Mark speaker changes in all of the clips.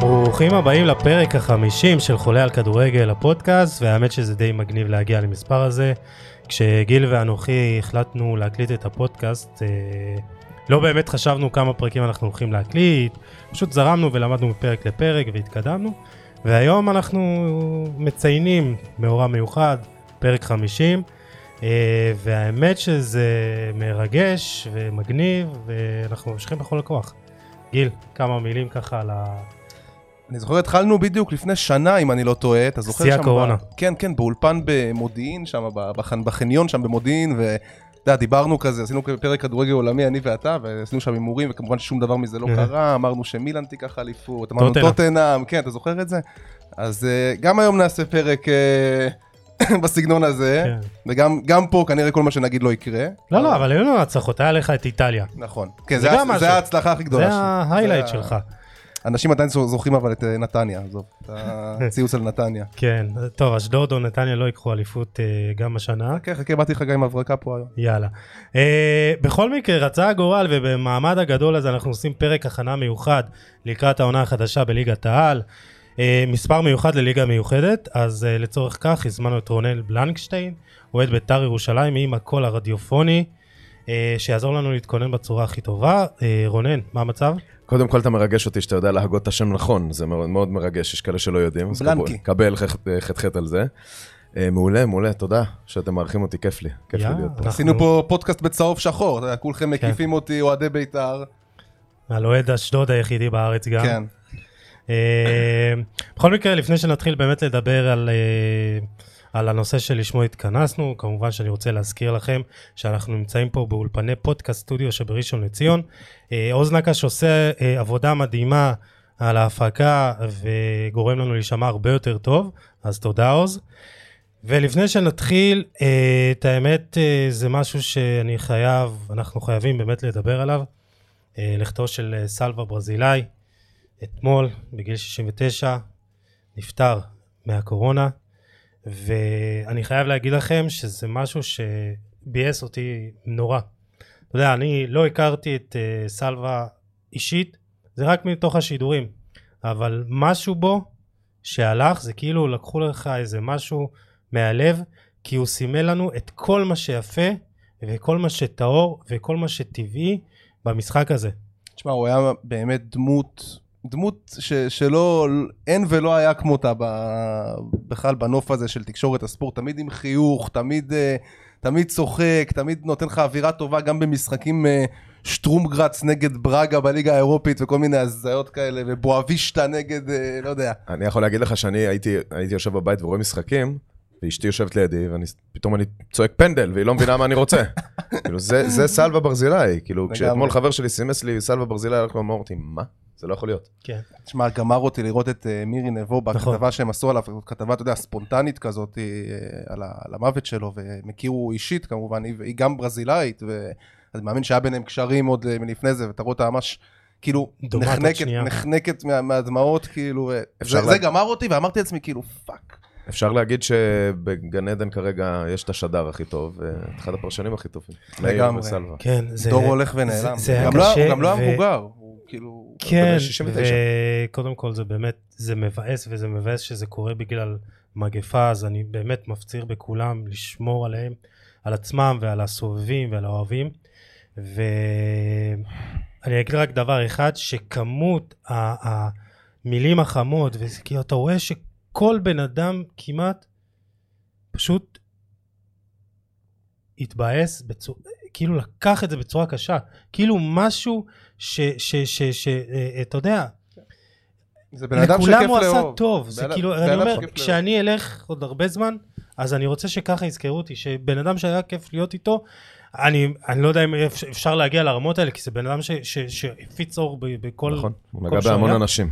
Speaker 1: ברוכים הבאים לפרק החמישים של חולה על כדורגל הפודקאסט, והאמת שזה די מגניב להגיע למספר הזה. כשגיל ואנוכי החלטנו להקליט את הפודקאסט, אה, לא באמת חשבנו כמה פרקים אנחנו הולכים להקליט, פשוט זרמנו ולמדנו מפרק לפרק והתקדמנו. והיום אנחנו מציינים מאורע מיוחד, פרק 50, אה, והאמת שזה מרגש ומגניב, ואנחנו ממשיכים בכל הכוח. גיל, כמה מילים ככה על ה...
Speaker 2: אני זוכר התחלנו בדיוק לפני שנה, אם אני לא טועה, אתה זוכר
Speaker 1: שיא
Speaker 2: שם...
Speaker 1: הקורונה.
Speaker 2: ב... כן, כן, באולפן במודיעין, שם ב- בח... בחניון שם במודיעין, ואתה יודע, דיברנו כזה, עשינו פרק כדורגל עולמי, אני ואתה, ועשינו שם הימורים, וכמובן שום דבר מזה לא
Speaker 1: אה.
Speaker 2: קרה, אמרנו שמילאן תיקח אליפות, אמרנו
Speaker 1: טוטנהאם.
Speaker 2: טוטנאם, כן, אתה זוכר את זה? אז אה, גם היום נעשה פרק אה, בסגנון הזה,
Speaker 1: כן.
Speaker 2: וגם גם פה כנראה כל מה שנגיד לא יקרה.
Speaker 1: לא, לא, אבל היו לנו הצלחות, היה לך את איטליה.
Speaker 2: נכון. כן,
Speaker 1: זה
Speaker 2: זה
Speaker 1: גם
Speaker 2: היה-
Speaker 1: משהו.
Speaker 2: זה ההצלחה הכי גדולה
Speaker 1: זה
Speaker 2: שלי.
Speaker 1: ההיילייט
Speaker 2: ה-
Speaker 1: שלך.
Speaker 2: אנשים עדיין זוכרים אבל את אה, נתניה, עזוב, את הציוץ על נתניה.
Speaker 1: כן, טוב, אשדוד או נתניה לא ייקחו אליפות אה, גם השנה.
Speaker 2: חכה, כן, חכה, באתי לך גם עם הברקה פה היום.
Speaker 1: יאללה. Uh, בכל מקרה, רצה הגורל, ובמעמד הגדול הזה אנחנו עושים פרק הכנה מיוחד לקראת העונה החדשה בליגת העל. Uh, מספר מיוחד לליגה מיוחדת, אז uh, לצורך כך הזמנו את רונל בלנקשטיין, אוהד בית"ר ירושלים עם הקול הרדיופוני, uh, שיעזור לנו להתכונן בצורה הכי טובה. Uh, רונן, מה המצב?
Speaker 3: קודם כל אתה מרגש אותי שאתה יודע להגות את השם נכון, זה מאוד מאוד מרגש, יש כאלה שלא יודעים. אז
Speaker 2: בלנקי.
Speaker 3: קבל- קבל חת- חתחת על זה. אה, מעולה, מעולה, תודה שאתם מארחים אותי, כיף לי, כיף לי
Speaker 1: יאללה.
Speaker 3: להיות פה.
Speaker 2: עשינו פה פודקאסט בצהוב שחור, אתה יודע, כולכם
Speaker 1: כן.
Speaker 2: מקיפים אותי, אוהדי בית"ר.
Speaker 1: על אוהד אשדוד היחידי בארץ גם.
Speaker 2: כן.
Speaker 1: אה, בכל מקרה, לפני שנתחיל באמת לדבר על, אה, על הנושא שלשמו התכנסנו, כמובן שאני רוצה להזכיר לכם שאנחנו נמצאים פה באולפני פודקאסט סטודיו שבראשון לציון. אה, עוז נקש עושה אה, עבודה מדהימה על ההפקה וגורם לנו להישמע הרבה יותר טוב, אז תודה עוז. ולפני שנתחיל, אה, את האמת אה, זה משהו שאני חייב, אנחנו חייבים באמת לדבר עליו. אה, לכתו של אה, סלווה ברזילאי, אתמול, בגיל 69, נפטר מהקורונה, ואני חייב להגיד לכם שזה משהו שביאס אותי נורא. אתה יודע, אני לא הכרתי את אה, סלווה אישית, זה רק מתוך השידורים, אבל משהו בו שהלך, זה כאילו לקחו לך איזה משהו מהלב, כי הוא סימל לנו את כל מה שיפה, וכל מה שטהור, וכל מה שטבעי במשחק הזה.
Speaker 2: תשמע, הוא היה באמת דמות, דמות ש- שלא, אין ולא היה כמותה ב- בכלל בנוף הזה של תקשורת הספורט, תמיד עם חיוך, תמיד... אה, תמיד צוחק, תמיד נותן לך אווירה טובה גם במשחקים אה, שטרומגרץ נגד ברגה בליגה האירופית וכל מיני הזיות כאלה ובואבישטה נגד, אה, לא יודע.
Speaker 3: אני יכול להגיד לך שאני הייתי הייתי יושב בבית ורואה משחקים, ואשתי יושבת לידי, ופתאום אני צועק פנדל, והיא לא מבינה מה אני רוצה. כאילו, זה זה סלווה ברזילי, כאילו,
Speaker 2: לגמרי.
Speaker 3: כשאתמול חבר שלי סימס לי סלווה ברזילי, הלכנו אמרתי, מה? זה לא יכול להיות.
Speaker 1: כן.
Speaker 2: תשמע, גמר אותי לראות את אה, מירי נבו
Speaker 1: נכון.
Speaker 2: בכתבה שהם עשו עליו, כתבה, אתה יודע, ספונטנית כזאת, אה, על, ה- על המוות שלו, והם הכירו אישית כמובן, היא, היא גם ברזילאית, ואני מאמין שהיה ביניהם קשרים עוד אה, מלפני זה, ואתה רואה אותה ממש, כאילו,
Speaker 1: דומעת עוד
Speaker 2: נחנקת,
Speaker 1: שנייה.
Speaker 2: נחנקת מה, מהדמעות, כאילו, אה,
Speaker 3: אפשר
Speaker 2: זה,
Speaker 3: לה-
Speaker 2: זה גמר אותי, ואמרתי לעצמי, כאילו, פאק.
Speaker 3: אפשר להגיד שבגן עדן כרגע יש את השדר הכי טוב, אה, אחד הפרשנים הכי טובים. מאיר
Speaker 2: לגמרי.
Speaker 3: וסלווה.
Speaker 1: כן, זה...
Speaker 2: דור הולך ונעלם.
Speaker 1: זה היה
Speaker 2: גם לא-
Speaker 1: קשה,
Speaker 2: הוא גם לא
Speaker 1: ו-
Speaker 2: היה מבוגר, הוא כאילו...
Speaker 1: כן,
Speaker 3: בן 69.
Speaker 1: וקודם כל זה באמת, זה מבאס וזה מבאס שזה קורה בגלל מגפה, אז אני באמת מפציר בכולם לשמור עליהם, על עצמם ועל הסובבים ועל האוהבים. ואני אגיד רק דבר אחד, שכמות ה- המילים החמות, וזה כאילו אתה רואה שכל בן אדם כמעט פשוט התבאס, בצורה, כאילו לקח את זה בצורה קשה, כאילו משהו ש... ש, ש, ש אה, אתה יודע,
Speaker 2: זה בן אדם שכיף
Speaker 1: לכולם הוא עשה
Speaker 2: לאהוב.
Speaker 1: טוב, זה
Speaker 2: בן-
Speaker 1: כאילו,
Speaker 2: בן
Speaker 1: אני
Speaker 2: אדם
Speaker 1: אומר,
Speaker 2: שכיף לאהוב.
Speaker 1: כשאני אלך עוד הרבה זמן, אז אני רוצה שככה יזכרו אותי, שבן אדם שהיה כיף להיות איתו, אני, אני לא יודע אם אפ- אפשר להגיע לרמות האלה, כי זה בן אדם ש- ש- שהפיץ אור ב- בכל...
Speaker 3: נכון,
Speaker 1: כל
Speaker 3: הוא נגע בהמון
Speaker 1: שנה.
Speaker 3: אנשים.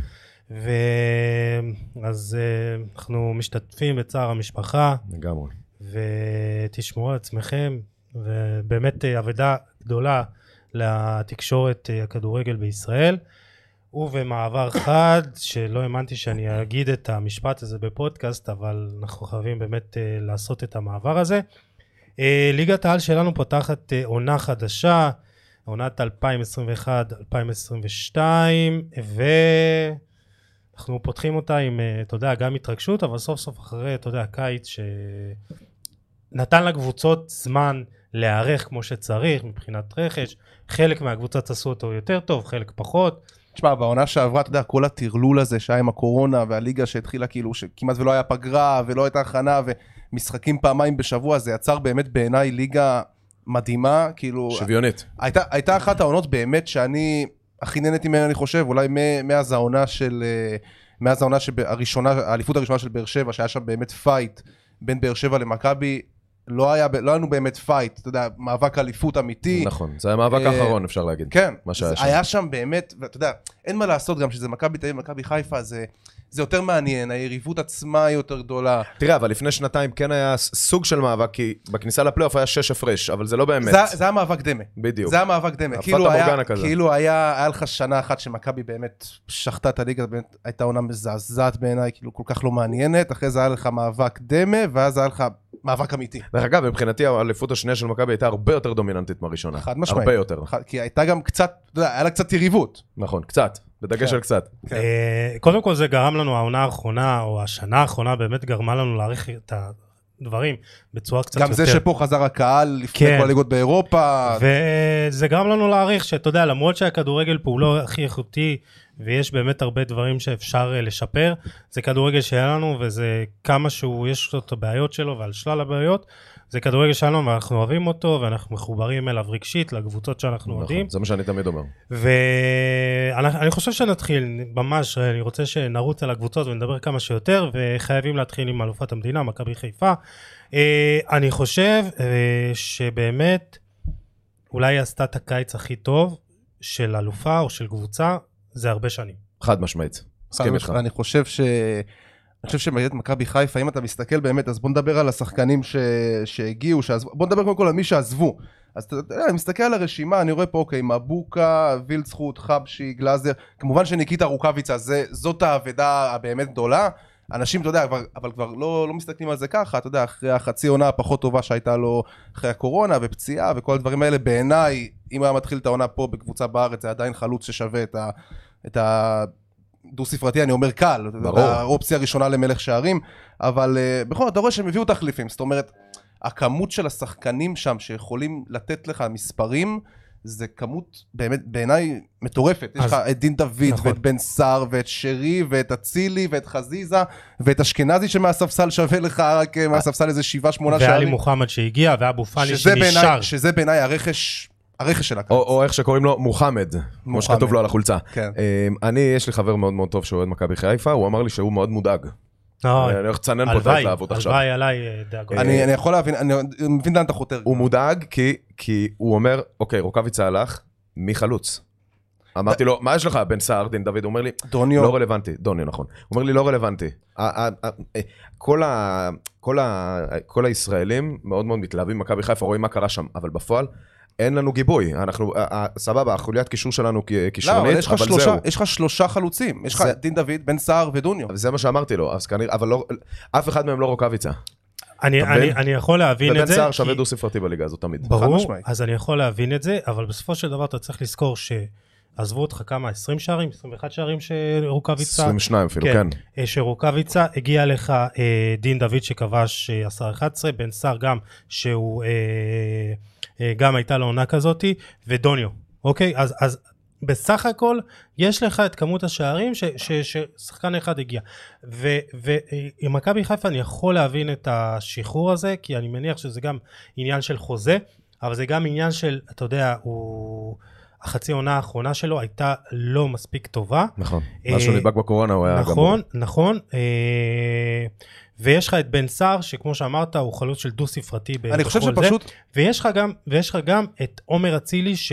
Speaker 1: ואז אה, אנחנו משתתפים בצער המשפחה,
Speaker 3: לגמרי.
Speaker 1: ותשמרו על עצמכם, ובאמת אה, אבדה גדולה לתקשורת אה, הכדורגל בישראל. ובמעבר חד, שלא האמנתי שאני אגיד את המשפט הזה בפודקאסט, אבל אנחנו חייבים באמת אה, לעשות את המעבר הזה. אה, ליגת העל שלנו פותחת אה, עונה חדשה, עונת 2021-2022, ואנחנו אנחנו פותחים אותה עם, אה, אתה יודע, גם התרגשות, אבל סוף סוף אחרי, אתה יודע, קיץ שנתן לקבוצות זמן להיערך כמו שצריך מבחינת רכש, חלק מהקבוצות עשו אותו יותר טוב, חלק פחות,
Speaker 2: תשמע, בעונה שעברה, אתה יודע, כל הטרלול הזה שהיה עם הקורונה והליגה שהתחילה כאילו, שכמעט ולא היה פגרה ולא הייתה הכנה ומשחקים פעמיים בשבוע, זה יצר באמת בעיניי ליגה מדהימה, כאילו...
Speaker 3: שוויונית.
Speaker 2: הייתה, הייתה אחת העונות באמת שאני הכי נהניתי ממנה, אני חושב, אולי מ- מאז העונה של... אה, מאז העונה שב- הראשונה, האליפות הראשונה של באר שבע, שהיה שם באמת פייט בין באר שבע למכבי, לא היה, ב- לא היה לנו באמת פייט, אתה יודע, מאבק אליפות אמיתי.
Speaker 3: נכון, זה המאבק
Speaker 2: אה,
Speaker 3: האחרון אפשר להגיד.
Speaker 2: כן,
Speaker 3: מה שהיה
Speaker 2: זה
Speaker 3: שם.
Speaker 2: היה שם באמת, ואתה יודע, אין מה לעשות גם שזה מכבי תל אביב, מכבי חיפה, זה, זה יותר מעניין, היריבות עצמה היא יותר גדולה.
Speaker 3: תראה, אבל לפני שנתיים כן היה ס- סוג של מאבק, כי בכניסה לפלייאוף היה שש הפרש, אבל זה לא באמת.
Speaker 2: זה, זה היה מאבק דמה.
Speaker 3: בדיוק.
Speaker 2: זה היה מאבק דמה.
Speaker 3: הפטה
Speaker 2: כאילו, היה,
Speaker 3: מורגנה כזה.
Speaker 2: כאילו היה, היה לך שנה אחת שמכבי באמת שחטה את הליגה, באמת הייתה עונה מזעזעת בעיניי, כאילו כל כך לא מעניינת, אחרי זה היה לך מאבק דמה, ואז היה לך מאבק אמיתי.
Speaker 3: דרך אגב, מבחינתי האליפות השנייה של מכבי הייתה הרבה יותר דומיננטית מהראשונה.
Speaker 2: חד משמעית.
Speaker 3: הרבה יותר.
Speaker 2: ח- כי הייתה גם קצת, אתה יודע, היה לה קצת יריבות.
Speaker 3: נכון, קצת. בדגש
Speaker 2: כן.
Speaker 3: על קצת.
Speaker 2: כן.
Speaker 1: אה, קודם כל זה גרם לנו, העונה האחרונה, או השנה האחרונה, באמת גרמה לנו להעריך את הדברים בצורה קצת
Speaker 2: גם
Speaker 1: יותר.
Speaker 2: זה שפה חזר הקהל לפני
Speaker 1: כן.
Speaker 2: כל הליגות באירופה.
Speaker 1: וזה גרם לנו להעריך שאתה יודע, למרות שהכדורגל פה הוא לא הכי איכותי, ויש באמת הרבה דברים שאפשר אה, לשפר, זה כדורגל שהיה לנו, וזה כמה שהוא, יש לו את הבעיות שלו ועל שלל הבעיות, זה כדורגל שלנו ואנחנו אוהבים אותו, ואנחנו מחוברים אליו רגשית, לקבוצות שאנחנו
Speaker 3: נכון,
Speaker 1: אוהדים.
Speaker 3: זה מה שאני תמיד אומר.
Speaker 1: ואני אני חושב שנתחיל, ממש, אני רוצה שנרוץ על הקבוצות ונדבר כמה שיותר, וחייבים להתחיל עם אלופת המדינה, מכבי חיפה. אה, אני חושב אה, שבאמת, אולי היא עשתה את הקיץ הכי טוב של אלופה או של קבוצה, זה הרבה שנים.
Speaker 3: חד משמעית. מסכים איתך.
Speaker 2: אני חושב ש... אני חושב שמעניינת מכבי חיפה, אם אתה מסתכל באמת, אז בוא נדבר על השחקנים ש... שהגיעו, שעזבו, בוא נדבר קודם כל על מי שעזבו. אז אתה יודע, אני מסתכל על הרשימה, אני רואה פה, אוקיי, מבוקה, וילצחוט, חבשי, גלאזר, כמובן שניקיטה רוקאביצה, זה, זאת האבדה הבאמת גדולה. אנשים, אתה יודע, אבל, אבל כבר לא, לא מסתכלים על זה ככה, אתה יודע, אחרי החצי עונה הפחות טובה שהייתה לו אחרי הקורונה, ופציעה, וכל הדברים האלה, בעיניי, אם הוא היה מתחיל את העונה פה בקבוצה בארץ, זה עדיין חלוץ ששווה את ה... את ה... דו-ספרתי, אני אומר קל,
Speaker 3: ברור.
Speaker 2: האופציה הראשונה למלך שערים, אבל אה, בכל זאת, אתה רואה שהם הביאו תחליפים, זאת אומרת, הכמות של השחקנים שם שיכולים לתת לך מספרים, זה כמות באמת בעיניי מטורפת. יש
Speaker 1: אז-
Speaker 2: לך את דין דוד,
Speaker 1: נכון.
Speaker 2: ואת בן סער, ואת שרי, ואת אצילי, ואת חזיזה, ואת אשכנזי שמהספסל שווה לך רק אה, מהספסל איזה שבעה, שמונה
Speaker 1: ואלי
Speaker 2: שערים.
Speaker 1: מוחמד שהגיע, ואבו פאני
Speaker 2: שזה בעיניי-
Speaker 1: שנשאר. אה,
Speaker 2: שזה בעיניי הרכש, הרכש של הקיץ.
Speaker 3: או, או איך שקוראים לו, מוחמד, כמו
Speaker 2: מוחמד.
Speaker 3: שכתוב לו על החולצה.
Speaker 2: כן.
Speaker 3: אמ, אני, יש לי חבר מאוד מאוד טוב שהוא אוהד מכבי חיפה, הוא אמר לי שהוא מאוד מודאג.
Speaker 1: אוי,
Speaker 3: אני הולך לצנן פה את
Speaker 1: אה. הלוואי,
Speaker 3: ההתלהבות עכשיו.
Speaker 1: הלוואי עליי אה, דאגות.
Speaker 2: אני אני יכול להבין, אני מבין לאן אתה חותר.
Speaker 3: הוא מודאג כי, כי הוא אומר, אוקיי, רוקאביצה הלך, מי חלוץ? אמרתי לו, מה יש לך, בן סער, דין דוד? הוא אומר לי,
Speaker 2: דוניו.
Speaker 3: לא רלוונטי, דוניו, נכון. הוא אומר לי, לא רלוונטי. ה- ה- ה- אה, כל ה- כל ה- כל הישראלים מאוד מאוד מתלהבים ממכבי חיפה, רואים מה קרה שם, אבל בפועל... אין לנו גיבוי, אנחנו, אה, אה, סבבה, חוליית קישור שלנו כ-
Speaker 2: לא, אבל
Speaker 3: כישרונית,
Speaker 2: יש לך
Speaker 3: אבל
Speaker 2: שלושה-
Speaker 3: זהו.
Speaker 2: יש לך שלושה חלוצים, יש לך
Speaker 3: זה-
Speaker 2: דין דוד, בן סער ודוניו.
Speaker 3: אבל זה מה שאמרתי לו, אז כנראה, אבל לא, אף אחד מהם לא רוקאביצה.
Speaker 1: אני-
Speaker 3: אתה
Speaker 1: אני-
Speaker 3: מבין?
Speaker 1: אני יכול להבין
Speaker 3: ובן
Speaker 1: את זה.
Speaker 3: סער
Speaker 1: כי-
Speaker 3: שווה דו ספרתי בליגה הזאת תמיד.
Speaker 1: ברור,
Speaker 2: משמעית.
Speaker 1: אז אני יכול להבין את זה, אבל בסופו של דבר אתה צריך לזכור שעזבו אותך כמה, 20 שערים, 21 שערים שרוקאביצה,
Speaker 3: 22 אפילו,
Speaker 1: כן.
Speaker 3: כן.
Speaker 1: אה, שרוקאביצה, הגיע לך אה, דין דוד שכבש אה, 10-11, בן סער גם, שהוא אה, אה, גם הייתה לו עונה כזאתי, ודוניו, אוקיי? אז, אז בסך הכל יש לך את כמות השערים ש- ש- ששחקן אחד הגיע. ועם מכבי חיפה אני יכול להבין את השחרור הזה, כי אני מניח שזה גם עניין של חוזה, אבל זה גם עניין של, אתה יודע, הוא... החצי עונה האחרונה שלו הייתה לא מספיק טובה.
Speaker 3: נכון.
Speaker 1: אה,
Speaker 3: מאז שהוא נדבק בקורונה הוא היה גמור.
Speaker 1: נכון, נכון. אה, ויש לך את בן סער, שכמו שאמרת, הוא חלוץ של דו-ספרתי.
Speaker 3: אה,
Speaker 1: ב-
Speaker 2: אני חושב
Speaker 3: נכון,
Speaker 1: בכל זה.
Speaker 2: שפשוט,
Speaker 1: ויש לך גם, ויש לך גם את עומר אצילי, ש-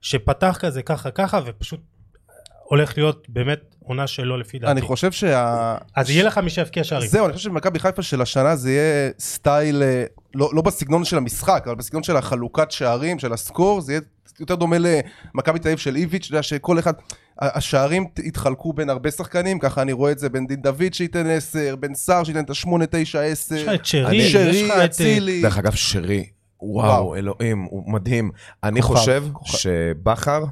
Speaker 1: שפתח כזה ככה ככה, ופשוט הולך להיות באמת עונה שלו לפי דעתי.
Speaker 2: אני חושב שה...
Speaker 1: אז יהיה לך מי שיבקיע שערים.
Speaker 2: זהו, אני חושב שבמכבי חיפה של השנה זה יהיה סטייל, אה, לא לא בסגנון של המשחק, אבל בסגנון של החלוקת שערים, של הסקור, זה יהיה יותר דומה למכבי תל אביב של איביץ', אתה יודע שכל אחד, ה- השערים ת- יתחלקו בין הרבה שחקנים, ככה אני רואה את זה בין דין דוד שייתן 10, בן סער שייתן את ה-8, 9, 10,
Speaker 1: יש לך את שרי,
Speaker 3: אני-
Speaker 1: יש לך
Speaker 2: אה, שרי,
Speaker 1: את... אה,
Speaker 2: אצילי.
Speaker 3: דרך אגב, שרי,
Speaker 2: וואו.
Speaker 3: וואו, אלוהים, הוא מדהים. אני
Speaker 2: כוכב,
Speaker 3: חושב
Speaker 2: כוכב.
Speaker 3: שבכר,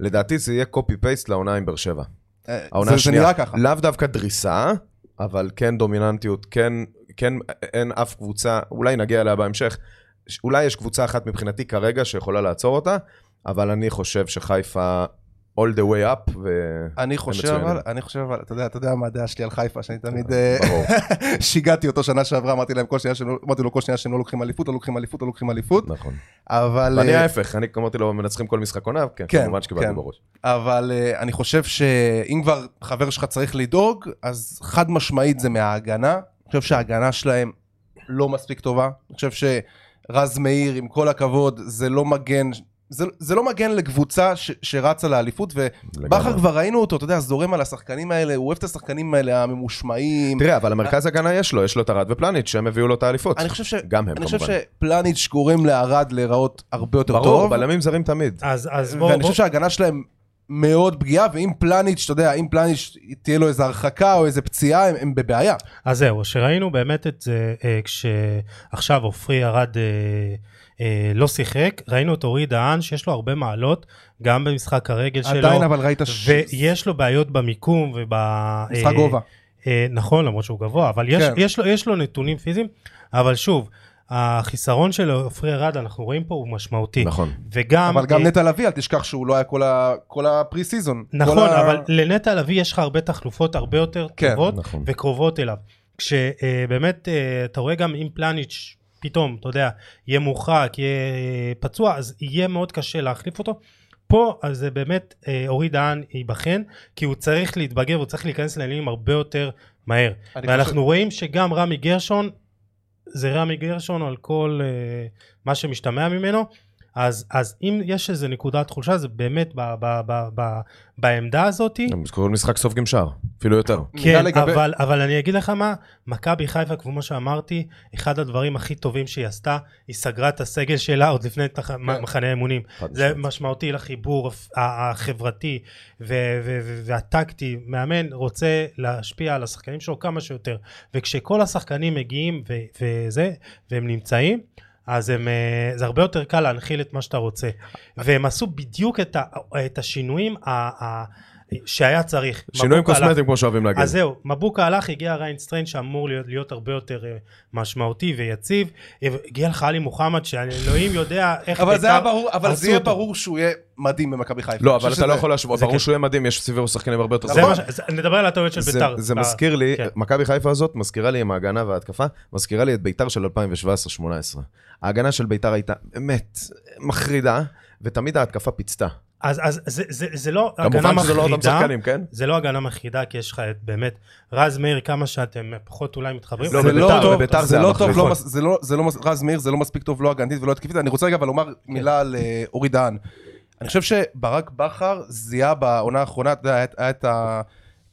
Speaker 3: לדעתי זה יהיה קופי פייסט לעונה עם באר שבע.
Speaker 2: אה,
Speaker 3: העונה
Speaker 2: זה- זה
Speaker 3: השנייה.
Speaker 2: נראה ככה.
Speaker 3: לאו דווקא דריסה, אבל כן דומיננטיות, כן, כן אין אף קבוצה, אולי נגיע אליה בהמשך, ש- אולי יש קבוצה אחת מבחינתי כרגע שיכולה לעצור אותה, אבל אני חושב שחיפה all the way up, ו...
Speaker 2: אני חושב
Speaker 3: מצוינים. כן,
Speaker 2: אבל, אני חושב אבל, אתה יודע, אתה יודע מה הדעה שלי על חיפה, שאני תמיד אה,
Speaker 3: ברור.
Speaker 2: שיגעתי אותו שנה שעברה, אמרתי להם כל שנייה שהם לא- אמרתי לו כל שנייה שהם לא לוקחים אליפות, לא לוקחים אליפות, לא לוקחים אליפות,
Speaker 3: נכון.
Speaker 2: אבל...
Speaker 3: ואני
Speaker 2: אה,
Speaker 3: ההפך, אני אמרתי לו, מנצחים כל משחק עונה, כן,
Speaker 2: כן,
Speaker 3: כמובן שקיבלתי
Speaker 2: כן.
Speaker 3: בראש.
Speaker 2: אבל אה, אני חושב שאם כבר חבר שלך צריך לדאוג, אז חד משמעית זה מההגנה. אני חושב שההגנה שלהם לא מספיק טובה. אני חושב שרז מאיר, עם כל הכבוד, זה לא מגן, זה, זה לא מגן לקבוצה ש, שרצה לאליפות, ובכר
Speaker 3: לגמרי.
Speaker 2: כבר ראינו אותו, אתה יודע, זורם על השחקנים האלה, הוא אוהב את השחקנים האלה הממושמעים.
Speaker 3: תראה, אבל המרכז הגנה יש לו, יש לו את ארד ופלניץ', שהם הביאו לו את האליפות.
Speaker 2: אני חושב, ש...
Speaker 3: גם הם,
Speaker 2: אני חושב
Speaker 3: כמובן.
Speaker 2: שפלניץ' גורם לערד להיראות הרבה יותר
Speaker 3: ברור,
Speaker 2: טוב.
Speaker 3: בלמים זרים תמיד.
Speaker 1: אז, אז בואו,
Speaker 2: ואני
Speaker 1: בוא,
Speaker 2: חושב שההגנה שלהם מאוד פגיעה, ואם פלניץ', אתה יודע, אם פלניץ' תהיה לו איזה הרחקה או איזה פציעה, הם, הם בבעיה.
Speaker 1: אז זהו, שראינו באמת את זה, אה, כשעכשיו עופרי ארד אה, אה, לא שיחק, ראינו את אורי דהן, שיש לו הרבה מעלות, גם במשחק הרגל שלו,
Speaker 2: עדיין אבל ראית ש...
Speaker 1: ויש לו בעיות במיקום וב...
Speaker 2: משחק
Speaker 1: אה,
Speaker 2: גובה.
Speaker 1: אה, נכון, למרות שהוא גבוה, אבל יש,
Speaker 2: כן.
Speaker 1: כן. יש, לו, יש לו נתונים פיזיים, אבל שוב, החיסרון של עופרי ארד, אנחנו רואים פה, הוא משמעותי.
Speaker 3: נכון.
Speaker 1: וגם...
Speaker 2: אבל גם
Speaker 1: אה,
Speaker 2: נטע לביא, אל תשכח שהוא לא היה כל ה- כל הפרי סיזון.
Speaker 1: נכון,
Speaker 2: כל ה-
Speaker 1: אבל לנטע לביא יש לך הרבה תחלופות הרבה יותר
Speaker 2: כן,
Speaker 1: טובות
Speaker 3: נכון.
Speaker 1: וקרובות אליו. כשבאמת אה, אתה רואה גם אם פלניץ' פתאום, אתה יודע, יהיה מורחק, יהיה אה, פצוע, אז יהיה מאוד קשה להחליף אותו. פה אז זה באמת אה, אורי דהן ייבחן, כי הוא צריך להתבגר, הוא צריך להיכנס לעניינים הרבה יותר מהר.
Speaker 2: אני
Speaker 1: ואנחנו
Speaker 2: חושב-
Speaker 1: רואים שגם רמי גרשון, זה רמי גרשון על כל אה, מה שמשתמע ממנו, אז, אז אם יש איזה נקודת חולשה, זה באמת ב, ב, ב, ב, בעמדה הזאתי.
Speaker 3: הם כל משחק סופגים שער, אפילו יותר.
Speaker 1: כן,
Speaker 2: מידע לגבי-
Speaker 1: אבל, אבל אני אגיד לך מה, מכבי חיפה, כמו שאמרתי, אחד הדברים הכי טובים שהיא עשתה, היא סגרה את הסגל שלה עוד לפני תח...
Speaker 3: כן.
Speaker 1: מחנה האימונים. זה
Speaker 3: נכון.
Speaker 1: משמעותי לחיבור הפ- ה- החברתי ו- ו- ו- והטקטי. מאמן רוצה להשפיע על השחקנים שלו כמה שיותר. וכשכל השחקנים מגיעים ו- וזה, והם נמצאים, אז הם, אה, זה הרבה יותר קל להנחיל את מה שאתה רוצה. והם עשו בדיוק את, ה, את השינויים ה, ה, שהיה צריך.
Speaker 3: שינויים
Speaker 1: מבוקה הלך-
Speaker 3: קוסמטיים, כמו שאוהבים להגיד.
Speaker 1: אז זהו, מבוקה הלך, הגיע ריינסטריין שאמור להיות, להיות הרבה יותר אה, משמעותי ויציב. אה, הגיע לך עלי מוחמד, שאלוהים יודע איך...
Speaker 2: אבל זה
Speaker 1: בית"ר
Speaker 2: היה ברור, אבל
Speaker 1: הרסו
Speaker 2: זה יהיה
Speaker 1: אותו.
Speaker 2: ברור שהוא יהיה מדהים במכבי חיפה.
Speaker 3: לא,
Speaker 2: אני
Speaker 3: אבל
Speaker 2: חושב
Speaker 3: אתה לא
Speaker 2: שזה-
Speaker 3: יכול להשוות,
Speaker 1: זה
Speaker 3: ברור
Speaker 1: כן.
Speaker 3: שהוא יהיה מדהים, יש סביבו שחקנים הרבה יותר
Speaker 1: זה
Speaker 2: נכון?
Speaker 3: טובים.
Speaker 1: מה ש... זה- נדבר על הטעויות של
Speaker 3: זה-
Speaker 1: בית"ר.
Speaker 3: זה
Speaker 1: ב-
Speaker 3: מזכיר לי,
Speaker 1: כן.
Speaker 3: מכבי חיפה הזאת מזכירה לי עם ההגנה וההתקפה, מזכירה לי את ביתר של 2017-2018. ההגנה של ביתר הייתה באמת מחרידה, ותמיד ההתקפה פיצתה.
Speaker 1: אז אז זה- זה- זה לא הגנה
Speaker 3: כמובן שזה לא אותם
Speaker 1: מחרידה.
Speaker 3: שחקנים, כן?
Speaker 1: זה לא הגנה מחרידה, כי יש לך את באמת רז מאיר, כמה שאתם פחות אולי מתחברים.
Speaker 3: לא,
Speaker 2: זה
Speaker 3: בביתר-
Speaker 2: לא
Speaker 3: בביתר
Speaker 2: טוב,
Speaker 3: זה
Speaker 2: זה
Speaker 3: היה
Speaker 2: לא טוב,
Speaker 3: מחריד.
Speaker 2: לא מס- זה לא- זה לא מס- רז מאיר זה לא מספיק טוב לא הגנתית ולא התקפית, אני רוצה רגע אבל לומר מילה על אה, אורי דהן. אני חושב שברק בכר זיהה בעונה האחרונה, אתה יודע, היה- היה את ה...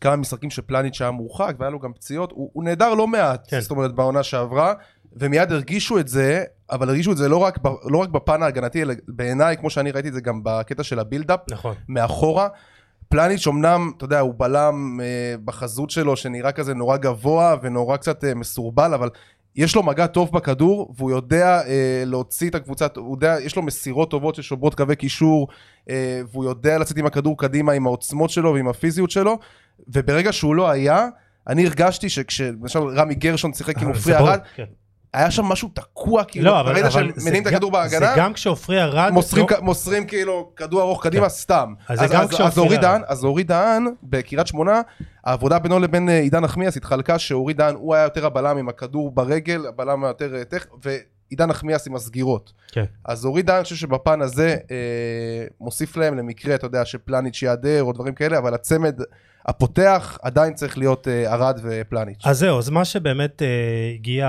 Speaker 2: כמה משחקים שפלניץ' היה מורחק והיה לו גם פציעות, הוא הוא נעדר לא מעט,
Speaker 1: כן.
Speaker 2: זאת אומרת בעונה שעברה, ומיד הרגישו את זה, אבל הרגישו את זה לא רק ב- לא רק בפן ההגנתי, אלא בעיניי, כמו שאני ראיתי את זה גם בקטע של הבילדאפ,
Speaker 1: נכון.
Speaker 2: מאחורה. פלניץ' אמנם, אתה יודע, הוא בלם אה, בחזות שלו, שנראה כזה נורא גבוה ונורא קצת אה, מסורבל, אבל יש לו מגע טוב בכדור, והוא יודע אה, להוציא את הקבוצה, הוא יודע, יש לו מסירות טובות ששוברות קווי קישור, אה, והוא יודע לצאת עם הכדור קדימה עם העוצמות שלו ועם הפיזיות שלו, וברגע שהוא לא היה, אני הרגשתי שכש... למשל רמי גרשון שיחק עם
Speaker 1: אבל
Speaker 2: עופרי
Speaker 1: זה ברור,
Speaker 2: ארד,
Speaker 1: כן.
Speaker 2: היה שם משהו תקוע, כאילו,
Speaker 1: לא, אבל...
Speaker 2: ראית
Speaker 1: אבל
Speaker 2: שהם
Speaker 1: זה
Speaker 2: מניעים את
Speaker 1: גם-
Speaker 2: הכדור בהגנה,
Speaker 1: זה גם כשעופרי ארד...
Speaker 2: מוסרים,
Speaker 1: לא-
Speaker 2: כ- מוסרים כאילו כדור ארוך קדימה סתם.
Speaker 1: כן. אז
Speaker 2: אז,
Speaker 1: זה
Speaker 2: אז,
Speaker 1: גם
Speaker 2: אז,
Speaker 1: כשאופיר
Speaker 2: אורי
Speaker 1: היה.
Speaker 2: דהן, אז אורי דהן בקריית שמונה, העבודה בינו לבין אה, עידן נחמיאס התחלקה שאורי דהן הוא היה יותר הבלם עם הכדור ברגל, הבלם היותר אה, טכ... ועידן נחמיאס עם הסגירות.
Speaker 1: כן.
Speaker 2: אז אורי דהן, אני חושב שבפן הזה אה, מוסיף להם למקרה, אתה יודע, שפלניץ' ייעדר או דברים כאלה, אבל הצמד הפותח עדיין צריך להיות אה, ארד ופלניץ'.
Speaker 1: אז זהו, אז מה שבאמת אה, הגיע,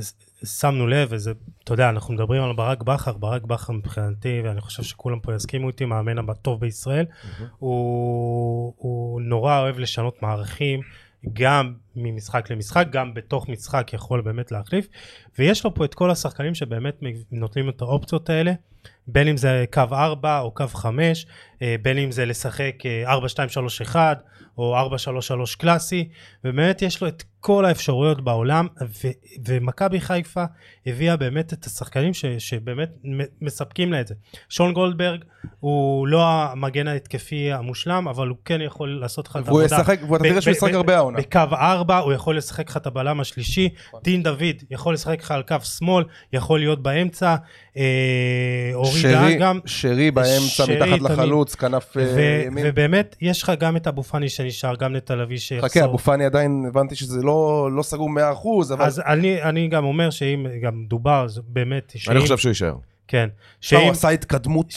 Speaker 1: ס- שמנו לב, וזה, אתה יודע, אנחנו מדברים על ברק בכר, ברק בכר מבחינתי, ואני חושב שכולם פה יסכימו איתי, מאמן הטוב בישראל, הוא, הוא נורא אוהב לשנות מערכים, גם ממשחק למשחק, גם בתוך משחק יכול באמת להחליף, ויש לו פה את כל השחקנים שבאמת נותנים את האופציות האלה. בין אם זה קו 4 או קו 5, אה, בין אם זה לשחק אה, 4-2-3-1 או 4-3-3 קלאסי, ובאמת יש לו את כל האפשרויות בעולם, ו- ומכבי חיפה הביאה באמת את השחקנים ש- שבאמת מ- מספקים לה את זה. שון גולדברג הוא לא המגן ההתקפי המושלם, אבל הוא כן יכול לעשות לך את
Speaker 2: והוא ישחק, ואתה
Speaker 1: ב-
Speaker 2: תראה שהוא
Speaker 1: ב-
Speaker 2: ישחק
Speaker 1: ב-
Speaker 2: הרבה העונה.
Speaker 1: בקו 4, הוא יכול לשחק לך את הבלם השלישי,
Speaker 2: נכון.
Speaker 1: דין דוד יכול לשחק לך על קו שמאל, יכול להיות באמצע, אה, אורי דהן
Speaker 2: שרי,
Speaker 1: גם,
Speaker 2: שרי באמצע,
Speaker 1: שרי
Speaker 2: מתחת
Speaker 1: תמיד.
Speaker 2: לחלוץ, כנף אה,
Speaker 1: ו-
Speaker 2: ימין.
Speaker 1: ובאמת יש לך גם את אבו פאני שנשאר, גם נטע לביא שיחזור.
Speaker 2: חכה, אבו פאני עדיין הבנתי שזה לא לא סגור 100%, אבל לא,
Speaker 1: אז אני, אני גם אומר שאם גם דובר, אז באמת, שאם,
Speaker 3: אני חושב שהוא יישאר.
Speaker 1: כן,
Speaker 2: תשמע, הוא
Speaker 1: שאם,
Speaker 2: עשה התקדמות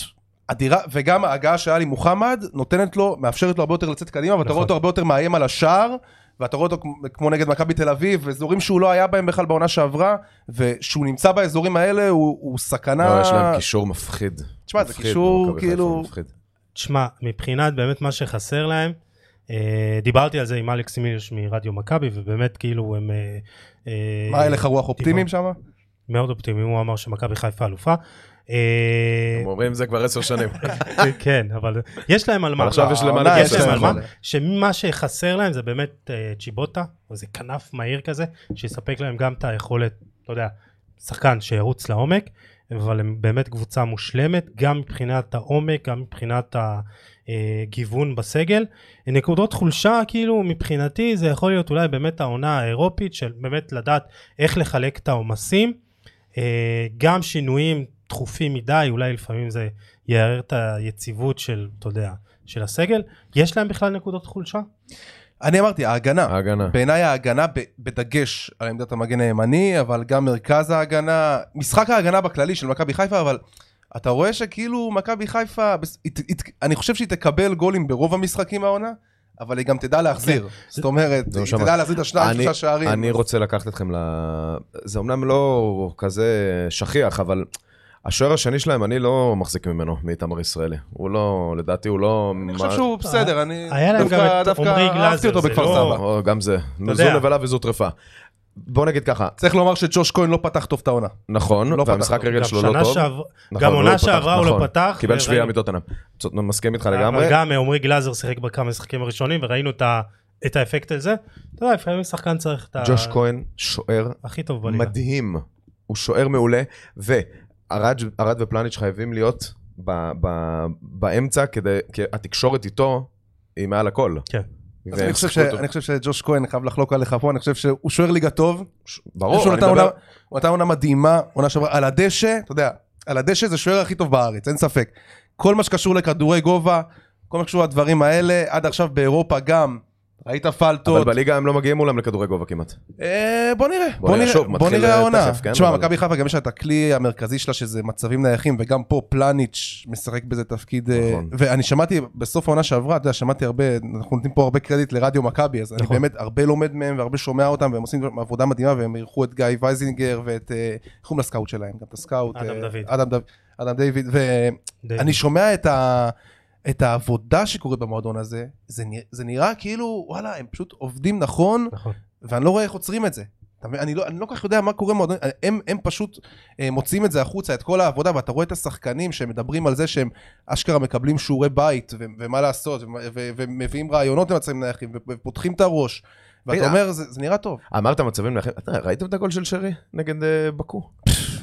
Speaker 2: אדירה, וגם ההגעה שהיה לי מוחמד נותנת לו, מאפשרת לו הרבה יותר לצאת קדימה, ואתה
Speaker 1: נכון.
Speaker 2: רואה אותו הרבה יותר מאיים על השער, ואתה רואה אותו כמו- כמו נגד מכבי תל אביב, אזורים שהוא לא היה בהם בכלל בעונה שעברה, וכשהוא נמצא באזורים האלה הוא הוא
Speaker 3: לא,
Speaker 2: סכנה.
Speaker 3: יש להם קישור מפחיד.
Speaker 2: תשמע, זה
Speaker 3: מפחיד, לא,
Speaker 2: קישור,
Speaker 3: מכבי חיפה,
Speaker 2: כאילו-
Speaker 3: מפחיד.
Speaker 1: תשמע, מבחינת באמת מה שחסר להם, אה, דיברתי על זה עם אלכס מירש מרדיו מכבי, ובאמת כאילו הם... אה, אה,
Speaker 2: מה, היה לך רוח אופטימיים שם?
Speaker 1: מאוד אופטימי, הוא אמר שמכבי חיפה אלופה. אה,
Speaker 3: הם אומרים זה כבר עשר שנים.
Speaker 1: כן, אבל יש להם על מה.
Speaker 3: אבל עכשיו יש להם מה
Speaker 2: העונה,
Speaker 1: יש להם על מה.
Speaker 2: אבל-
Speaker 1: שמה שחסר להם זה באמת אה, צ'יבוטה, או איזה כנף מהיר כזה, שיספק להם גם את היכולת, אתה יודע, שחקן שירוץ לעומק, אבל הם באמת קבוצה מושלמת, גם מבחינת העומק, גם מבחינת הגיוון בסגל. נקודות חולשה, כאילו, מבחינתי, זה יכול להיות אולי באמת העונה האירופית, של באמת לדעת איך לחלק את העומסים. אה, גם שינויים תכופים מדי, אולי לפעמים זה יערער את היציבות של, אתה יודע, של הסגל. יש להם בכלל נקודות חולשה?
Speaker 2: אני אמרתי, ההגנה.
Speaker 3: ההגנה.
Speaker 2: בעיניי ההגנה ב- בדגש על עמדת המגן הימני, אבל גם מרכז ההגנה, משחק ההגנה בכללי של מכבי חיפה, אבל אתה רואה שכאילו מכבי חיפה, בס- הת- הת- אני חושב שהיא תקבל גולים ברוב המשחקים העונה, אבל היא גם תדע להחזיר. זאת אומרת,
Speaker 3: כן. זה מה
Speaker 2: היא
Speaker 3: שאמרתי.
Speaker 2: תדע להחזיר את השניים,
Speaker 3: אני-
Speaker 2: שלושה שערים.
Speaker 3: אני רוצה לקחת אתכם ל... זה אמנם לא כזה שכיח, אבל השוער השני שלהם, אני לא מחזיק ממנו, מאיתמר ישראלי. הוא לא, לדעתי הוא לא...
Speaker 2: אני חושב שהוא בסדר, אני
Speaker 1: אה, היה להם
Speaker 2: דווקא-
Speaker 1: גם את
Speaker 2: דווקא
Speaker 1: עומרי
Speaker 2: אהבתי
Speaker 1: גלאזר,
Speaker 2: אותו
Speaker 1: זה
Speaker 2: בכפר
Speaker 1: לא-
Speaker 2: סבא.
Speaker 3: או, גם זה. זו
Speaker 1: יודע.
Speaker 3: נבלה וזו טרפה. בוא נגיד ככה,
Speaker 2: צריך לומר שג'וש כהן לא פתח טוב את העונה.
Speaker 3: נכון,
Speaker 2: לא פתח
Speaker 3: והמשחק
Speaker 2: טוב.
Speaker 3: רגל
Speaker 1: גם
Speaker 3: שלו לא
Speaker 1: שנה
Speaker 3: טוב.
Speaker 1: שעבר-
Speaker 3: נכון,
Speaker 1: גם
Speaker 3: הוא
Speaker 1: עונה
Speaker 3: פתח,
Speaker 1: שעברה הוא
Speaker 3: נכון.
Speaker 1: לא פתח.
Speaker 3: קיבל
Speaker 1: וראינו-
Speaker 3: שביעייה מטוטנאם. צודק, מסכים איתך לגמרי.
Speaker 1: אבל גם אה, עומרי גלאזר שיחק בכמה משחקים הראשונים, וראינו את ה- את האפקט הזה. אתה יודע, לפעמים שחקן צריך את ה...
Speaker 3: ג'וש כהן, שוער
Speaker 1: הכי טוב בליגה.
Speaker 3: מדהים. הוא שוער מעולה, וארד ופלניץ' חייבים להיות ב- ב- באמצע, כדי- כי התקשורת איתו היא מעל הכל.
Speaker 1: כן.
Speaker 2: אז אני
Speaker 3: והם
Speaker 2: חושב
Speaker 3: שיחקו
Speaker 2: ש-
Speaker 3: אותו.
Speaker 2: אני חושב שג'וש כהן, אני חייב לחלוק עליך פה, אני חושב שהוא שוער ליגה טוב.
Speaker 3: ברור,
Speaker 2: שהוא
Speaker 3: אני
Speaker 2: נתן עונה-
Speaker 3: מדבר-
Speaker 2: הוא נתן עונה מדהימה, עונה שעברה, על הדשא, אתה יודע, על הדשא זה שוער הכי טוב בארץ, אין ספק. כל מה שקשור לכדורי גובה, כל מה שקשור לדברים האלה, עד עכשיו באירופה גם, ראית
Speaker 3: אבל
Speaker 2: פלטות,
Speaker 3: בליגה הם לא מגיעים מולם לכדורי גובה כמעט.
Speaker 2: אה, בוא נראה, בוא
Speaker 3: בוא נראה,
Speaker 2: נראה,
Speaker 3: שוב,
Speaker 2: בוא
Speaker 3: מתחיל
Speaker 2: נראה העונה.
Speaker 3: תכף, כן,
Speaker 2: תשמע,
Speaker 3: אבל-
Speaker 2: מכבי חיפה גם יש לה את הכלי המרכזי שלה שזה מצבים נייחים, וגם פה פלניץ' משחק בזה תפקיד, אה,
Speaker 3: נכון.
Speaker 2: ואני שמעתי בסוף העונה שעברה, אתה יודע, שמעתי הרבה, אנחנו נותנים פה הרבה קרדיט לרדיו מכבי, אז אני
Speaker 1: נכון.
Speaker 2: באמת הרבה לומד מהם והרבה שומע אותם, והם עושים עבודה מדהימה, והם אירחו את גיא וייזינגר ואת, אה, איך קוראים לסקאוט שלהם, גם את הסקאוט,
Speaker 1: אדם
Speaker 2: אה,
Speaker 1: דוד.
Speaker 2: אדם דוד, אדם דיוויד, ו...
Speaker 1: די.
Speaker 2: אני שומע את, ה... את העבודה שקורית במועדון הזה, זה, נרא... זה נראה כאילו, וואלה, הם פשוט עובדים נכון,
Speaker 1: נכון.
Speaker 2: ואני לא רואה איך עוצרים את זה. אתה מבין? אני לא, אני לא כל כך יודע מה קורה במועדון, הם, הם פשוט אה, מוציאים את זה החוצה, את כל העבודה, ואתה רואה את השחקנים שמדברים על זה שהם אשכרה מקבלים שיעורי בית, ו- ומה לעשות, ו- ו- ומביאים רעיונות למצבים נייחים, ו- ופותחים את הראש, ואתה
Speaker 3: רגע.
Speaker 2: אומר, זה, זה נראה טוב.
Speaker 3: אמרת מצבים לכם, אתה ראיתם את הגול של שרי נגד אה, באקו?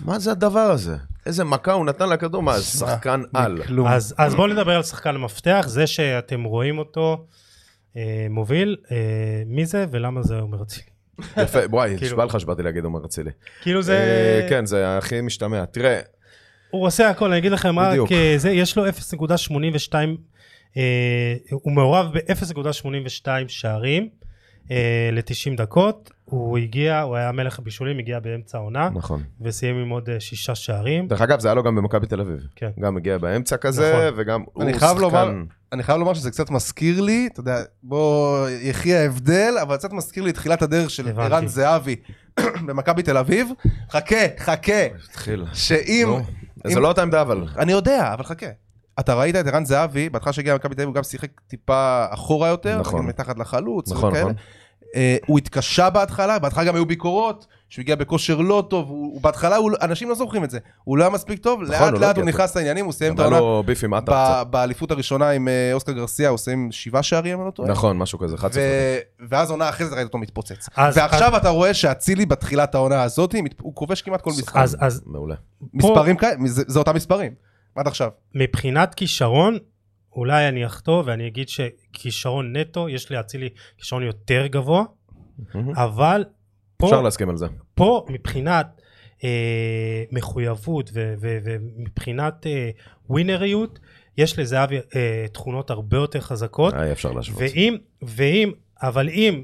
Speaker 3: מה זה הדבר הזה? איזה מכה הוא נתן לכדור, מה, שחקן על.
Speaker 2: כלום.
Speaker 1: אז, אז בואו נדבר על שחקן המפתח, זה שאתם רואים אותו אה, מוביל, אה, מי זה ולמה זה עומר אצילי.
Speaker 3: אה, יפה, וואי,
Speaker 1: כאילו-
Speaker 3: נשבע לך שבאתי להגיד עומר אצילי.
Speaker 1: כאילו זה,
Speaker 3: אה,
Speaker 1: כן.
Speaker 3: כן, זה הכי משתמע. תראה,
Speaker 1: הוא עושה הכל, אני אגיד לכם
Speaker 3: בדיוק.
Speaker 1: רק, אה, זה, יש לו 0.82, אה, הוא מעורב ב-0.82 שערים אה, ל-90 דקות, הוא הגיע, הוא היה מלך הבישולים, הגיע באמצע
Speaker 2: אה?
Speaker 1: העונה,
Speaker 3: נכון.
Speaker 1: וסיים עם עוד אה, שישה שערים.
Speaker 3: דרך אגב, זה היה לו גם במכבי תל אביב.
Speaker 1: כן.
Speaker 3: גם הגיע באמצע כזה,
Speaker 1: נכון.
Speaker 3: וגם הוא
Speaker 2: אני חייב לומר- אני חייב לומר שזה קצת מזכיר לי, אתה יודע, בוא, יחי ההבדל, אבל קצת מזכיר לי את תחילת הדרך של
Speaker 1: הבנתי.
Speaker 2: ערן זהבי במכבי תל אביב. חכה, חכה,
Speaker 3: התחיל.
Speaker 2: שאם...
Speaker 3: נו, זה
Speaker 2: אם-
Speaker 3: לא אותה עמדה אבל.
Speaker 2: אני יודע, אבל חכה. אתה ראית את ערן זהבי, בהתחלה שהגיע למכבי תל אביב הוא גם שיחק טיפה אחורה יותר,
Speaker 3: נכון.
Speaker 2: גם מתחת לחלוץ,
Speaker 3: נכון,
Speaker 2: וכאלה.
Speaker 3: נכון.
Speaker 2: אה, הוא התקשה בהתחלה, בהתחלה גם היו ביקורות, שהוא הגיע בכושר לא טוב, הוא, הוא בהתחלה, הוא, אנשים לא זוכרים את זה, הוא לא היה מספיק טוב,
Speaker 3: הוא
Speaker 2: לאט
Speaker 3: לא
Speaker 2: לאט
Speaker 3: הגיע לא,
Speaker 2: הוא נכנס לעניינים, הוא סיים
Speaker 3: גם
Speaker 2: את
Speaker 3: היה
Speaker 2: העונה
Speaker 3: לו ביף עם
Speaker 2: ב-
Speaker 3: עטר
Speaker 2: באליפות הראשונה עם אה, אוסקר גרסיה, הוא עושים שבעה שערים, אם אני לא
Speaker 3: קצת.
Speaker 2: טועה.
Speaker 3: נכון, משהו כזה, 11.
Speaker 2: ו- ואז עונה אחרי זה ראית אותו מתפוצץ.
Speaker 1: אז-
Speaker 2: ועכשיו אתה רואה שאצילי בתחילת העונה הזאת, מת- הוא כובש כמעט כל משחק.
Speaker 1: אז, אז
Speaker 3: מעולה.
Speaker 2: מספרים כאלה, זה זה אותם מספרים. עד עכשיו.
Speaker 1: מבחינת כישרון, אולי אני אחטוא ואני אגיד שכישרון נטו, יש לאצילי כישרון יותר גבוה, אבל פה...
Speaker 3: אפשר להסכים על זה.
Speaker 1: פה מבחינת אה, מחויבות ו- ו- ומבחינת אה, ווינריות, יש לזהבי אה, תכונות הרבה יותר חזקות.
Speaker 3: אה, אי אפשר להשוות.
Speaker 1: ואם, ואם, אבל אם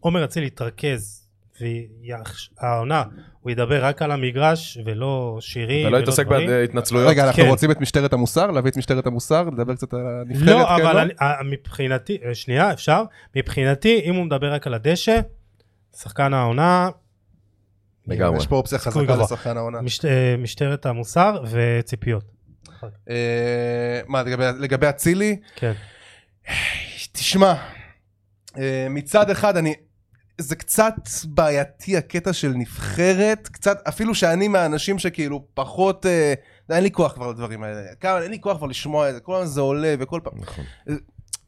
Speaker 1: עומר אצילי יתרכז והעונה, הוא ידבר רק על המגרש ולא שירים
Speaker 3: ולא לא התעסק
Speaker 1: דברים.
Speaker 3: בהתנצלויות.
Speaker 2: רגע, אנחנו
Speaker 1: כן.
Speaker 2: רוצים את משטרת המוסר? להביא את משטרת המוסר? לדבר קצת על הנבחרת?
Speaker 1: לא,
Speaker 2: כן,
Speaker 1: אבל אני- אה, מבחינתי, אה, שנייה, אפשר? מבחינתי, אם הוא מדבר רק על הדשא, שחקן העונה,
Speaker 3: לגמרי.
Speaker 2: יש פה אופציה
Speaker 1: סיכוי
Speaker 2: חזקה
Speaker 1: גבוה.
Speaker 2: לשחקן העונה.
Speaker 1: משט- אה, משטרת המוסר וציפיות.
Speaker 2: אה, מה, לגבי- לגבי אצילי?
Speaker 1: כן.
Speaker 2: תשמע, אה, מצד אחד אני... זה קצת בעייתי הקטע של נבחרת, קצת, אפילו שאני מהאנשים שכאילו פחות, אה, אין לי כוח כבר לדברים האלה, כמה, אין לי כוח כבר לשמוע את זה, כל הזמן זה עולה וכל פעם.
Speaker 3: נכון.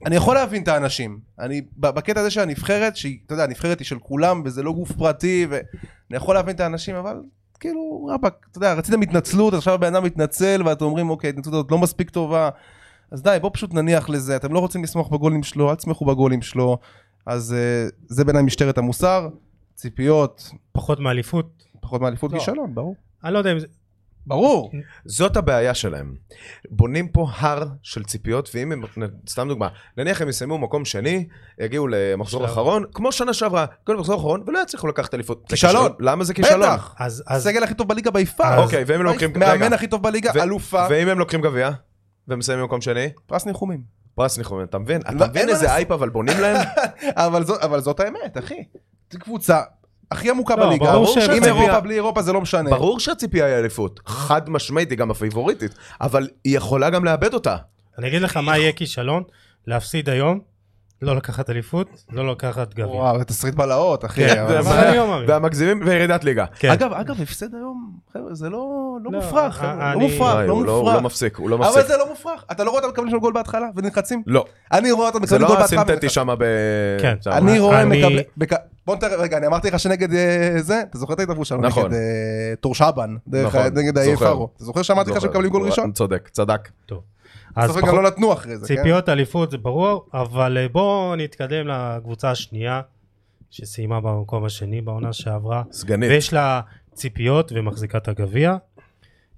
Speaker 2: אני יכול להבין את האנשים, אני, ב- בקטע הזה של הנבחרת, שהיא, אתה יודע, הנבחרת היא של כולם וזה לא גוף פרטי, ואני יכול להבין את האנשים, אבל כאילו, רבאק, אתה יודע, רציתם התנצלות, עכשיו הבן אדם מתנצל ואתם אומרים, אוקיי, ההתנצלות הזאת לא מספיק טובה, אז די, בואו פשוט נניח לזה, אתם לא רוצים לסמוך בגולים שלו, אל תסמכו בגולים שלו, אז אה, זה בעיניי משטרת המוסר, ציפיות,
Speaker 1: פחות מאליפות,
Speaker 2: פחות מאליפות
Speaker 3: לא.
Speaker 2: כישלון, ברור.
Speaker 1: אני לא יודע אם זה...
Speaker 2: ברור.
Speaker 3: זאת הבעיה שלהם. בונים פה הר של ציפיות, ואם הם, סתם דוגמה, נניח הם יסיימו מקום שני, יגיעו למחזור
Speaker 1: שלב.
Speaker 3: אחרון, כמו שנה שעברה, כל מחזור אחרון, ולא יצליחו לקחת אליפות. זה
Speaker 2: כישלון.
Speaker 3: למה זה כישלון?
Speaker 2: בטח,
Speaker 1: אז, אז,
Speaker 2: הסגל הכי טוב בליגה ביפר.
Speaker 1: אז-
Speaker 3: אוקיי, והם לוקחים...
Speaker 2: מאמן
Speaker 3: רגע.
Speaker 2: הכי טוב בליגה,
Speaker 3: ו-
Speaker 2: אלופה,
Speaker 3: ואם הם לוקחים גביע, ומסיימים במקום שני,
Speaker 2: פרס ניחומים.
Speaker 3: פרס ניחומים, אתה
Speaker 2: לא,
Speaker 3: מבין? אתה
Speaker 2: אין
Speaker 3: מבין
Speaker 2: מה
Speaker 3: איזה
Speaker 2: לעשות.
Speaker 3: אייפ אבל בונים להם?
Speaker 2: אבל, זו, אבל זאת האמת, אחי. זו קבוצה הכי עמוקה
Speaker 1: לא,
Speaker 2: בליגה.
Speaker 1: ברור
Speaker 2: עם
Speaker 1: שהציפייה-
Speaker 2: אירופה, בלי אירופה, זה לא משנה.
Speaker 3: ברור שהציפייה היא אליפות, חד משמעית, היא גם הפייבוריטית, אבל היא יכולה גם לאבד אותה.
Speaker 1: אני אגיד לך מה יהיה כישלון, להפסיד היום, לא לקחת אליפות, לא לקחת גביע.
Speaker 2: וואו, זה תסריט בלהות, אחי.
Speaker 1: כן,
Speaker 2: אבל-
Speaker 1: זה
Speaker 2: אבל-
Speaker 1: אני לא מאמין.
Speaker 3: והמגזימים, וירידת ליגה.
Speaker 1: כן.
Speaker 2: אגב, אגב, הפסד היום, חבר'ה, זה לא לא
Speaker 1: לא,
Speaker 2: מופרך,
Speaker 1: א-
Speaker 2: חבר'ה. לא
Speaker 1: אני-
Speaker 2: מופרך,
Speaker 3: וואי,
Speaker 2: לא
Speaker 3: הוא הוא לא
Speaker 2: מופרך.
Speaker 3: מפסיק, הוא לא מפסיק.
Speaker 2: אבל זה לא מופרך. אתה לא רואה אותם מקבלים שם גול בהתחלה ונלחצים?
Speaker 3: לא,
Speaker 2: אני רואה אותם
Speaker 3: זה
Speaker 2: מקבלים גול
Speaker 3: לא
Speaker 2: בהתחלה.
Speaker 3: הסינתטי
Speaker 2: ונלחצים.
Speaker 3: שם ב...
Speaker 1: כן.
Speaker 3: שם.
Speaker 2: אני רואה
Speaker 1: אני-
Speaker 2: מקבלים... בק- בוא נתאר, רגע, אני אמרתי לך שנגד אה, זה, אתה זוכר את ההתערבות שלנו?
Speaker 3: נכון.
Speaker 2: נגד אה, טורשבן, דרך
Speaker 3: נכון,
Speaker 2: ה- נגד האי
Speaker 3: זוכר.
Speaker 2: פארו. אתה זוכר שאמרתי לך
Speaker 3: זוכר.
Speaker 2: שמקבלים גול ראשון?
Speaker 3: צודק, צדק.
Speaker 1: אז
Speaker 2: בסוף הם גם
Speaker 1: פחות
Speaker 2: לא נתנו אחרי זה, כן?
Speaker 1: ציפיות אליפות זה ברור, אבל אה, בואו נתקדם לקבוצה השנייה, שסיימה במקום השני בעונה שעברה,
Speaker 3: סגנית.
Speaker 1: ויש לה ציפיות ומחזיקה את הגביע.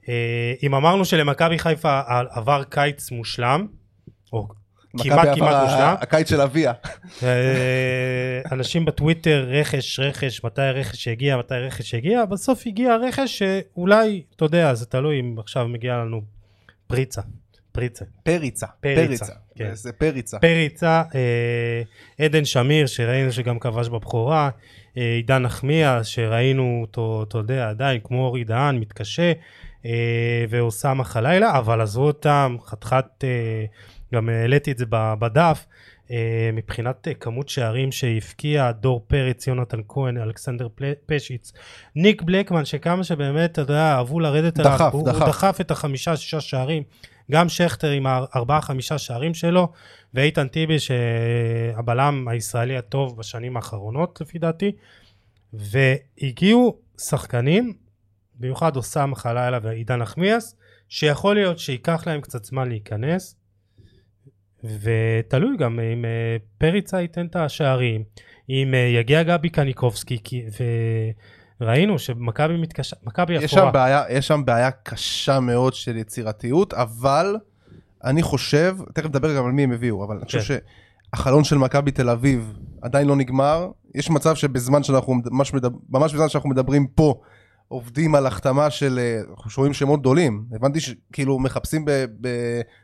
Speaker 1: אה, אם אמרנו שלמכבי חיפה עבר קיץ מושלם, או
Speaker 2: כן? מכבי
Speaker 1: כמעט
Speaker 2: עבר
Speaker 1: כמעט
Speaker 2: ה-
Speaker 1: מושלם,
Speaker 2: הקיץ של אביה.
Speaker 1: אה, אנשים בטוויטר, רכש, רכש, מתי הרכש יגיע, מתי הרכש יגיע, בסוף הגיע הרכש שאולי, אתה יודע, זה תלוי אם עכשיו מגיע לנו פריצה, פריצה,
Speaker 2: פריצה.
Speaker 1: פריצה, כן.
Speaker 2: זה פריצה.
Speaker 1: פריצה, אה, עדן שמיר, שראינו שגם כבש בבכורה, אה, עידן נחמיאס, שראינו אותו, אתה יודע, עדיין, כמו אורי דהן, מתקשה, אה, ואוסאמה חלילה, אבל עזבו אותם, חתיכת, אה, גם העליתי את זה ב- בדף, אה, מבחינת אה, כמות שערים שהבקיע דור פרץ, יונתן כהן, אלכסנדר פל- פשיץ, ניק בלקמן, שכמה שבאמת, אתה יודע, אהבו לרדת עליו,
Speaker 2: דחף,
Speaker 1: הוא,
Speaker 2: דחף.
Speaker 1: הוא דחף את החמישה, שישה שערים. גם שכטר עם הארבעה-חמישה שערים שלו, ואיתן טיבי שהבלם הישראלי הטוב בשנים האחרונות לפי דעתי, והגיעו שחקנים, במיוחד אוסאם חלילה ועידן נחמיאס, שיכול להיות שייקח להם קצת זמן להיכנס, ותלוי גם אם אה, פריצה ייתן את השערים, אם אה, יגיע גבי קניקובסקי, כי- וראינו שמכבי מתקשה, מכבי
Speaker 2: יש שם,
Speaker 1: אפורה.
Speaker 2: בעיה, יש שם בעיה קשה מאוד של יצירתיות, אבל אני חושב, תכף נדבר גם על מי הם הביאו, אבל אני
Speaker 1: כן.
Speaker 2: חושב שהחלון של מכבי תל אביב עדיין לא נגמר. יש מצב שבזמן שאנחנו, מד- ממש, מדבר, ממש בזמן שאנחנו מדברים פה, עובדים על החתמה של, אה, אנחנו שומעים שמות גדולים. הבנתי שכאילו מחפשים, ב, ב,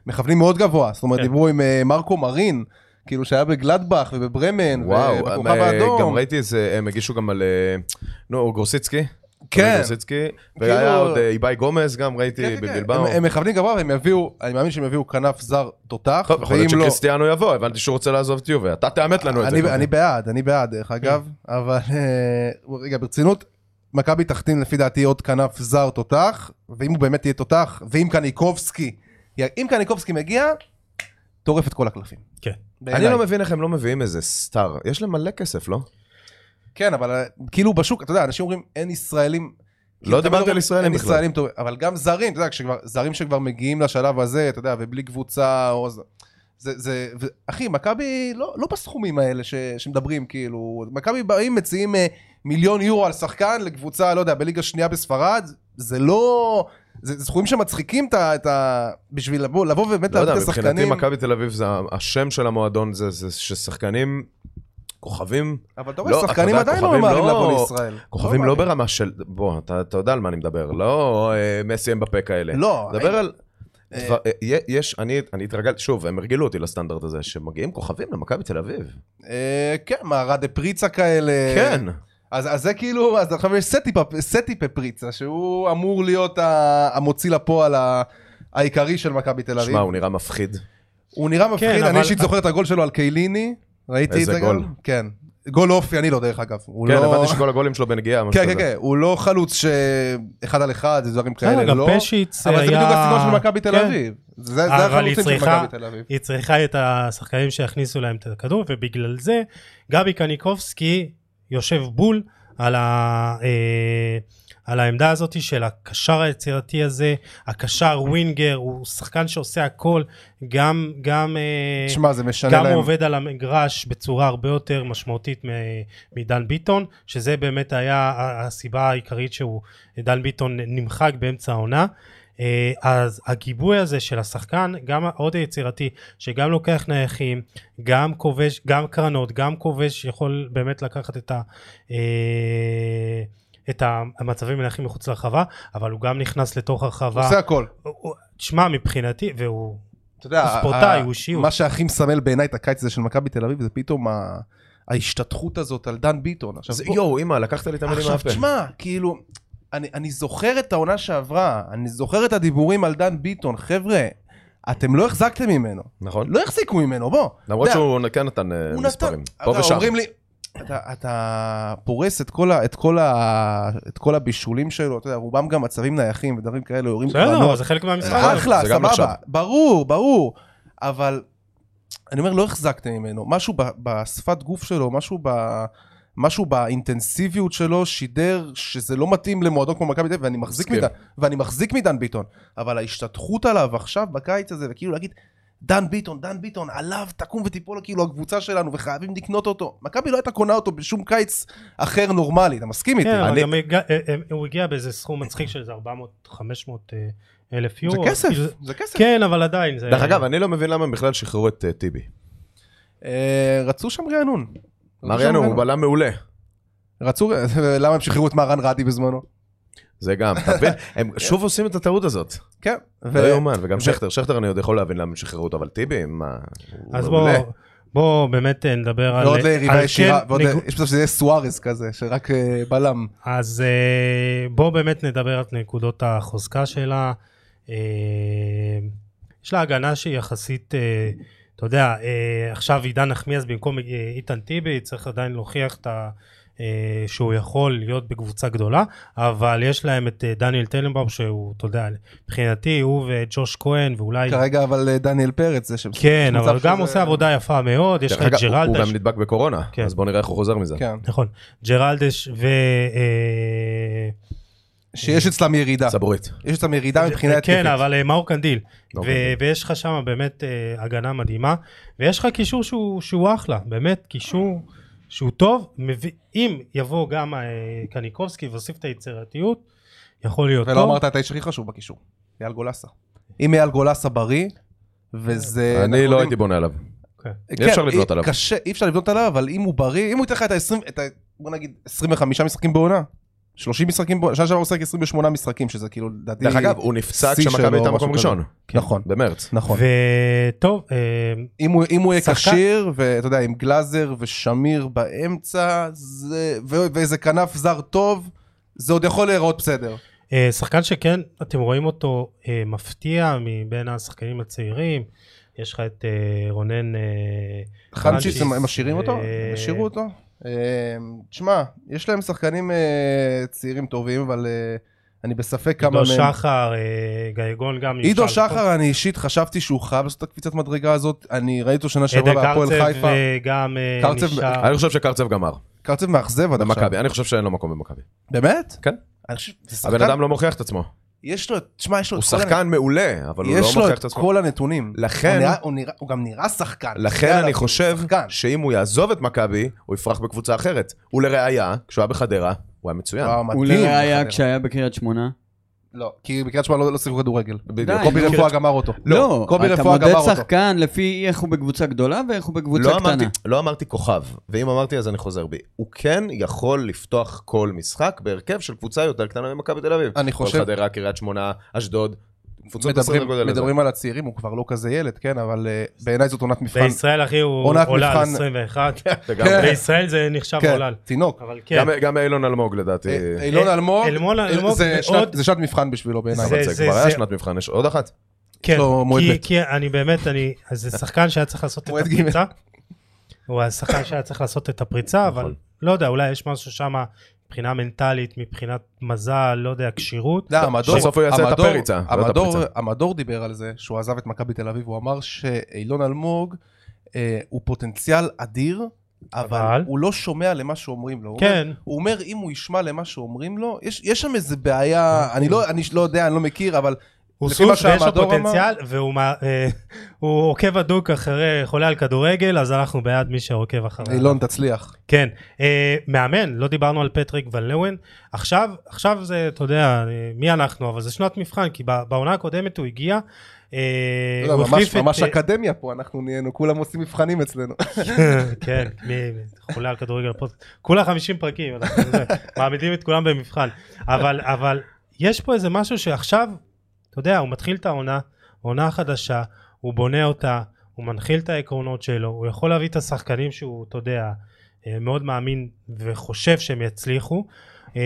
Speaker 2: מכוונים מאוד גבוה, זאת אומרת
Speaker 1: כן.
Speaker 2: דיברו עם אה, מרקו מרין, כאילו שהיה בגלדבך ובברמן,
Speaker 3: וואו,
Speaker 2: ובכוכב
Speaker 3: אה,
Speaker 2: האדום.
Speaker 3: גם ראיתי איזה, הם הגישו גם על... אה, נו, גורסיצקי.
Speaker 2: כן.
Speaker 3: רוזיצקי, והיה
Speaker 2: כאילו-
Speaker 3: עוד אה, איבאי גומז גם
Speaker 2: כן,
Speaker 3: ראיתי
Speaker 2: כן, כן.
Speaker 3: בבלבאו.
Speaker 2: הם- הם מכוונים גבוה, והם יביאו, אני מאמין שהם יביאו כנף זר תותח,
Speaker 3: טוב, יכול להיות
Speaker 2: ואם לא...
Speaker 3: שקריסטיאנו יבוא, הבנתי שהוא רוצה לעזוב את יובה, אתה תאמת לנו את זה. כן.
Speaker 2: אני-
Speaker 3: קודם.
Speaker 2: אני בעד, אני בעד, דרך אגב, אבל אה, רגע, ברצינות, מכבי תחתים לפי דעתי עוד כנף זר תותח, ואם הוא באמת יהיה תותח, ואם קניקובסקי, י- אם קניקובסקי מגיע, טורף את כל הקלפים.
Speaker 1: כן.
Speaker 3: אני
Speaker 2: בעיניי.
Speaker 3: לא מבין איך הם לא מביאים איזה סטאר, יש להם מלא כסף, לא?
Speaker 2: כן, אבל אה, כאילו בשוק, אתה יודע, אנשים אומרים, אין ישראלים... כאילו, תמיד
Speaker 3: דיברתי לא על
Speaker 2: אומרים,
Speaker 3: ישראלים
Speaker 2: אין
Speaker 3: בכלל."
Speaker 2: ישראלים טובים, אבל גם זרים, אתה יודע, כשכבר, זרים שכבר מגיעים לשלב הזה, אתה יודע, ובלי קבוצה, או... זה- זה, זה, ו... אחי, מכבי לא, לא בסכומים האלה ש, שמדברים, כאילו, מכבי באים, מציעים אה, מיליון יורו על שחקן לקבוצה, לא יודע, בליגה שנייה בספרד, זה לא... זה זה סכומים שמצחיקים את ה... את ה... בשביל לבוא, לבוא ובאמת
Speaker 3: לא יודע,
Speaker 2: להביא את
Speaker 3: מבחינתי
Speaker 2: השחקנים,
Speaker 3: מכבי תל אביב, זה ה- השם של המועדון זה זה ששחקנים, כוכבים,
Speaker 2: אבל אתה רואה,
Speaker 3: לא, אתה
Speaker 2: שחקנים
Speaker 3: יודע,
Speaker 2: עדיין לא
Speaker 3: כוכבים
Speaker 2: ממהרים
Speaker 3: לא-
Speaker 2: לבוא לישראל.
Speaker 3: כוכבים לא
Speaker 2: ממהרים.
Speaker 3: ברמה של, בוא, אתה אתה יודע על מה אני מדבר, לא אה, מסי הם בפה כאלה.
Speaker 2: לא,
Speaker 3: דבר על...
Speaker 2: אה,
Speaker 3: דבר- אה, יש, אני אני התרגלתי, שוב, הם הרגלו אותי לסטנדרט הזה, שמגיעים כוכבים למכבי תל אביב.
Speaker 2: אה, כן, מה, רדה פריצה כאלה.
Speaker 3: כן.
Speaker 2: אז, אז זה כאילו, אז עכשיו יש סטי, פ- סטי פפריצה, שהוא אמור להיות ה- המוציא לפועל ה- העיקרי של מכבי תל אביב.
Speaker 3: שמע, הוא נראה מפחיד.
Speaker 2: הוא נראה מפחיד,
Speaker 1: כן,
Speaker 2: אני
Speaker 1: אבל-
Speaker 2: אישית זוכר את הגול שלו על קייליני, ראיתי את
Speaker 3: איזה
Speaker 2: זה
Speaker 3: גול.
Speaker 2: גם? כן. גול אופי, אני לא דרך אגב. הוא
Speaker 3: כן,
Speaker 2: לא...
Speaker 3: הבנתי שכל הגולים שלו בנגיעה. משהו
Speaker 2: כן, כן,
Speaker 3: כזה.
Speaker 2: כן, הוא לא חלוץ שאחד על אחד, זה דברים
Speaker 1: בסדר,
Speaker 2: כאלה,
Speaker 1: גם
Speaker 2: לא.
Speaker 1: פשיץ היה...
Speaker 2: אבל זה בדיוק הסגנון של מכבי תל
Speaker 1: כן.
Speaker 2: אביב. זה זה
Speaker 1: אבל
Speaker 2: החלוצים
Speaker 1: היא
Speaker 2: של
Speaker 1: צריכה-
Speaker 2: מכבי תל אביב.
Speaker 1: היא צריכה את השחקנים שיכניסו להם את הכדור, ובגלל זה גבי קניקובסקי יושב בול על, ה, אה, על העמדה הזאת של הקשר היצירתי הזה, הקשר ווינגר, הוא שחקן שעושה הכל, גם, גם, אה,
Speaker 2: תשמע, זה משנה
Speaker 1: גם
Speaker 2: להם.
Speaker 1: הוא עובד על המגרש בצורה הרבה יותר משמעותית מ- מדן ביטון, שזה באמת היה ה- הסיבה העיקרית שהוא, דן ביטון נמחק באמצע העונה. אה, אז הגיבוי הזה של השחקן, גם מאוד היצירתי, שגם לוקח נייחים, גם כובש, גם קרנות, גם כובש, יכול באמת לקחת את ה... אה, את המצבים מנחים מחוץ לרחבה, אבל הוא גם נכנס לתוך
Speaker 2: הוא
Speaker 1: הרחבה.
Speaker 2: עושה הכל.
Speaker 1: הוא- הוא- תשמע, מבחינתי, והוא
Speaker 2: אתה יודע,
Speaker 1: הוא ספורטאי,
Speaker 2: ה-
Speaker 1: הוא אישיות.
Speaker 2: אה, מה שהכי מסמל בעיניי את הקיץ הזה של מכבי תל אביב זה פתאום ה- ההשתטחות הזאת על דן ביטון. עכשיו,
Speaker 3: זה-
Speaker 2: בוא-
Speaker 3: יואו, אמא, לקחת לי את המילים
Speaker 2: עכשיו
Speaker 3: מהפה.
Speaker 2: תשמע, כאילו, אני, אני זוכר את העונה שעברה, אני זוכר את הדיבורים על דן ביטון, חבר'ה, אתם לא החזקתם ממנו.
Speaker 3: נכון?
Speaker 2: לא החזיקו ממנו, בוא.
Speaker 3: למרות
Speaker 2: אתה יודע,
Speaker 3: שהוא כן נתן אה,
Speaker 2: הוא
Speaker 3: מספרים.
Speaker 2: נתן-
Speaker 3: פה
Speaker 2: אתה-
Speaker 3: ושם.
Speaker 2: אומרים לי, אתה, אתה פורס את כל, ה, את, כל ה, את כל הבישולים שלו, אתה יודע, רובם גם מצבים נייחים ודברים כאלה, יורים קרנות. אה,
Speaker 1: בסדר, זה חלק מהמשחק.
Speaker 2: אחלה,
Speaker 3: אה, זה גם נחשב.
Speaker 2: סבבה, ברור, ברור, אבל אני אומר, לא החזקתם ממנו, משהו ב- בשפת גוף שלו, משהו ב... משהו באינטנסיביות שלו שידר שזה לא מתאים למועדון כמו מכבי תל אביב, ואני מחזיק
Speaker 3: מסכים.
Speaker 2: מדן, ואני מחזיק מדן ביטון, אבל ההשתתחות עליו עכשיו בקיץ הזה, וכאילו להגיד, דן ביטון, דן ביטון, עליו תקום ותיפול כאילו הקבוצה שלנו, וחייבים לקנות אותו. מכבי לא הייתה קונה אותו בשום קיץ אחר נורמלי, אתה מסכים איתי?
Speaker 1: כן, אבל
Speaker 3: אני-
Speaker 1: גם הגע- אה, אה, הוא הגיע באיזה סכום מצחיק של איזה 400-500 אה, אלף
Speaker 2: זה
Speaker 1: יורו.
Speaker 2: כסף,
Speaker 1: כאילו,
Speaker 2: זה כסף.
Speaker 1: כן, אבל עדיין זה...
Speaker 3: דרך אגב, אני לא מבין למה הם בכלל שחררו את אה, טיבי.
Speaker 2: אה, רצו שם רענון. רצו שם
Speaker 3: מריאנו הוא בלם מעולה.
Speaker 2: רצו, למה הם שחררו את מהרן רדי בזמנו?
Speaker 3: זה גם, אתה מבין? הם שוב עושים את הטעות הזאת.
Speaker 2: כן. ו-
Speaker 3: לא יאומן, וגם
Speaker 2: ו-
Speaker 3: שכטר, שכטר אני עוד יכול להבין למה הם שחררו אותו, אבל טיבי, מה... הוא
Speaker 1: אז
Speaker 3: מעולה.
Speaker 1: בואו בוא, באמת אה, נדבר על...
Speaker 2: ועוד
Speaker 1: על
Speaker 2: ליריבה
Speaker 1: כן
Speaker 2: ישירה, ועוד
Speaker 1: ניגוד-
Speaker 2: יש מצב שזה יהיה סוארז כזה, שרק אה, בלם.
Speaker 1: אז אה, בואו באמת נדבר על נקודות החוזקה שלה. אה, יש לה הגנה שהיא יחסית, אה, אתה יודע, אה, עכשיו עידן נחמיאס במקום אה, איתן טיבי, צריך עדיין להוכיח את ה... אה, שהוא יכול להיות בקבוצה גדולה, אבל יש להם את אה, דניאל טננבאום שהוא, אתה יודע, מבחינתי הוא וג'וש כהן ואולי...
Speaker 2: כרגע אבל אה, דניאל פרץ זה שם.
Speaker 1: כן,
Speaker 2: יש מצב
Speaker 1: אבל גם
Speaker 2: שזה-
Speaker 1: עושה עבודה יפה מאוד, יש לך
Speaker 3: דרך
Speaker 1: את
Speaker 3: אגב, הוא- הוא
Speaker 1: ג'רלדה,
Speaker 3: גם נדבק בקורונה,
Speaker 1: כן.
Speaker 3: אז בואו נראה איך הוא חוזר מזה.
Speaker 2: כן.
Speaker 1: נכון, ג'רלדש ו... אה,
Speaker 2: שיש אצלם ירידה.
Speaker 3: סבורית.
Speaker 2: יש אצלם ירידה מבחינה התקפית.
Speaker 1: כן, אבל אה, מאור קנדיל.
Speaker 3: מאור
Speaker 1: ו-
Speaker 3: קנדיל.
Speaker 1: ויש לך שם באמת אה, הגנה מדהימה, ויש לך קישור שהוא שהוא אחלה, באמת קישור שהוא טוב, מביא- אם יבוא גם אה, קניקובסקי ויוסיף את היצירתיות, יכול להיות
Speaker 2: ולא
Speaker 1: טוב.
Speaker 2: אמרת את האיש הכי חשוב בקישור, אייל גולסה. אם אייל גולסה בריא, וזה...
Speaker 3: אני
Speaker 2: אה, אנחנו
Speaker 3: לא
Speaker 2: יודעים-
Speaker 3: הייתי בונה עליו.
Speaker 1: כן.
Speaker 3: אי אפשר לבנות
Speaker 2: אי-
Speaker 3: עליו.
Speaker 2: קשה, אי אפשר לבנות עליו, אבל אם הוא בריא, אם הוא ייתן לך את ה-20, את ה... בוא נגיד 25 משחקים בעונה, 30 משחקים בעונה, שנה שעברה הוא שיחק 28 משחקים, שזה כאילו, לדעתי...
Speaker 3: דרך אגב, הוא נפצע
Speaker 2: שיא שלו,
Speaker 3: כשמכבי הייתה
Speaker 2: משהו
Speaker 3: מקום
Speaker 2: כזה.
Speaker 3: ראשון.
Speaker 1: כן.
Speaker 2: נכון,
Speaker 3: במרץ.
Speaker 2: נכון.
Speaker 1: וטוב, אה,
Speaker 2: אם הוא, אם הוא יהיה
Speaker 1: שחקן-
Speaker 2: כשיר, ואתה יודע, עם גלאזר ושמיר באמצע, זה, ו, ואיזה כנף זר טוב, זה עוד יכול להיראות בסדר.
Speaker 1: אה, שחקן שכן, אתם רואים אותו אה, מפתיע מבין השחקנים הצעירים. יש לך את אה, רונן... אה,
Speaker 2: חנצ'יס,
Speaker 1: חנצ'יס,
Speaker 2: הם משאירים אותו?
Speaker 1: אה,
Speaker 2: הם השאירו אותו? אה, תשמע, יש להם שחקנים אה, צעירים טובים, אבל אה, אני בספק כמה
Speaker 1: עידו
Speaker 2: מהם...
Speaker 1: שחר, אה, גייגון גם. אי
Speaker 2: עידו
Speaker 1: אפשר לחפור.
Speaker 2: שחר, אני אישית חשבתי שהוא חייב לעשות את הקפיצת מדרגה הזאת. אני ראיתי אותו שנה שעברה
Speaker 1: עדה
Speaker 2: בהפועל
Speaker 1: קרצב
Speaker 2: חיפה.
Speaker 1: אה, גם אה,
Speaker 2: קרצב-
Speaker 1: נשאר.
Speaker 3: אני חושב שקרצב גמר,
Speaker 2: קרצב מאכזב עד עכשיו.
Speaker 3: במכבי, אני חושב שאין לו מקום במכבי.
Speaker 2: באמת?
Speaker 3: כן.
Speaker 2: אני חושב- זה שחקן-
Speaker 3: הבן אדם לא מוכיח את עצמו.
Speaker 2: יש לו, תשמע, יש לו
Speaker 3: הוא
Speaker 2: את כל הנ-
Speaker 3: שחקן מעולה, אבל הוא לא
Speaker 2: יש לו
Speaker 3: מוכיח את
Speaker 2: את
Speaker 3: עצמו.
Speaker 2: כל הנתונים. הוא
Speaker 3: לכן,
Speaker 2: נראה- הוא נראה- הוא גם נראה שחקן.
Speaker 3: לכן
Speaker 2: יאללה,
Speaker 3: אני
Speaker 2: הוא
Speaker 3: חושב
Speaker 2: שחקן.
Speaker 3: שאם הוא יעזוב את מכבי, הוא יפרח בקבוצה אחרת. ולראיה, כשהוא היה בחדרה, הוא היה מצוין.
Speaker 2: וואו,
Speaker 4: הוא
Speaker 2: מדהים.
Speaker 4: לראיה כשהיה בקריית שמונה.
Speaker 2: לא, כי בקריית שמונה לא לא שיחקו כדורגל.
Speaker 3: בדיוק.
Speaker 4: די,
Speaker 2: קובי
Speaker 4: נו.
Speaker 2: רפואה גמר אותו.
Speaker 4: לא,
Speaker 2: קובי
Speaker 4: אתה
Speaker 2: רפואה גמר
Speaker 4: מודד
Speaker 2: אותו.
Speaker 4: שחקן לפי איך הוא בקבוצה גדולה ואיך הוא בקבוצה
Speaker 3: לא אמרתי,
Speaker 4: קטנה.
Speaker 3: לא אמרתי כוכב, ואם אמרתי אז אני חוזר בי. הוא כן יכול לפתוח כל משחק בהרכב של קבוצה יותר קטנה ממכבי תל אביב.
Speaker 2: אני
Speaker 3: כל
Speaker 2: חושב,
Speaker 3: חדרה, קריית שמונה, אשדוד, קבוצות בסדר
Speaker 2: מדברים,
Speaker 3: גודל הזה.
Speaker 2: מדברים על הצעירים, הוא כבר לא כזה ילד, כן, אבל אה, בעיניי זאת עונת מבחן.
Speaker 1: בישראל, אחי, הוא
Speaker 2: עונת
Speaker 1: עולל
Speaker 2: מבחן.
Speaker 1: 21.
Speaker 3: וגם-
Speaker 2: כן.
Speaker 1: בישראל זה נחשב
Speaker 2: כן,
Speaker 1: עולל.
Speaker 2: תינוק.
Speaker 1: אבל כן.
Speaker 3: גם- גם אילון אלמוג לדעתי.
Speaker 2: אה, אילון
Speaker 1: אה,
Speaker 2: אלמוג,
Speaker 1: אלמון
Speaker 2: אה,
Speaker 1: אלמוג
Speaker 2: זה
Speaker 1: מאוד-
Speaker 2: שנת- זה שנת מבחן בשבילו בעיניי.
Speaker 1: זה-
Speaker 3: אבל זה כבר היה שנת מבחן, יש עוד אחת.
Speaker 1: כן,
Speaker 2: לו לא מועד
Speaker 1: כי,
Speaker 2: ב'.
Speaker 1: כי אני באמת, אני, אז זה שחקן שהיה צריך לעשות את
Speaker 2: מועד ג'.
Speaker 1: הפריצה. הוא השחקן שהיה צריך לעשות את הפריצה, אבל
Speaker 3: נכון.
Speaker 1: לא יודע, אולי יש משהו שם מבחינה מנטלית, מבחינת מזל, לא יודע, כשירות.
Speaker 2: אתה יודע, המדור-
Speaker 3: בסוף הוא יעשה את
Speaker 2: המדור-
Speaker 3: הפריצה, לא את
Speaker 2: המדור-
Speaker 3: הפריצה.
Speaker 2: המדור דיבר על זה שהוא עזב את מכבי תל אביב, הוא אמר שאילון אלמוג אה, הוא פוטנציאל אדיר, אבל
Speaker 1: אבל?
Speaker 2: הוא לא שומע למה שאומרים לו. הוא אומר-
Speaker 1: כן,
Speaker 2: הוא אומר, אם הוא ישמע למה שאומרים לו, יש יש שם איזה בעיה, אני לא- אני לא יודע, אני לא מכיר, אבל
Speaker 1: הוא
Speaker 2: לפי מה
Speaker 1: סוס ויש לו
Speaker 2: שהמדור אמר-
Speaker 1: פוטנציאל, והוא מה- אה, הוא עוקב הדוק אחרי חולה על כדורגל, אז אנחנו בעד מי שעוקב אחריו.
Speaker 2: אילון תצליח.
Speaker 1: כן, אה, מאמן, לא דיברנו על פטריק ון לאוון. עכשיו, עכשיו זה, אתה יודע, אה, מי אנחנו, אבל זה שנת מבחן, כי ב- בעונה הקודמת הוא הגיע, אה,
Speaker 2: לא,
Speaker 1: הוא
Speaker 2: ממש-
Speaker 1: החליף את...
Speaker 2: ממש
Speaker 1: אה,
Speaker 2: אקדמיה פה, אנחנו נהיינו, כולם עושים מבחנים אצלנו.
Speaker 1: כן, מי- מי- חולה על כדורגל הפודקאסט. כולה 50 פרקים, אנחנו זה, מעמידים את כולם במבחן. אבל, אבל יש פה איזה משהו שעכשיו, אתה יודע, הוא מתחיל את העונה, עונה חדשה, הוא בונה אותה, הוא מנחיל את העקרונות שלו, הוא יכול להביא את השחקנים שהוא, אתה יודע, אה, מאוד מאמין וחושב שהם יצליחו. אה,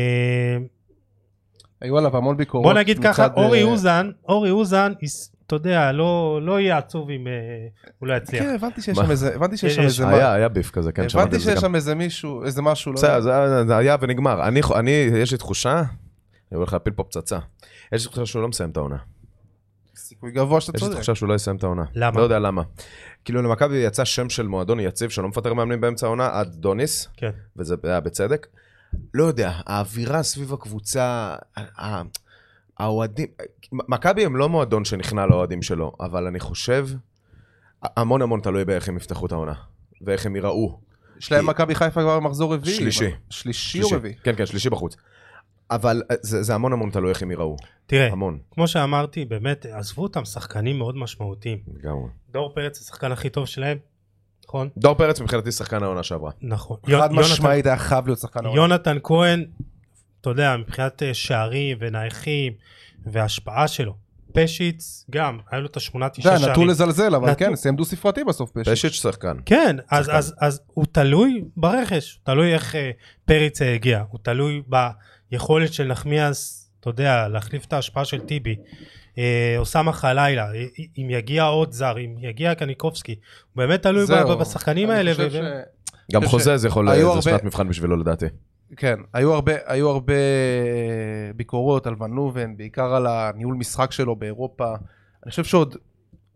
Speaker 2: היו עליו המון ביקורות.
Speaker 1: בוא נגיד ככה,
Speaker 2: מצד, אה,
Speaker 1: אורי אוזן, אורי אוזן, יס- אתה יודע, לא לא יהיה עצוב אם אה, הוא לא יצליח. אה,
Speaker 2: כן, הבנתי שיש
Speaker 3: מה?
Speaker 2: שם איזה, הבנתי שיש שם
Speaker 1: יש-
Speaker 2: איזה,
Speaker 3: היה, היה ביף כזה, כן, שמעתי
Speaker 2: הבנתי
Speaker 3: את זה
Speaker 2: שיש
Speaker 3: גם.
Speaker 2: שם איזה מישהו, איזה משהו, לא
Speaker 3: בסדר, זה- זה היה ונגמר. אני, אני, יש לי תחושה, אני הולך להפיל פה פצצה. יש לי תחושה שהוא לא מסיים את העונה.
Speaker 2: סיכוי גבוה שאתה
Speaker 3: יש לי
Speaker 2: צודק.
Speaker 3: תחושה שהוא לא יסיים את העונה.
Speaker 1: למה?
Speaker 3: לא יודע למה. כאילו למכבי יצא שם של מועדון יציב שלא מפטר מאמנים באמצע העונה, אדוניס,
Speaker 1: כן.
Speaker 3: וזה היה בצדק. לא יודע, האווירה סביב הקבוצה, ה- ה- האוהדים, מכבי הם לא מועדון שנכנע לאוהדים שלו, אבל אני חושב, המון המון תלוי באיך הם יפתחו את העונה, ואיך הם ייראו.
Speaker 2: יש להם מכבי חיפה כבר במחזור רביעי.
Speaker 3: שלישי.
Speaker 2: שלישי או רביעי.
Speaker 3: כן, כן, שלישי בחוץ. אבל אה, זה זה המון המון תלוי איך הם ייראו,
Speaker 2: כן.
Speaker 1: תראה,
Speaker 3: המון.
Speaker 1: כמו שאמרתי, באמת, עזבו אותם שחקנים מאוד משמעותיים.
Speaker 3: לגמרי.
Speaker 1: דור פרץ הוא השחקן הכי טוב שלהם, נכון?
Speaker 3: דור פרץ מבחינתי שחקן העונה שעברה.
Speaker 1: נכון.
Speaker 2: חד
Speaker 1: יונתן-
Speaker 2: משמעית היה חייב להיות שחקן העונה.
Speaker 1: יונתן כהן, אתה יודע, מבחינת אה, שערים ונייחים וההשפעה שלו. פשיץ, גם, היה לו את השמונה
Speaker 2: זה
Speaker 1: תשעה שערים.
Speaker 2: נטו לזלזל, אבל
Speaker 1: נטו.
Speaker 2: כן, סיים דו ספרתי בסוף פשע.
Speaker 3: פשיץ' שחקן.
Speaker 1: כן, אז, אז, אז הוא תלוי ברכש, הוא תלוי איך אה, פריץ אה, הגיע, הוא תלוי ביכולת של נחמיאס, אתה יודע, להחליף את ההשפעה של טיבי, אה, אוסאמה חלילה, אה, אם יגיע עוד זר, אם יגיע קניקובסקי, הוא באמת תלוי ב-
Speaker 2: זהו.
Speaker 1: ב- בשחקנים
Speaker 2: אני
Speaker 1: האלה.
Speaker 2: חושב
Speaker 1: ו- ו-
Speaker 2: ש-
Speaker 3: גם
Speaker 2: חושב
Speaker 3: חוזה זה יכול,
Speaker 2: היו
Speaker 3: זה
Speaker 2: הרבה-
Speaker 3: שנת מבחן בשבילו לדעתי.
Speaker 2: כן, היו הרבה, היו הרבה אה, ביקורות על ון לובן, בעיקר על הניהול משחק שלו באירופה. אני חושב שעוד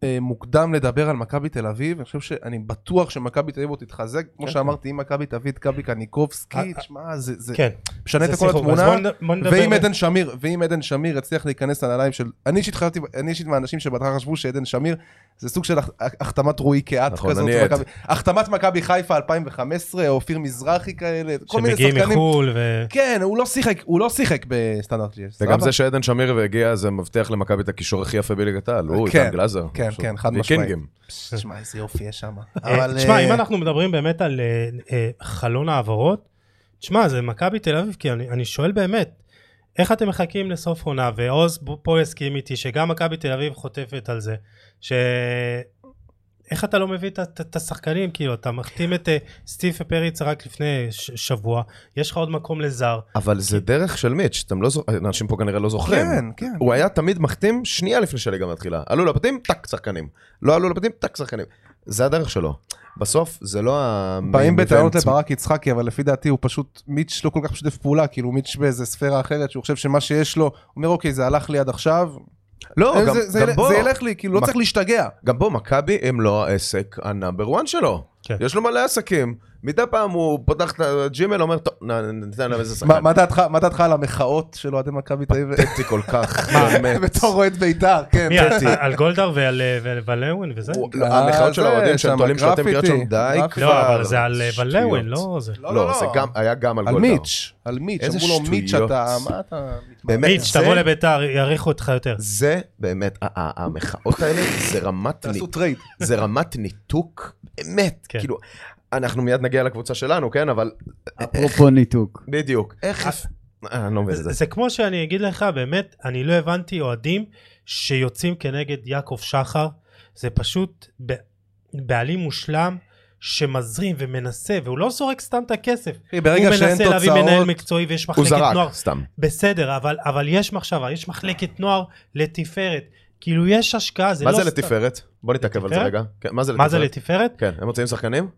Speaker 2: אה, מוקדם לדבר על מכבי תל אביב, אני חושב שאני בטוח שמכבי תל אביב עוד תתחזק, כמו
Speaker 1: כן.
Speaker 2: שאמרתי, אם מכבי תביא את גבי קניקובסקי,
Speaker 1: אה,
Speaker 2: תשמע, זה, זה
Speaker 1: כן,
Speaker 2: משנה את
Speaker 1: זה
Speaker 2: כל
Speaker 1: שיחוק.
Speaker 2: התמונה.
Speaker 1: אז בוא נד- בוא נדבר-
Speaker 2: ואם עדן שמיר, ואם עדן שמיר יצליח להיכנס לנעליים של... אני אישית חשבתי, אני אישית מהאנשים שבהתחלה חשבו שעדן שמיר זה סוג של הח- החתמת רועי קהת
Speaker 3: נכון,
Speaker 2: כזאת.
Speaker 3: אני עד.
Speaker 2: מכבי- החתמת מכבי חיפה 2015, אופיר מזרחי כאלה, כל מיני
Speaker 1: שמגיעים
Speaker 2: שחקנים.
Speaker 1: מחו"ל, ו...
Speaker 2: כן, הוא לא שיחק, הוא לא שיחק בסטנדרט ג'י.
Speaker 3: וגם זה שעדן שמיר והגיע זה מבטיח למכבי את הקישור הכי יפה בליגת העל, הוא
Speaker 2: כן,
Speaker 3: איתן גלאזר.
Speaker 2: כן,
Speaker 3: פשוט.
Speaker 2: כן, חד משמעית.
Speaker 3: ויקינגים.
Speaker 2: תשמע, איזה יופי יש שם.
Speaker 1: אה,
Speaker 2: אבל...
Speaker 1: תשמע,
Speaker 2: אה,
Speaker 1: אם אנחנו מדברים באמת על אה, אה, חלון העברות, תשמע, זה מכבי תל אביב, כי אני אני שואל באמת, איך אתם מחכים לסוף עונה, ועוז ב- פה יסכים איתי, שגם מכבי תל אביב חוטפת על זה, ש... איך אתה לא מביא את ה- את את השחקנים? כאילו, אתה מחתים את אה, סטיפה פריצה רק לפני ש- שבוע, יש לך עוד מקום לזר.
Speaker 3: אבל זה דרך של מיץ', אתם לא זוכרים, אנשים פה כנראה לא זוכרים.
Speaker 2: כן, כן.
Speaker 3: הוא היה תמיד מחתים שנייה לפני שהליגה מתחילה. עלו לבתים, טאק, שחקנים. לא עלו לבתים, טאק, שחקנים. זה הדרך שלו. בסוף זה לא ה...
Speaker 2: באים
Speaker 3: main
Speaker 2: בטענות
Speaker 3: event.
Speaker 2: לברק יצחקי, אבל לפי דעתי הוא פשוט, מיץ' לא כל כך משתף פעולה, כאילו מיץ' באיזה ספירה אחרת, שהוא חושב שמה שיש לו, הוא אומר אוקיי, זה הלך לי עד עכשיו,
Speaker 3: לא, גם,
Speaker 2: אה, זה, זה,
Speaker 3: גם
Speaker 2: יל-
Speaker 3: בו.
Speaker 2: זה ילך לי, כאילו לא
Speaker 3: מה-
Speaker 2: צריך להשתגע.
Speaker 3: גם בו, מכבי הם לא העסק הנאמבר 1 שלו.
Speaker 1: כן.
Speaker 3: יש לו מלא עסקים. מדי פעם הוא פותח את הג'ימל, אומר, טוב, נ- ניתן להם איזה שחקן.
Speaker 2: מה- מה דעתך- מה דעתך על המחאות של אוהדי מכבי תל אביב?
Speaker 3: פתטי כל כך, אה, באמת.
Speaker 2: בתור אוהד בית"ר, כן.
Speaker 1: מי, על- על גולדהר ועל אה, ועל ולאון וזה?
Speaker 3: הוא-
Speaker 2: לא,
Speaker 3: המחאות של
Speaker 2: זה,
Speaker 3: האוהדים שהם
Speaker 2: שם
Speaker 3: תולים שלטים
Speaker 2: הגרפיטי.
Speaker 3: קריאת שם, די
Speaker 2: גרפיטי.
Speaker 3: כבר.
Speaker 1: לא, אבל זה על אה, ולאון,
Speaker 3: שטויות.
Speaker 1: לא זה.
Speaker 2: לא,
Speaker 3: לא, זה גם, היה גם על
Speaker 2: על
Speaker 3: גולדהר.
Speaker 2: מיץ', על מיץ',
Speaker 3: איזה
Speaker 2: אמרו לו מיץ'
Speaker 3: שטויות.
Speaker 2: אתה, מה אתה...
Speaker 3: באמת,
Speaker 1: מיץ',
Speaker 3: זה-
Speaker 1: תבוא לביתר, יעריכו אותך יותר.
Speaker 3: זה באמת, ה- ה- המחאות האלה זה רמת,
Speaker 2: תעשו
Speaker 3: נ-
Speaker 2: טרייד.
Speaker 3: זה רמת ניתוק, באמת,
Speaker 1: כן.
Speaker 3: כאילו, אנחנו מיד נגיע לקבוצה שלנו, כן, אבל
Speaker 4: אפרופו ניתוק.
Speaker 3: בדיוק, איך, אה, אני לא מבין את זה,
Speaker 1: זה כמו שאני אגיד לך, באמת, אני לא הבנתי אוהדים שיוצאים כנגד יעקב שחר, זה פשוט ב- בעלים מושלם שמזרים ומנסה, והוא לא זורק סתם את הכסף. הוא
Speaker 2: ברגע שאין
Speaker 1: מנסה להביא מנהל
Speaker 2: תוצאות,
Speaker 1: מקצועי ויש
Speaker 3: הוא
Speaker 1: מחלקת נוער.
Speaker 3: זרק, סתם.
Speaker 1: בסדר, אבל, אבל יש מחשבה, יש מחלקת נוער לתפארת. כאילו יש השקעה, זה
Speaker 3: מה
Speaker 1: לא
Speaker 3: זה
Speaker 1: סתם.
Speaker 3: לתפארת? בוא נתעכב על זה
Speaker 1: לתפארת?
Speaker 3: רגע. כן, מה זה
Speaker 1: מה זה
Speaker 3: לתפארת?
Speaker 1: לתפארת?
Speaker 3: כן, הם מוצאים שחקנים?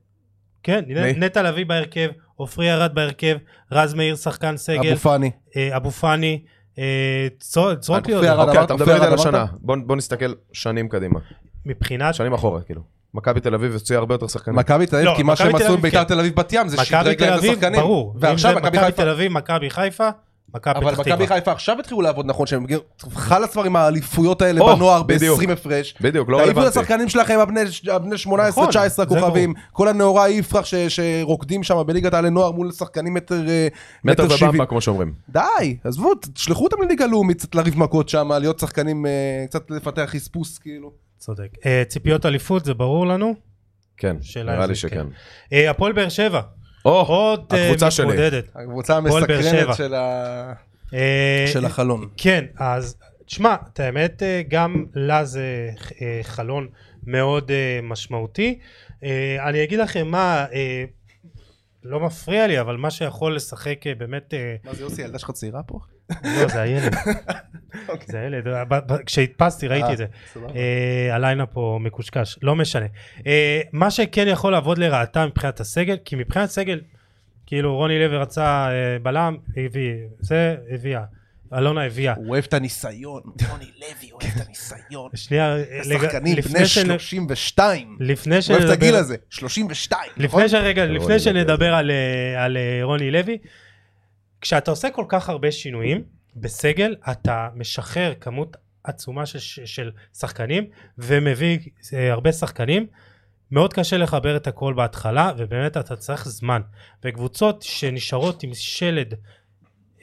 Speaker 1: כן,
Speaker 3: מי?
Speaker 1: נטע לביא בהרכב, עופרי ארד בהרכב, רז מאיר שחקן סגל,
Speaker 2: אבו פאני.
Speaker 1: אה, אבו פאני, אה, צור- צורק לי
Speaker 2: אבו
Speaker 1: עוד.
Speaker 2: פאני.
Speaker 3: אוקיי,
Speaker 2: אמרת,
Speaker 3: אתה מדבר
Speaker 2: אופיר,
Speaker 3: איתי על
Speaker 2: אמרת?
Speaker 3: השנה. בוא בוא נסתכל שנים קדימה.
Speaker 1: מבחינת
Speaker 3: שנים אחורה, כאילו. מכבי תל אביב הוציאה הרבה יותר שחקנים.
Speaker 2: מכבי תל אביב,
Speaker 1: לא,
Speaker 2: כי מה
Speaker 1: מכבי
Speaker 2: שהם
Speaker 1: תל
Speaker 2: עשו עם
Speaker 1: אביב,
Speaker 2: בית"ר
Speaker 1: כן.
Speaker 2: תל אביב בת ים זה
Speaker 1: מכבי
Speaker 2: שדרג
Speaker 1: תל
Speaker 2: להם את
Speaker 1: אביב,
Speaker 2: השחקנים.
Speaker 1: ברור.
Speaker 2: ועכשיו מכבי חיפה,
Speaker 1: תל אביב, מכבי חיפה, מכבי
Speaker 2: אבל
Speaker 1: פתח
Speaker 2: מכבי
Speaker 1: תקווה.
Speaker 2: חיפה עכשיו התחילו לעבוד נכון, שהם חלאס כבר עם האליפויות האלה
Speaker 3: או,
Speaker 2: בנוער
Speaker 3: בדיוק.
Speaker 2: ב-20 הפרש.
Speaker 3: בדיוק, לא
Speaker 2: תעיפו את
Speaker 3: רלוונטי.
Speaker 2: השחקנים שלכם, הבני הבני 18,
Speaker 1: נכון,
Speaker 2: 19
Speaker 1: זה
Speaker 2: כוכבים, כל הנאורה יפרח ש- שרוקדים שם בליגת העלי נוער מול שחקנים מטר אה,
Speaker 3: מטר
Speaker 2: מטר שבעים.
Speaker 3: ובמבה, כמו שאומרים.
Speaker 2: די, עזבו, ת- תשלחו אותם לליגה לאומית קצת לריב מכות שם, להיות שחקנים, אה, קצת לפתח חספוס כאילו.
Speaker 1: צודק. אה, ציפיות אליפות, זה ברור לנו.
Speaker 3: כן,
Speaker 1: שאלה
Speaker 3: נראה
Speaker 1: אם
Speaker 3: לי
Speaker 1: זה
Speaker 3: שכן.
Speaker 1: כן. אה, הפועל באר שבע,
Speaker 3: או,
Speaker 1: עוד אה,
Speaker 3: הקבוצה שלי.
Speaker 1: מתמודדת.
Speaker 2: הקבוצה
Speaker 1: הפועל באר שבע.
Speaker 2: המסקרנת של ה-
Speaker 1: אה,
Speaker 2: של החלון.
Speaker 1: כן, אז תשמע, את האמת, אה, גם לה זה אה, חלון מאוד אה, משמעותי. אה, אני אגיד לכם מה, אה, לא מפריע לי, אבל מה שיכול לשחק אה, באמת אה,
Speaker 2: מה זה יוסי, הילדה שלך צעירה פה?
Speaker 1: לא, זה הילד.
Speaker 2: אוקיי.
Speaker 1: זה הילד. ב- ב- כשהדפסתי ראיתי
Speaker 2: אה,
Speaker 1: את זה.
Speaker 2: סבבה.
Speaker 1: אה, הליינאפ פה מקושקש, לא משנה. אה, מה שכן יכול לעבוד לרעתם מבחינת הסגל, כי מבחינת סגל, כאילו רוני לוי רצה אה, בלם, הביא, זה הביאה. אלונה הביאה.
Speaker 2: הוא אוהב את הניסיון, רוני לוי אוהב את הניסיון.
Speaker 1: שנייה, אה, לג-
Speaker 2: שחקנים
Speaker 1: לפני
Speaker 2: בני
Speaker 1: שנ-
Speaker 2: 32.
Speaker 1: לפני
Speaker 2: אוהב את
Speaker 1: שנדבר-
Speaker 2: הגיל הזה, 32. נכון?
Speaker 1: לפני שרגע,
Speaker 3: רוני
Speaker 1: לפני
Speaker 3: לוי.
Speaker 1: שנדבר על, אה, על אה, רוני לוי, כשאתה עושה כל כך הרבה שינויים בסגל, אתה משחרר כמות עצומה של, ש- של שחקנים ומביא אה, הרבה שחקנים. מאוד קשה לחבר את הכל בהתחלה, ובאמת אתה צריך זמן. וקבוצות שנשארות עם שלד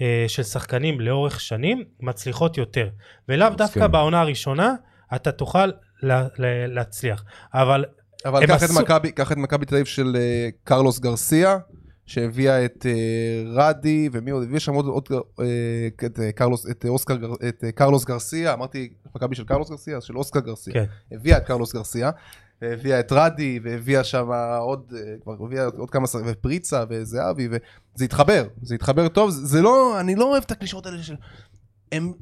Speaker 1: אה, של שחקנים לאורך שנים, מצליחות יותר. ולאו דווקא
Speaker 3: מסכים.
Speaker 1: בעונה הראשונה, אתה תוכל לה, לה, להצליח. אבל
Speaker 2: אבל
Speaker 1: הם
Speaker 2: קח את
Speaker 1: עשו-
Speaker 2: מכבי, קח את מכבי תל אביב של אה, קרלוס גרסיה, שהביאה את אה, רדי, ומי עוד, הביא שם עוד, עוד אה, את, אה, קרלוס, את, אה, אוסקר, גר- את אה, קרלוס גרסיה, אמרתי מכבי של קרלוס גרסיה, אז של אוסקר גרסיה.
Speaker 1: כן.
Speaker 2: הביאה את קרלוס גרסיה, הביאה את רדי, והביאה שם עוד, אה, כבר הביאה עוד כמה שרים, ופריצה וזהבי, וזה התחבר, זה התחבר טוב, זה, זה לא, אני לא אוהב את הקלישאות האלה של... הם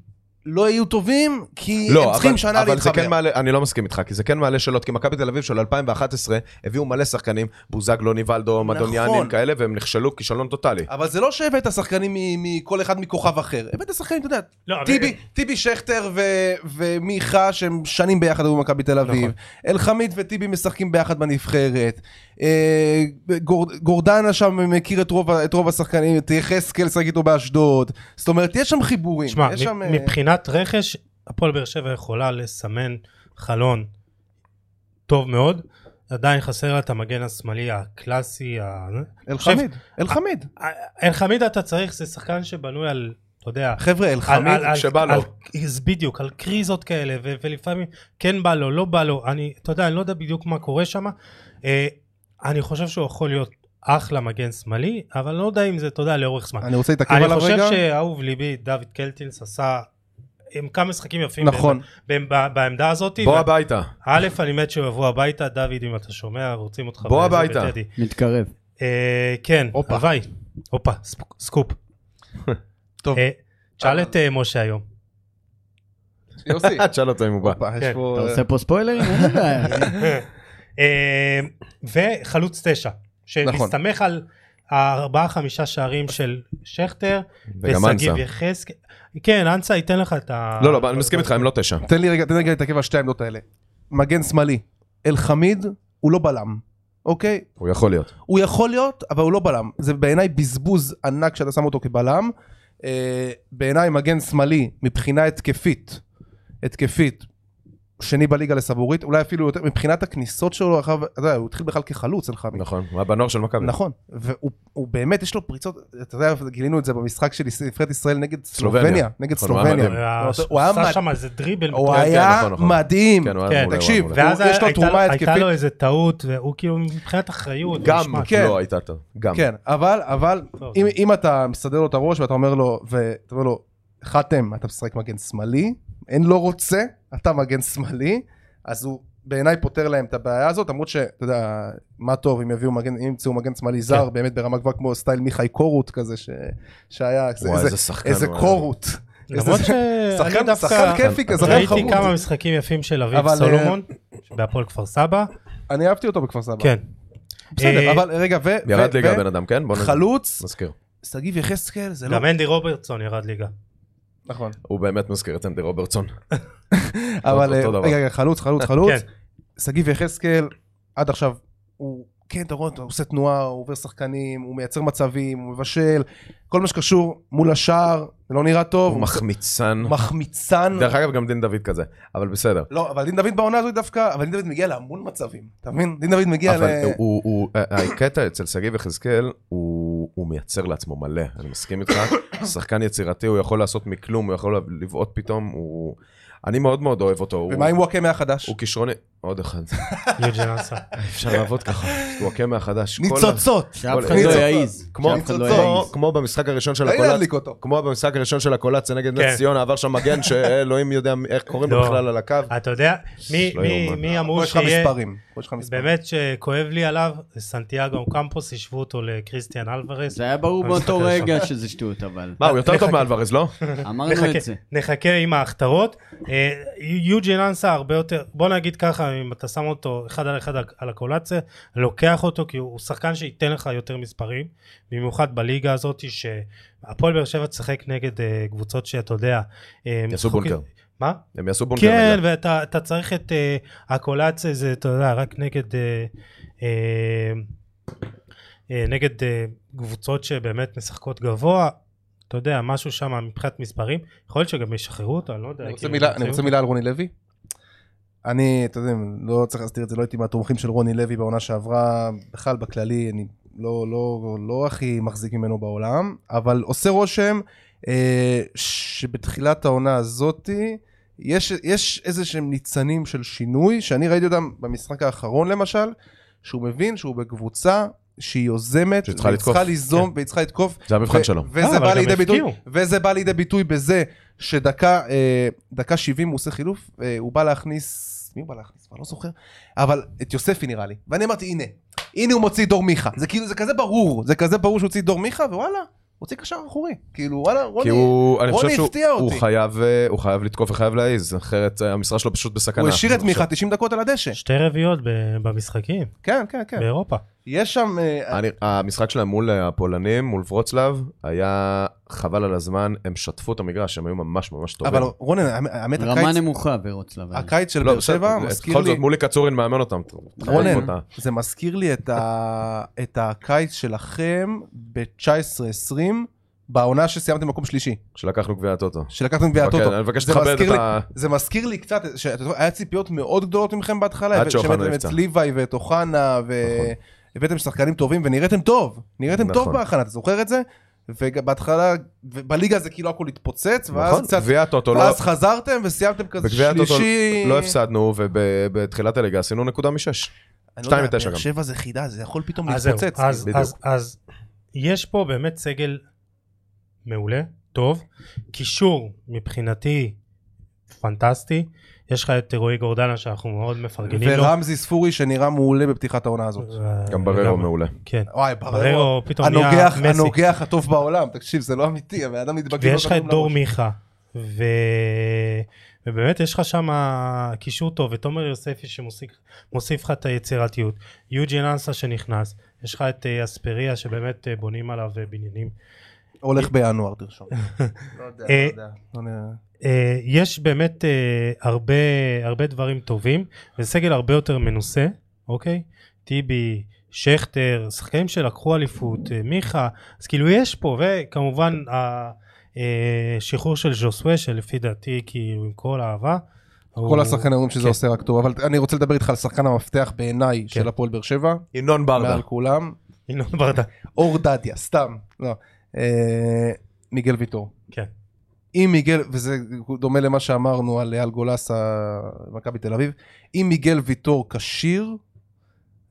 Speaker 2: לא יהיו טובים, כי
Speaker 3: לא,
Speaker 2: הם צריכים שנה
Speaker 3: אבל,
Speaker 2: להתחבר.
Speaker 3: אבל זה כן מעלה, אני לא מסכים איתך, כי זה כן מעלה שאלות, כי מכבי תל אביב של 2011 הביאו מלא שחקנים, בוזגלו, ניבלדו,
Speaker 2: נכון.
Speaker 3: מדוניאנים כאלה, והם נכשלו כישלון טוטאלי.
Speaker 2: אבל זה לא שהבאת שחקנים מ- מכל אחד מכוכב אחר, הבאת שחקנים, אתה יודע,
Speaker 1: לא, אבל-
Speaker 2: טיבי, טיבי שכטר ו- ומיכה שהם שנים ביחד היו במכבי תל אביב,
Speaker 1: נכון.
Speaker 2: אלחמיד וטיבי משחקים ביחד בנבחרת, אה, גור- גורדנה שם מכיר את רוב, ה- את רוב השחקנים, את יחזקאל שחק איתו באשדוד, זאת אומרת יש שם חיבורים,
Speaker 1: תשמע,
Speaker 2: יש שם...
Speaker 1: מ-
Speaker 2: אה,
Speaker 1: מבחינת רכש, הפועל באר שבע יכולה לסמן חלון טוב מאוד. עדיין חסר לה את המגן השמאלי הקלאסי. ה-
Speaker 2: אלחמיד, אלחמיד,
Speaker 1: אלחמיד אתה צריך, זה שחקן שבנוי על, אתה יודע,
Speaker 2: חבר'ה
Speaker 1: על-
Speaker 2: אלחמיד,
Speaker 1: על- על-
Speaker 3: כשבא לו.
Speaker 1: על- אז בדיוק, על קריזות כאלה, ו- ולפעמים כן בא לו, לא בא לו, אני, אתה יודע, אני לא יודע בדיוק מה קורה שם. אה, אני חושב שהוא יכול להיות אחלה מגן שמאלי, אבל לא יודע אם זה, אתה יודע, לאורך זמן.
Speaker 2: אני רוצה להתעכב
Speaker 1: אני
Speaker 2: עליו
Speaker 1: חושב
Speaker 2: רגע,
Speaker 1: שאהוב ליבי, דוד קלטינס עשה עם כמה משחקים יפים
Speaker 2: נכון.
Speaker 1: בעמד- בעמד- בעמדה הזאת.
Speaker 3: בוא
Speaker 1: ו-
Speaker 3: הביתה.
Speaker 1: א', אני מת שהם יבואו הביתה, דוד, אם אתה שומע, רוצים אותך.
Speaker 3: בוא
Speaker 1: בזה,
Speaker 3: הביתה.
Speaker 1: בטדי.
Speaker 4: מתקרב.
Speaker 1: אה, כן,
Speaker 2: הופה.
Speaker 1: הוואי. הופה, ספ- סקופ.
Speaker 2: טוב.
Speaker 1: אה, תשאל את אה, משה היום.
Speaker 2: יוסי.
Speaker 3: תשאל אותו אם הוא בא.
Speaker 2: הופה, יש
Speaker 1: כן,
Speaker 2: פה,
Speaker 4: אתה
Speaker 2: אה,
Speaker 4: עושה פה ספוילרים? אין לי בעיה.
Speaker 1: אה, וחלוץ תשע,
Speaker 3: נכון.
Speaker 1: שמסתמך על הארבעה חמישה שערים של שכטר.
Speaker 3: וגם
Speaker 1: ושגיב
Speaker 3: אנסה.
Speaker 1: יחזקאל. כן, אנסה ייתן לך את ה...
Speaker 3: לא, לא, אני מסכים איתך, הם לא תשע.
Speaker 2: אה, תן לי רגע, תן לי רגע להתעכב על שתי העמדות האלה. מגן שמאלי, אלחמיד הוא לא בלם, אוקיי?
Speaker 3: הוא יכול להיות.
Speaker 2: הוא יכול להיות, אבל הוא לא בלם. זה בעיניי בזבוז ענק שאתה שם אותו כבלם. אה, בעיניי מגן שמאלי, מבחינה התקפית, התקפית, שני בליגה לסבורית, אולי אפילו יותר, מבחינת הכניסות שלו, אחר, אתה יודע, הוא התחיל בכלל כחלוץ אלחמיד.
Speaker 3: נכון, הוא היה בנוער של מכבי.
Speaker 2: נכון, והוא הוא באמת, יש לו פריצות, אתה יודע, גילינו את זה במשחק של יש- נבחרת ישראל נגד
Speaker 3: סלובניה.
Speaker 2: סלובניה, נגד
Speaker 3: נכון, הוא היה
Speaker 2: סלובניה.
Speaker 3: מדהים.
Speaker 1: היה-
Speaker 2: לא, הוא היה
Speaker 1: עשה
Speaker 2: מד-
Speaker 1: שם איזה דריבל.
Speaker 2: הוא
Speaker 1: מטורף.
Speaker 3: כן,
Speaker 2: היה
Speaker 3: נכון, נכון.
Speaker 2: מדהים.
Speaker 3: כן, הוא היה
Speaker 1: כן,
Speaker 3: מעולה, הוא היה
Speaker 2: תקשיב,
Speaker 3: מעולה.
Speaker 1: ואז
Speaker 2: הוא- יש לו
Speaker 1: הייתה-
Speaker 2: תרומה
Speaker 1: הייתה
Speaker 2: התקפית.
Speaker 1: לו איזה טעות, והוא כאילו מבחינת אחריות.
Speaker 3: גם
Speaker 1: משמעת.
Speaker 2: כן.
Speaker 3: לא הייתה טוב. גם.
Speaker 2: כן, אבל, אבל,
Speaker 1: טוב,
Speaker 2: אם,
Speaker 1: זה-
Speaker 2: אם אתה מסדר לו את הראש ואתה אומר לו, ואתה אומר לו, חתם, אתה משחק מגן שמאלי, אין לא רוצה, אתה מגן שמאלי, אז הוא בעיניי פותר להם את הבעיה הזאת, למרות שאתה יודע, מה טוב אם יביאו מגן, אם ימצאו מגן שמאלי זר,
Speaker 1: כן.
Speaker 2: באמת ברמה גבוהה כמו סטייל מיכאי קורות כזה, ש... שהיה,
Speaker 3: וואי,
Speaker 2: איזה,
Speaker 3: איזה שחקן.
Speaker 2: איזה
Speaker 3: הוא היה.
Speaker 2: קורות,
Speaker 1: למרות
Speaker 2: איזה-
Speaker 1: שאני
Speaker 2: שחקן,
Speaker 1: דווקא
Speaker 2: שחקן כיפי כזה, שחקן
Speaker 1: ראיתי
Speaker 2: חמוד,
Speaker 1: כמה משחקים יפים של אביב
Speaker 2: אבל, אה,
Speaker 1: סולומון, בהפועל כפר סבא.
Speaker 2: אני אהבתי אותו בכפר סבא,
Speaker 1: כן.
Speaker 2: בסדר,
Speaker 1: אה,
Speaker 2: אבל רגע, ו...
Speaker 3: ירד
Speaker 2: ו-
Speaker 3: ליגה
Speaker 2: ו-
Speaker 3: הבן אדם, כן? בוא נ-
Speaker 2: חלוץ,
Speaker 3: נזכיר.
Speaker 2: שגיב יחזקאל, זה לא,
Speaker 1: גם אנדי רוברטסון ירד ליגה.
Speaker 2: נכון,
Speaker 3: הוא באמת מזכיר את אנדי רוברטסון.
Speaker 2: אבל
Speaker 3: אותו
Speaker 2: אה,
Speaker 3: דבר.
Speaker 2: רגע, רגע, חלוץ, חלוץ, חלוץ,
Speaker 1: כן.
Speaker 2: שגיב יחזקאל, עד עכשיו, הוא כן, אתה רואה, אותו, הוא עושה תנועה, הוא עובר שחקנים, הוא מייצר מצבים, הוא מבשל, כל מה שקשור מול השער, זה לא נראה טוב,
Speaker 3: הוא מחמיצן.
Speaker 2: מחמיצן.
Speaker 3: דרך אגב, גם דין דוד כזה. אבל בסדר.
Speaker 2: לא, אבל דין דוד בעונה הזאת דווקא, אבל דין דוד מגיע להמון מצבים, אתה מבין? דין דוד מגיע ל...
Speaker 3: אבל הוא- הוא- אה, הקטע אצל שגיב יחזקאל, הוא הוא מייצר לעצמו מלא, אני מסכים איתך. שחקן יצירתי, הוא יכול לעשות מכלום, הוא יכול לבעוט פתאום, הוא... אני מאוד מאוד אוהב אותו. הוא-
Speaker 2: ומה עם וואקמה החדש?
Speaker 3: הוא כישרוני... עוד אחד.
Speaker 1: יוג'ן אנסה.
Speaker 3: אפשר לעבוד ככה. הוא הקמע החדש. כל ה-
Speaker 2: ניצוצות!
Speaker 4: שאף אחד לא
Speaker 3: ניצוצות.
Speaker 4: יעיז.
Speaker 3: כמו-
Speaker 4: שאף אחד לא
Speaker 2: ניצוצות.
Speaker 3: כמו-
Speaker 4: יעיז.
Speaker 3: כמו במשחק הראשון של
Speaker 2: תן לא לי
Speaker 3: הקולאצ,
Speaker 2: להדליק אותו.
Speaker 3: כמו במשחק הראשון של הקולאציה נגד נס
Speaker 1: כן.
Speaker 3: ציונה, עבר שם מגן שאלוהים יודע איך קוראים לו
Speaker 1: לא.
Speaker 3: בכלל על הקו.
Speaker 1: אתה יודע, מי-
Speaker 3: לא
Speaker 1: מי-
Speaker 3: יאומן.
Speaker 1: מי
Speaker 2: פה
Speaker 1: אמור
Speaker 2: אה, יש לך
Speaker 1: שיהיה...
Speaker 2: מספרים. פה יש לך מספרים.
Speaker 1: באמת שכואב לי עליו, זה סנטיאגו קמפוס, השוו אותו לקריסטיאן אלוורס.
Speaker 4: זה היה ברור
Speaker 1: המשחק
Speaker 4: באותו
Speaker 1: הראשון.
Speaker 4: רגע שזה שטות, אבל
Speaker 3: מה, הוא יותר
Speaker 1: נחכה.
Speaker 3: טוב מאלוורז, לא?
Speaker 4: אמרנו
Speaker 1: נחכה,
Speaker 4: את זה.
Speaker 1: נחכה עם ההכתרות. אה, יוג'ין אנסה הרבה יותר, בוא נגיד ככה, אם אתה שם אותו אחד על אחד על הקולציה, לוקח אותו כי הוא הוא שחקן שייתן לך יותר מספרים, במיוחד בליגה הזאת שהפועל באר שבע תשחק נגד אה, קבוצות שאתה יודע. אה,
Speaker 3: יעשו
Speaker 1: משחקים-
Speaker 3: בונקר.
Speaker 1: מה?
Speaker 3: הם יעשו בונקר.
Speaker 1: כן,
Speaker 3: רגע.
Speaker 1: ואתה אתה צריך את אה, הקולציה, זה, אתה יודע, רק נגד... אה, אה, אה, נגד אה, קבוצות שבאמת משחקות גבוה, אתה יודע, משהו שם מבחינת מספרים, יכול להיות שגם ישחררו אותו, אני לא יודע.
Speaker 2: אני רוצה
Speaker 1: כאילו,
Speaker 2: מילה-
Speaker 1: יוציאו.
Speaker 2: אני רוצה מילה על רוני לוי. אני, אתה יודע, לא צריך להסתיר את זה, לא הייתי מהתומכים של רוני לוי בעונה שעברה, בכלל בכללי, אני לא, לא, לא הכי מחזיק ממנו בעולם, אבל עושה רושם אה, שבתחילת העונה הזאתי, יש, יש איזה שהם ניצנים של שינוי, שאני ראיתי אותם במשחק האחרון למשל, שהוא מבין שהוא בקבוצה שהיא יוזמת,
Speaker 3: שצריכה
Speaker 2: והיא
Speaker 3: לתקוף.
Speaker 2: צריכה ליזום, והיא צריכה לתקוף,
Speaker 3: זה המבחן שלו.
Speaker 1: אה,
Speaker 2: וזה
Speaker 1: אבל
Speaker 2: בא
Speaker 1: גם
Speaker 2: לידי ביטוי,
Speaker 1: הפקיעו.
Speaker 2: וזה בא לידי ביטוי בזה שדקה אה, דקה 70 הוא עושה חילוף, אה, הוא בא להכניס, מי הוא בא להכניס? כבר לא זוכר, אבל את יוספי נראה לי, ואני אמרתי הנה, הנה הוא מוציא את דור מיכה, זה כאילו זה כזה ברור, זה כזה ברור שהוא הוציא את דור מיכה, ווואלה, הוציא קשר אחורי, כאילו וואלה
Speaker 3: כי
Speaker 2: רוני,
Speaker 3: הוא, אני
Speaker 2: רוני
Speaker 3: חושב שהוא
Speaker 2: הפתיע
Speaker 3: הוא
Speaker 2: אותי.
Speaker 3: חייב, אה, הוא חייב לתקוף וחייב להעיז, אחרת אה, המשרה שלו פשוט בסכנה.
Speaker 2: הוא השאיר את
Speaker 3: אני
Speaker 2: מיכה
Speaker 3: חושב.
Speaker 2: 90 דקות על הדשא,
Speaker 1: שתי רביעיות ב- במשחקים,
Speaker 2: כן כן כן,
Speaker 1: באירופה.
Speaker 2: יש שם, אה,
Speaker 3: אני- המשחק שלהם מול אה, הפולנים, מול ורוצלב, היה חבל על הזמן, הם שטפו את המגרש, הם היו ממש ממש טובים.
Speaker 2: אבל רוני, האמת
Speaker 4: רמה
Speaker 2: הקיץ,
Speaker 4: נמוכה ברוצלב.
Speaker 2: הקיץ של
Speaker 3: אה, לא,
Speaker 2: באר שבע
Speaker 3: בסדר,
Speaker 2: מזכיר
Speaker 3: בכל
Speaker 2: לי,
Speaker 3: זאת, מולי קצורין מאמן אותם.
Speaker 2: רונן,
Speaker 3: אותה.
Speaker 2: זה מזכיר לי את, ה... את הקיץ שלכם ב-19-20, בעונה שסיימתם מקום שלישי,
Speaker 3: שלקחנו גביע הטוטו.
Speaker 2: שלקחתם גביע
Speaker 3: אוקיי,
Speaker 2: הטוטו.
Speaker 3: אני מבקש
Speaker 2: זה
Speaker 3: לכבד
Speaker 2: מזכיר
Speaker 3: את ה...
Speaker 2: זה מזכיר לי קצת, שאתה יודע, היה ציפיות מאוד גדולות מכם בהתחלה,
Speaker 3: עד שאוחנה
Speaker 2: שהבאתם
Speaker 3: נפצע.
Speaker 2: את ליוואי ואת אוחנה,
Speaker 3: נכון.
Speaker 2: והבאתם שחקנים טובים, ונראיתם טוב, נראיתם
Speaker 3: נכון.
Speaker 2: טוב בהכנה, אתה זוכר את זה? ובהתחלה, ובליגה זה כאילו הכל התפוצץ, ואז
Speaker 3: נכון,
Speaker 2: קצת,
Speaker 3: גביע הטוטו לא...
Speaker 2: ואז חזרתם וסיימתם כזה
Speaker 3: בגביע הטוטו
Speaker 2: שלישי.
Speaker 3: לא הפסדנו, ובתחילת הליגה עשינו נקודה משש.
Speaker 2: אני לא יודע,
Speaker 3: שתיים ותשע
Speaker 2: באר
Speaker 3: גם.
Speaker 2: שבע זה חידה, זה יכול פתאום
Speaker 1: אז אה, זהו,
Speaker 2: להתפוצץ.
Speaker 1: אז-
Speaker 2: כאילו.
Speaker 1: אז- אז יש פה באמת סגל מעולה, טוב. קישור מבחינתי פנטסטי. יש לך את רועי גורדנה שאנחנו מאוד מפרגנים לו.
Speaker 2: ורמזי ספורי שנראה מעולה בפתיחת העונה הזאת.
Speaker 1: ו-
Speaker 3: גם בררו מעולה.
Speaker 1: כן.
Speaker 2: וואי, בררו.
Speaker 1: בררו פתאום נהיה
Speaker 2: הנוגח,
Speaker 1: מסי.
Speaker 2: הנוגח הטוב בעולם, תקשיב, זה לא אמיתי, הבן אדם מתבגר.
Speaker 1: ויש לך
Speaker 2: לו
Speaker 1: את
Speaker 2: כדור
Speaker 1: דור
Speaker 2: לראש.
Speaker 1: מיכה. ו... ובאמת יש לך שם קישור טוב, ותומר יוספי שמוסיף מוסיף לך את היצירתיות. יוג'י נאנסה שנכנס, יש לך את אה, אספריה שבאמת אה, בונים עליו אה, בניינים.
Speaker 2: הולך בינואר, תרשום. לא יודע, לא
Speaker 1: אה,
Speaker 2: יודע. לא נראה.
Speaker 1: אה, יש באמת אה, הרבה, הרבה דברים טובים, וסגל הרבה יותר מנוסה, אוקיי? טיבי, שכטר, שחקנים שלקחו אליפות, אה, מיכה, אז כאילו יש פה, וכמובן השחרור של ז'וסווה, שלפי דעתי, כאילו עם כל האהבה.
Speaker 2: כל השחקנים אומרים שזה
Speaker 1: כן.
Speaker 2: עושה רק טוב, אבל אני רוצה לדבר איתך על שחקן המפתח בעיניי של הפועל באר שבע,
Speaker 3: ינון ברדה.
Speaker 2: מעל כולם,
Speaker 1: ינון ברדה.
Speaker 2: אור דדיה, סתם, לא. אה, מיגל ויטור.
Speaker 1: כן.
Speaker 2: אם מיגל, וזה דומה למה שאמרנו על אייל גולס, ה- מכבי תל אביב, אם מיגל ויטור כשיר,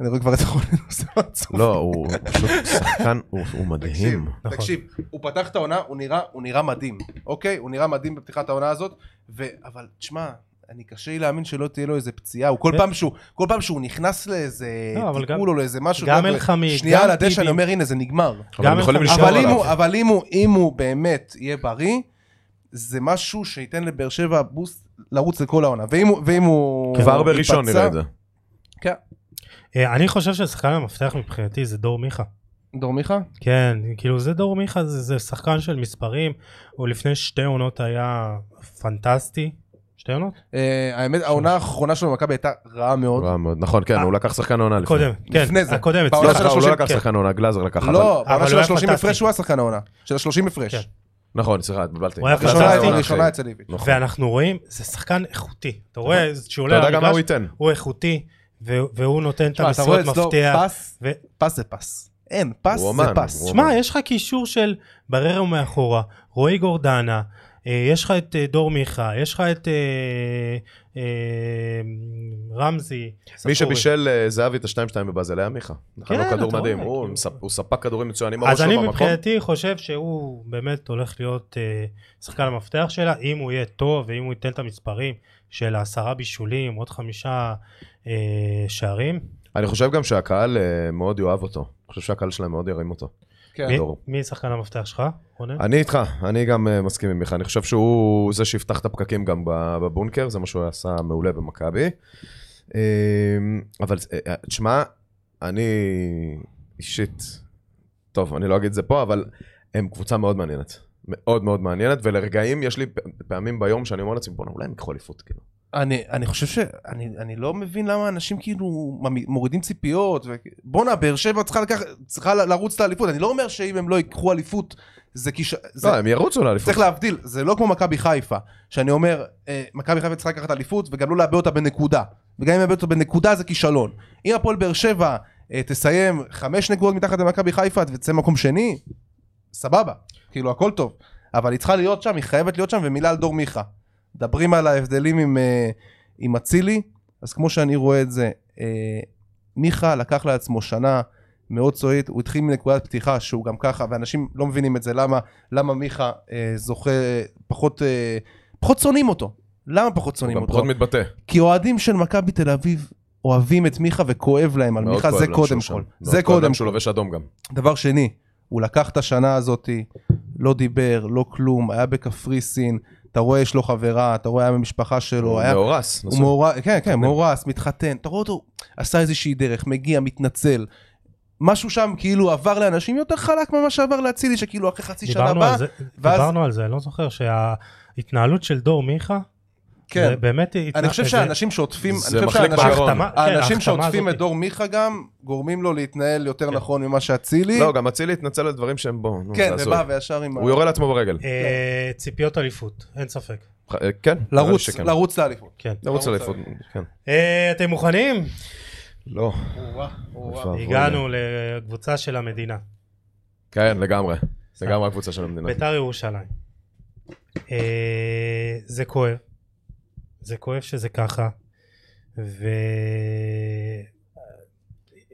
Speaker 2: אני רואה כבר את החולה נוסע עצוב.
Speaker 3: לא, הוא פשוט שחקן, הוא הוא מדהים.
Speaker 1: נכון.
Speaker 2: תקשיב, הוא פתח את העונה, הוא נראה, הוא נראה מדהים, אוקיי? הוא נראה מדהים בפתיחת העונה הזאת, ו... אבל תשמע, אני קשה לי להאמין שלא תהיה לו איזה פציעה, הוא כל
Speaker 1: כן.
Speaker 2: פעם שהוא, כל פעם שהוא נכנס לאיזה
Speaker 1: לא, אבל גם-
Speaker 2: טיפול או לאיזה משהו,
Speaker 1: גם
Speaker 2: אתה יודע,
Speaker 1: אלחמיד,
Speaker 2: שנייה
Speaker 1: גם
Speaker 2: על הדשא,
Speaker 1: טיבי.
Speaker 2: אני אומר, הנה זה נגמר.
Speaker 3: אבל הם יכולים
Speaker 1: אבל
Speaker 3: לשמור
Speaker 2: אבל, אם
Speaker 3: עליו.
Speaker 2: הוא, אבל אם, הוא, אם הוא באמת יהיה בריא, זה משהו שייתן לבאר שבע בוסט לרוץ לכל העונה. ואם, הוא- ואם הוא...
Speaker 3: כן. כבר בראשון
Speaker 2: ייפצע-
Speaker 3: נראה את זה.
Speaker 1: כן. אה, אני חושב ששחקן המפתח מבחינתי זה דור מיכה.
Speaker 2: דור מיכה?
Speaker 1: כן, כאילו זה דור מיכה, זה, זה שחקן של מספרים, הוא לפני שתי עונות היה פנטסטי. שתי עונות?
Speaker 2: אה, האמת, העונה האחרונה שלו במכבי הייתה רעה מאוד.
Speaker 3: רע מאוד. נכון, כן,
Speaker 1: אה.
Speaker 3: הוא לקח שחקן העונה לפני.
Speaker 1: קודם, כן,
Speaker 2: לפני זה.
Speaker 1: הקודמת,
Speaker 2: בעונה
Speaker 3: לא,
Speaker 1: סליחה.
Speaker 2: של
Speaker 3: סליחה, הוא לא
Speaker 2: השלושים,
Speaker 3: לקח
Speaker 1: כן.
Speaker 3: שחקן העונה, גלאזר לקח. אבל-
Speaker 2: לא, בעונה
Speaker 1: אבל
Speaker 2: של
Speaker 1: הוא היה
Speaker 2: ה-30
Speaker 1: פנטסטי.
Speaker 2: הפרש הוא היה שחקן העונה. של ה-30 הפרש.
Speaker 1: כן.
Speaker 3: נכון, סליחה, התבלבלתי.
Speaker 1: הוא היה
Speaker 3: הקלטה
Speaker 1: פנטסטי.
Speaker 2: הראשונה-
Speaker 3: העונה
Speaker 2: הראשונה
Speaker 3: אחרי.
Speaker 2: אצל איביץ'.
Speaker 3: נכון.
Speaker 1: ואנחנו רואים, זה שחקן איכותי. אתה רואה, כשהוא
Speaker 3: אתה
Speaker 1: עולה
Speaker 3: יודע גם מה הוא
Speaker 1: למגרש,
Speaker 3: ייתן.
Speaker 1: הוא איכותי, ו- והוא נותן את
Speaker 2: תשמע, אתה רואה
Speaker 1: המסירות
Speaker 2: אצלו
Speaker 1: מפתח.
Speaker 2: פס,
Speaker 1: ו-
Speaker 2: פס זה פס. אין, פס
Speaker 3: הוא
Speaker 2: זה
Speaker 3: אמן,
Speaker 2: פס.
Speaker 3: הוא
Speaker 1: שמע, יש לך קישור של בררו מאחורה, רועי גורדנה, אה, יש לך את אה, דור מיכה, יש לך את אה, אה, רמזי. ספורי.
Speaker 3: מי שבישל אה, זהבי את ה-2-2 בבאזל היה מיכה.
Speaker 1: כן,
Speaker 3: נתן לו כדור
Speaker 1: אתה
Speaker 3: מדהים.
Speaker 1: רואה,
Speaker 3: הוא
Speaker 1: כאילו.
Speaker 3: מספ- הוא ספק כדורים מצוינים בראש
Speaker 1: אז
Speaker 3: שלו
Speaker 1: אני
Speaker 3: לא במקום.
Speaker 1: מבחינתי חושב שהוא באמת הולך להיות אה, שחקן המפתח שלה, אם הוא יהיה טוב ואם הוא ייתן את המספרים של עשרה בישולים, עוד חמישה אה, שערים.
Speaker 2: כן,
Speaker 3: אני חושב גם שהקהל אה, מאוד יאהב אותו. אני חושב שהקהל שלהם מאוד ירים אותו.
Speaker 2: כן.
Speaker 1: מי-
Speaker 3: דור.
Speaker 1: מי שחקן המפתח שלך, רונן?
Speaker 3: אני איתך, אני גם אה, מסכים עם מיכה. אני חושב שהוא זה שיפתח את הפקקים גם בב- בבונקר, זה מה שהוא עשה מעולה במכבי. אה, אבל אה, תשמע, אני אישית, טוב, אני לא אגיד את זה פה, אבל הם קבוצה מאוד מעניינת. מאוד מאוד מעניינת, ולרגעים יש לי פ- פעמים ביום שאני אומר לעצמי, בוא'נה, אולי הם יקחו אליפות, כאילו.
Speaker 2: אני, אני חושב ש... אני, אני לא מבין למה אנשים כאילו ממ- מורידים ציפיות. ו... בואנה, באר שבע צריכה, לקח, צריכה ל- לרוץ לאליפות. אני לא אומר שאם הם לא ייקחו אליפות, זה כיש... זה...
Speaker 3: לא, הם ירוצו לאליפות.
Speaker 2: צריך להבדיל, זה לא כמו מכבי חיפה, שאני אומר, אה, מכבי חיפה צריכה לקחת אליפות וגם לא לאבד אותה בנקודה. וגם אם לאבד אותה בנקודה זה כישלון. אם הפועל באר שבע אה, תסיים חמש נקודות מתחת למכבי חיפה ותצא מקום שני, סבבה, כאילו הכל טוב. אבל היא צריכה להיות שם, היא חייבת להיות שם, ומילה על דור מיכה. מדברים על ההבדלים עם, אה, עם אצילי, אז כמו שאני רואה את זה, אה, מיכה לקח לעצמו שנה מאוד סועית, הוא התחיל מנקודת פתיחה שהוא גם ככה, ואנשים לא מבינים את זה, למה, למה מיכה אה, זוכה, פחות, אה, פחות שונאים אותו. למה פחות
Speaker 3: הוא
Speaker 2: שונאים
Speaker 3: גם
Speaker 2: אותו?
Speaker 3: פחות מתבטא.
Speaker 2: כי אוהדים של מכבי תל אביב אוהבים את מיכה וכואב להם על
Speaker 3: מאוד
Speaker 2: מיכה,
Speaker 3: כואב
Speaker 2: זה
Speaker 3: להם
Speaker 2: קודם
Speaker 3: שהוא
Speaker 2: כל.
Speaker 3: שם. מאוד
Speaker 2: זה
Speaker 3: כואב
Speaker 2: קודם
Speaker 3: להם שהוא לא לובש אדום גם.
Speaker 2: דבר שני, הוא לקח את השנה הזאתי, לא דיבר, לא כלום, היה בקפריסין, אתה רואה יש לו חברה, אתה רואה היה במשפחה שלו, כאילו,
Speaker 3: הוא
Speaker 2: היה...
Speaker 3: מאורס.
Speaker 2: הוא
Speaker 3: נכון.
Speaker 2: מאורס, כן, כן, מאורס, מתחתן, אתה רואה אותו, עשה איזושהי דרך, מגיע, מתנצל. משהו שם כאילו עבר לאנשים יותר חלק ממה שעבר לאצילי, שכאילו אחרי חצי שנה
Speaker 1: דיברנו
Speaker 2: הבאה,
Speaker 1: על זה,
Speaker 2: ואז-
Speaker 1: דיברנו על זה, אני לא זוכר שההתנהלות של דור מיכה,
Speaker 2: כן.
Speaker 1: זה באמת... התנה-
Speaker 2: אני חושב
Speaker 1: זה-
Speaker 2: שאנשים שעוטפים, אני
Speaker 3: זה
Speaker 2: חושב
Speaker 3: מחליק
Speaker 2: שהאנשים
Speaker 3: בעירון.
Speaker 1: ההחתמה- כן,
Speaker 2: האנשים
Speaker 1: ההחתמה
Speaker 2: שעוטפים
Speaker 1: הזאת.
Speaker 2: את דור מיכה גם, גורמים לו להתנהל יותר
Speaker 1: כן.
Speaker 2: נכון ממה שאצילי,
Speaker 3: לא, גם אצילי התנצל על דברים שהם בו. נו,
Speaker 2: כן,
Speaker 3: זה הזוי.
Speaker 2: ובא וישר עם ה...
Speaker 3: הוא יורה לעצמו ברגל.
Speaker 1: אה, ציפיות אליפות, אין ספק.
Speaker 3: אה, כן. נראה לי
Speaker 2: לרוץ,
Speaker 3: שכן.
Speaker 2: לרוץ לאליפות.
Speaker 1: כן.
Speaker 2: לרוץ
Speaker 3: לרוץ לאליפות, כן.
Speaker 1: אה, אתם מוכנים?
Speaker 3: לא.
Speaker 1: הגענו לקבוצה של המדינה,
Speaker 3: כן, לגמרי. לגמרי הקבוצה של
Speaker 4: נכון.
Speaker 3: המדינה.
Speaker 1: ביתר ירושלים. אה, זה כואב, זה כואב שזה ככה, ו...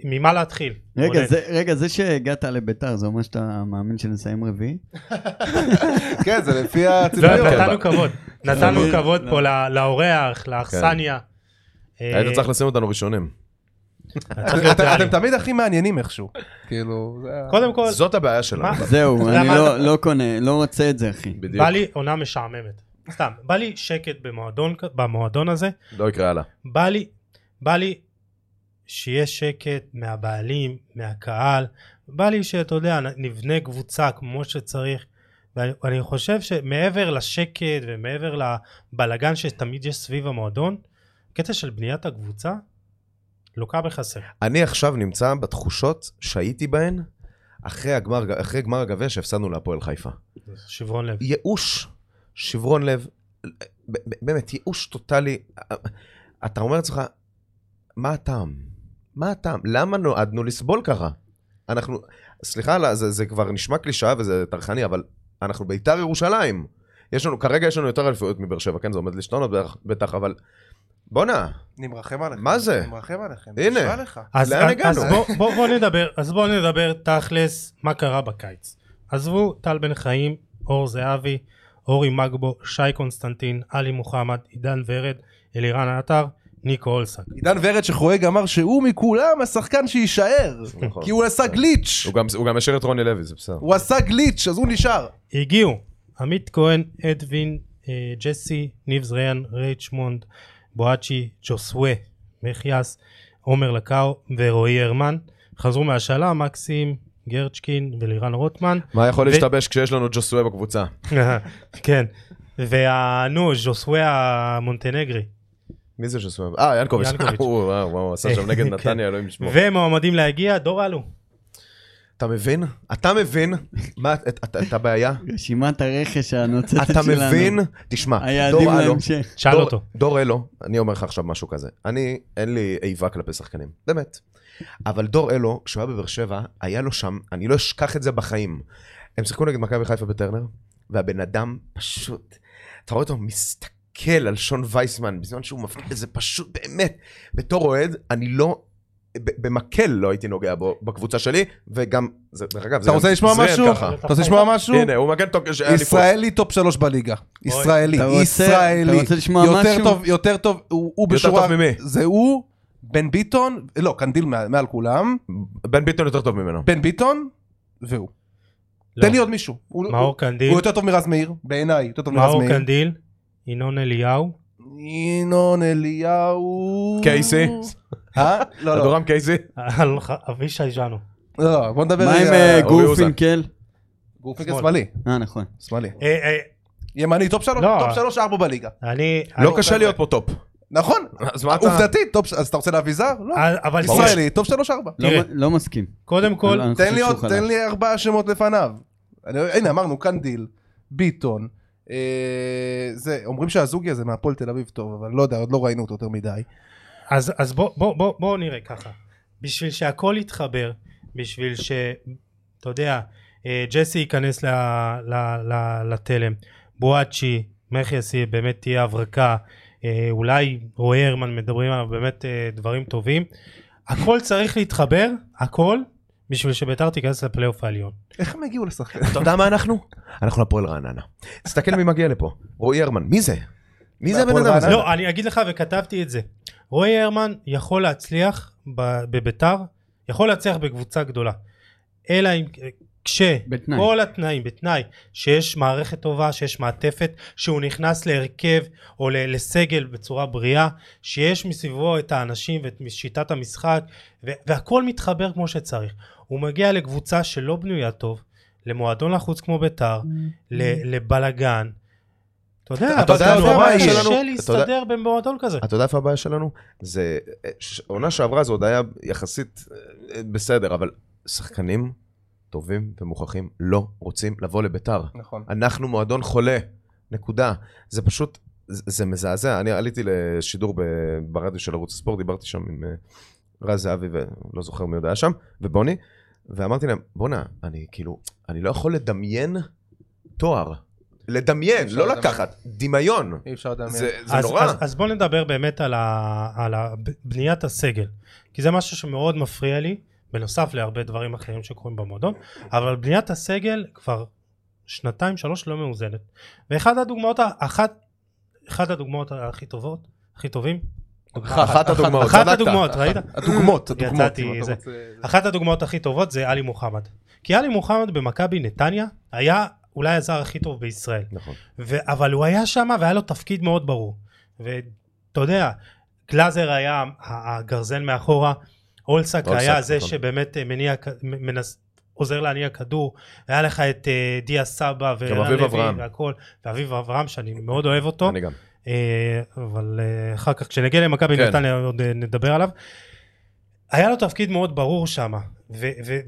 Speaker 1: ממה להתחיל?
Speaker 4: רגע,
Speaker 1: רונן?
Speaker 4: זה- רגע, זה שהגעת לביתר, זה אומר שאתה מאמין שנסיים רביעי?
Speaker 2: כן, זה לפי
Speaker 1: לא,
Speaker 2: הציפיות.
Speaker 3: כן,
Speaker 1: נתנו
Speaker 3: ב-
Speaker 1: כבוד. נתנו
Speaker 3: אבל-
Speaker 1: כבוד פה ל- לאורח, לאכסניה. אה,
Speaker 3: כן. היית צריך לשים אותנו ראשונים.
Speaker 1: צריך להיות
Speaker 2: אתם-
Speaker 1: ריאלי.
Speaker 2: אתם תמיד הכי מעניינים איכשהו. כאילו, זה ה-
Speaker 1: קודם כל,
Speaker 3: זאת הבעיה שלנו.
Speaker 1: מה?
Speaker 4: זהו,
Speaker 1: אתה
Speaker 4: אני
Speaker 1: יודע
Speaker 4: לא- לא קונה, לא רוצה את זה, אחי.
Speaker 3: בדיוק.
Speaker 1: בא לי עונה משעממת. סתם, בא לי שקט במועדון- במועדון הזה.
Speaker 3: לא יקרה הלאה.
Speaker 1: בא לי, בא לי שיהיה שקט מהבעלים, מהקהל, בא לי שאתה יודע, נ- נבנה קבוצה כמו שצריך, ואני אני חושב שמעבר לשקט ומעבר לבלגן שתמיד יש סביב המועדון, קטע של בניית הקבוצה לוקה בחסר.
Speaker 3: אני עכשיו נמצא בתחושות שהייתי בהן אחרי הגמר- אחרי גמר הגביע שהפסדנו להפועל חיפה.
Speaker 1: שברון לב.
Speaker 3: ייאוש, שברון לב, ב- ב- באמת, ייאוש טוטאלי. אתה אומר לעצמך, מה הטעם? מה הטעם? למה נועדנו לסבול ככה? אנחנו, סליחה, על ה- זה, זה כבר נשמע קלישאה וזה טרחני, אבל אנחנו בית"ר ירושלים. יש לנו, כרגע יש לנו יותר אליפויות מבאר שבע, כן? זה עומד להשתנות בטח- בטח, אבל... בואנה,
Speaker 2: אני מרחם עליכם.
Speaker 3: מה זה?
Speaker 2: אני מרחם עליכם.
Speaker 3: הנה.
Speaker 2: נשבע לך.
Speaker 1: אז,
Speaker 3: לאן
Speaker 1: אז,
Speaker 3: הגענו?
Speaker 1: אז בואו בוא, בוא נדבר, אז בואו נדבר תכלס מה קרה בקיץ. עזבו טל בן חיים, אור זהבי, אורי מגבו, שי קונסטנטין, עלי מוחמד, עידן ורד, אלירן עטר, ניקו אולסק.
Speaker 2: עידן ורד שחוגג אמר שהוא מכולם השחקן שיישאר.
Speaker 3: נכון.
Speaker 2: כי הוא עשה גליץ'.
Speaker 3: הוא גם, הוא גם השאיר את רוני לוי, זה בסדר.
Speaker 2: הוא עשה גליץ', אז הוא נשאר.
Speaker 1: הגיעו עמית כהן, אדווין, אה, ג'סי, ניב זריאן, רייצ'מונד, בואצ'י, ג'וסווה, מחיאס, עומר לקאו ורועי הרמן. חזרו מהשאלה, מקסים, גרצ'קין ולירן רוטמן.
Speaker 3: מה יכול
Speaker 1: ו-
Speaker 3: להשתבש כשיש לנו ג'וסואה בקבוצה?
Speaker 1: כן. וה... נו, ז'וסווה המונטנגרי.
Speaker 3: מי זה ג'וסואה? אה, ינקוביץ'.
Speaker 1: ינקוביץ'.
Speaker 3: הוא וואו, וואו, עשה שם נגד
Speaker 1: כן.
Speaker 3: נתניה, אלוהים ישמור.
Speaker 1: ומועמדים להגיע, דור אלו.
Speaker 3: אתה מבין? אתה מבין מה, את, את, את הבעיה?
Speaker 4: רשימת הרכש הנוצצת
Speaker 3: אתה
Speaker 4: שלנו.
Speaker 3: מבין? תשמע,
Speaker 4: היעדים
Speaker 3: דור אלו,
Speaker 4: להמשך.
Speaker 1: שאל
Speaker 3: דור-
Speaker 1: אותו.
Speaker 3: דור אלו, אני אומר לך עכשיו משהו כזה. אני, אין לי איבה כלפי שחקנים, באמת. אבל דור אלו, כשהוא היה בבאר שבע, היה לו שם, אני לא אשכח את זה בחיים. הם שיחקו נגד מכבי חיפה בטרנר, והבן אדם פשוט, אתה רואה אותו מסתכל על שון וייסמן בזמן שהוא מפקיד את זה פשוט, באמת, בתור אוהד, אני לא... ב- במקל לא הייתי נוגע בו בקבוצה שלי, וגם, זה, דרך אגב, זה
Speaker 2: אתה
Speaker 3: גם-
Speaker 2: רוצה לשמוע
Speaker 3: זריאן
Speaker 2: משהו?
Speaker 3: ככה.
Speaker 2: אתה רוצה לשמוע משהו?
Speaker 3: הנה, הוא מגן תוקף של אליפות.
Speaker 2: ישראלי טופ שלוש בליגה. ישראלי,
Speaker 4: אתה רוצה-
Speaker 2: ישראלי.
Speaker 4: אתה רוצה לשמוע
Speaker 2: יותר
Speaker 4: משהו?
Speaker 2: טוב, יותר טוב, הוא הוא
Speaker 3: יותר
Speaker 2: בשורה...
Speaker 3: טוב ממי?
Speaker 2: זה הוא, בן ביטון, לא, קנדיל מעל מעל כולם,
Speaker 3: בן ביטון יותר טוב ממנו.
Speaker 2: בן ביטון, והוא.
Speaker 1: לא.
Speaker 2: תן לי עוד מישהו. הוא-
Speaker 1: מאור
Speaker 2: הוא-
Speaker 1: קנדיל,
Speaker 2: הוא יותר טוב מרז מאיר, בעיניי, יותר טוב מרז
Speaker 1: מאור
Speaker 4: כן.
Speaker 2: מאיר.
Speaker 1: קנדיל, ינון אליהו,
Speaker 2: ינון אליהו...
Speaker 3: קייסי?
Speaker 2: אה? לא, לא.
Speaker 3: אדורם קייזי?
Speaker 1: אלון ח- אה, אבישי ז'אנו.
Speaker 2: לא, בוא נדבר
Speaker 4: מה
Speaker 2: רגע.
Speaker 4: עם אה,
Speaker 3: אורי
Speaker 4: גורפינקל?
Speaker 2: גורפינקל
Speaker 1: שמאל.
Speaker 2: שמאלי.
Speaker 4: אה, נכון.
Speaker 2: שמאלי.
Speaker 1: אה, אה,
Speaker 2: ימני, טופ שלוש,
Speaker 1: לא.
Speaker 2: טופ שלוש, ארבע בליגה.
Speaker 1: אני...
Speaker 3: לא
Speaker 1: אני-
Speaker 3: קשה להיות פה טופ.
Speaker 2: נכון,
Speaker 3: אז מה אתה...
Speaker 2: עובדתית, טופ- אז אתה רוצה להביא זר? לא.
Speaker 1: אה, אבל
Speaker 3: ברור.
Speaker 2: ישראלי, טופ שלוש ארבע.
Speaker 4: לא
Speaker 1: תראה.
Speaker 4: מ- לא מסכים.
Speaker 1: קודם כל,
Speaker 4: לא, אני חושב
Speaker 2: תן לי עוד,
Speaker 4: שהוא חלש.
Speaker 2: תן לי ארבעה שמות לפניו. אני, הנה אמרנו קנדיל, ביטון, אה, זה, אומרים שהזוגי הזה מהפועל תל אביב טוב, אבל לא יודע, עוד לא ראינו אותו יותר מדי.
Speaker 1: אז, אז בואו בוא, בוא, בוא נראה ככה. בשביל שהכל יתחבר, בשביל ש... אתה יודע, אה, ג'סי ייכנס ל- ל- ל- לתלם, בואצ'י, מחיאסי, באמת תהיה הברקה, אה, אולי רועי הרמן מדברים עליו באמת אה, דברים טובים. הכל צריך להתחבר, הכל, בשביל שביתר תיכנס לפלייאוף העליון.
Speaker 2: איך הם הגיעו לשחקן?
Speaker 3: אתה יודע מה אנחנו? אנחנו הפועל רעננה. תסתכל מי מגיע לפה. רועי הרמן, מי זה? מי זה הבן
Speaker 2: והפועל
Speaker 3: אדם הזה?
Speaker 2: רעננה.
Speaker 1: לא, אני אגיד לך וכתבתי את זה. רועי הרמן יכול להצליח ב- בביתר, יכול להצליח בקבוצה גדולה. אלא אם... כש...
Speaker 4: בתנאי.
Speaker 1: כל התנאים, בתנאי שיש מערכת טובה, שיש מעטפת, שהוא נכנס להרכב או ל- לסגל בצורה בריאה, שיש מסביבו את האנשים ואת שיטת המשחק, ו- והכל מתחבר כמו שצריך. הוא מגיע לקבוצה שלא בנויה טוב, למועדון לחוץ כמו ביתר, ל- לבלגן. אתה יודע,
Speaker 3: אתה יודע
Speaker 1: אבל
Speaker 3: מה
Speaker 1: נורא
Speaker 3: הבעיה שלנו?
Speaker 1: קשה
Speaker 3: אתה יודע-
Speaker 1: להסתדר במועדון כזה.
Speaker 3: אתה יודע איפה הבעיה שלנו? זה... ש- עונה שעברה זה עוד היה יחסית אה, בסדר, אבל שחקנים טובים ומוכחים לא רוצים לבוא לביתר.
Speaker 2: נכון.
Speaker 3: אנחנו מועדון חולה, נקודה. זה פשוט, זה, זה מזעזע. אני עליתי לשידור ב, ברדיו של ערוץ הספורט, דיברתי שם עם אה, רז זהבי ולא זוכר מי עוד היה שם, ובוני, ואמרתי להם, בואנה, אני כאילו, אני לא יכול לדמיין תואר. לדמיין,
Speaker 2: אפשר
Speaker 3: לא
Speaker 2: לדמיין.
Speaker 3: לקחת, דמיון.
Speaker 2: אי אפשר לדמיין.
Speaker 3: זה, זה
Speaker 1: אז,
Speaker 3: נורא.
Speaker 1: אז, אז בוא נדבר באמת על, ה, על ה, בניית הסגל, כי זה משהו שמאוד מפריע לי, בנוסף להרבה דברים אחרים שקורים במועדון, אבל בניית הסגל כבר שנתיים שלוש לא מאוזנת. ואחת הדוגמאות, ה- אחת אחת הדוגמאות הכי טובות, הכי טובים,
Speaker 3: אחת הדוגמאות,
Speaker 1: אחת
Speaker 3: צדקת.
Speaker 1: הדוגמאות, ראית?
Speaker 2: הדוגמות, הדוגמות.
Speaker 1: יצאתי
Speaker 2: אם אתה
Speaker 1: זה.
Speaker 2: רוצה-
Speaker 1: אחת הדוגמאות הכי טובות זה עלי מוחמד. כי עלי מוחמד במכבי נתניה היה אולי הזר הכי טוב בישראל.
Speaker 3: נכון.
Speaker 1: ו- אבל הוא היה שם והיה לו תפקיד מאוד ברור. ואתה יודע, גלאזר היה ה- הגרזן מאחורה, אולסק
Speaker 3: אולסק,
Speaker 1: היה זה
Speaker 3: נכון.
Speaker 1: שבאמת אה, מניע, כ- מ- מנס, עוזר להניע כדור, היה לך את אה, דיה סבא
Speaker 3: גם
Speaker 1: ורן
Speaker 3: אביב
Speaker 1: לוי
Speaker 3: אברהם.
Speaker 1: והכל, ואביב אברהם שאני מאוד אוהב אותו.
Speaker 3: אני גם.
Speaker 1: אה, אבל אה, אחר כך כשנגיע למכבי
Speaker 3: כן.
Speaker 1: נתניה עוד אה, נדבר עליו. היה לו תפקיד מאוד ברור שם,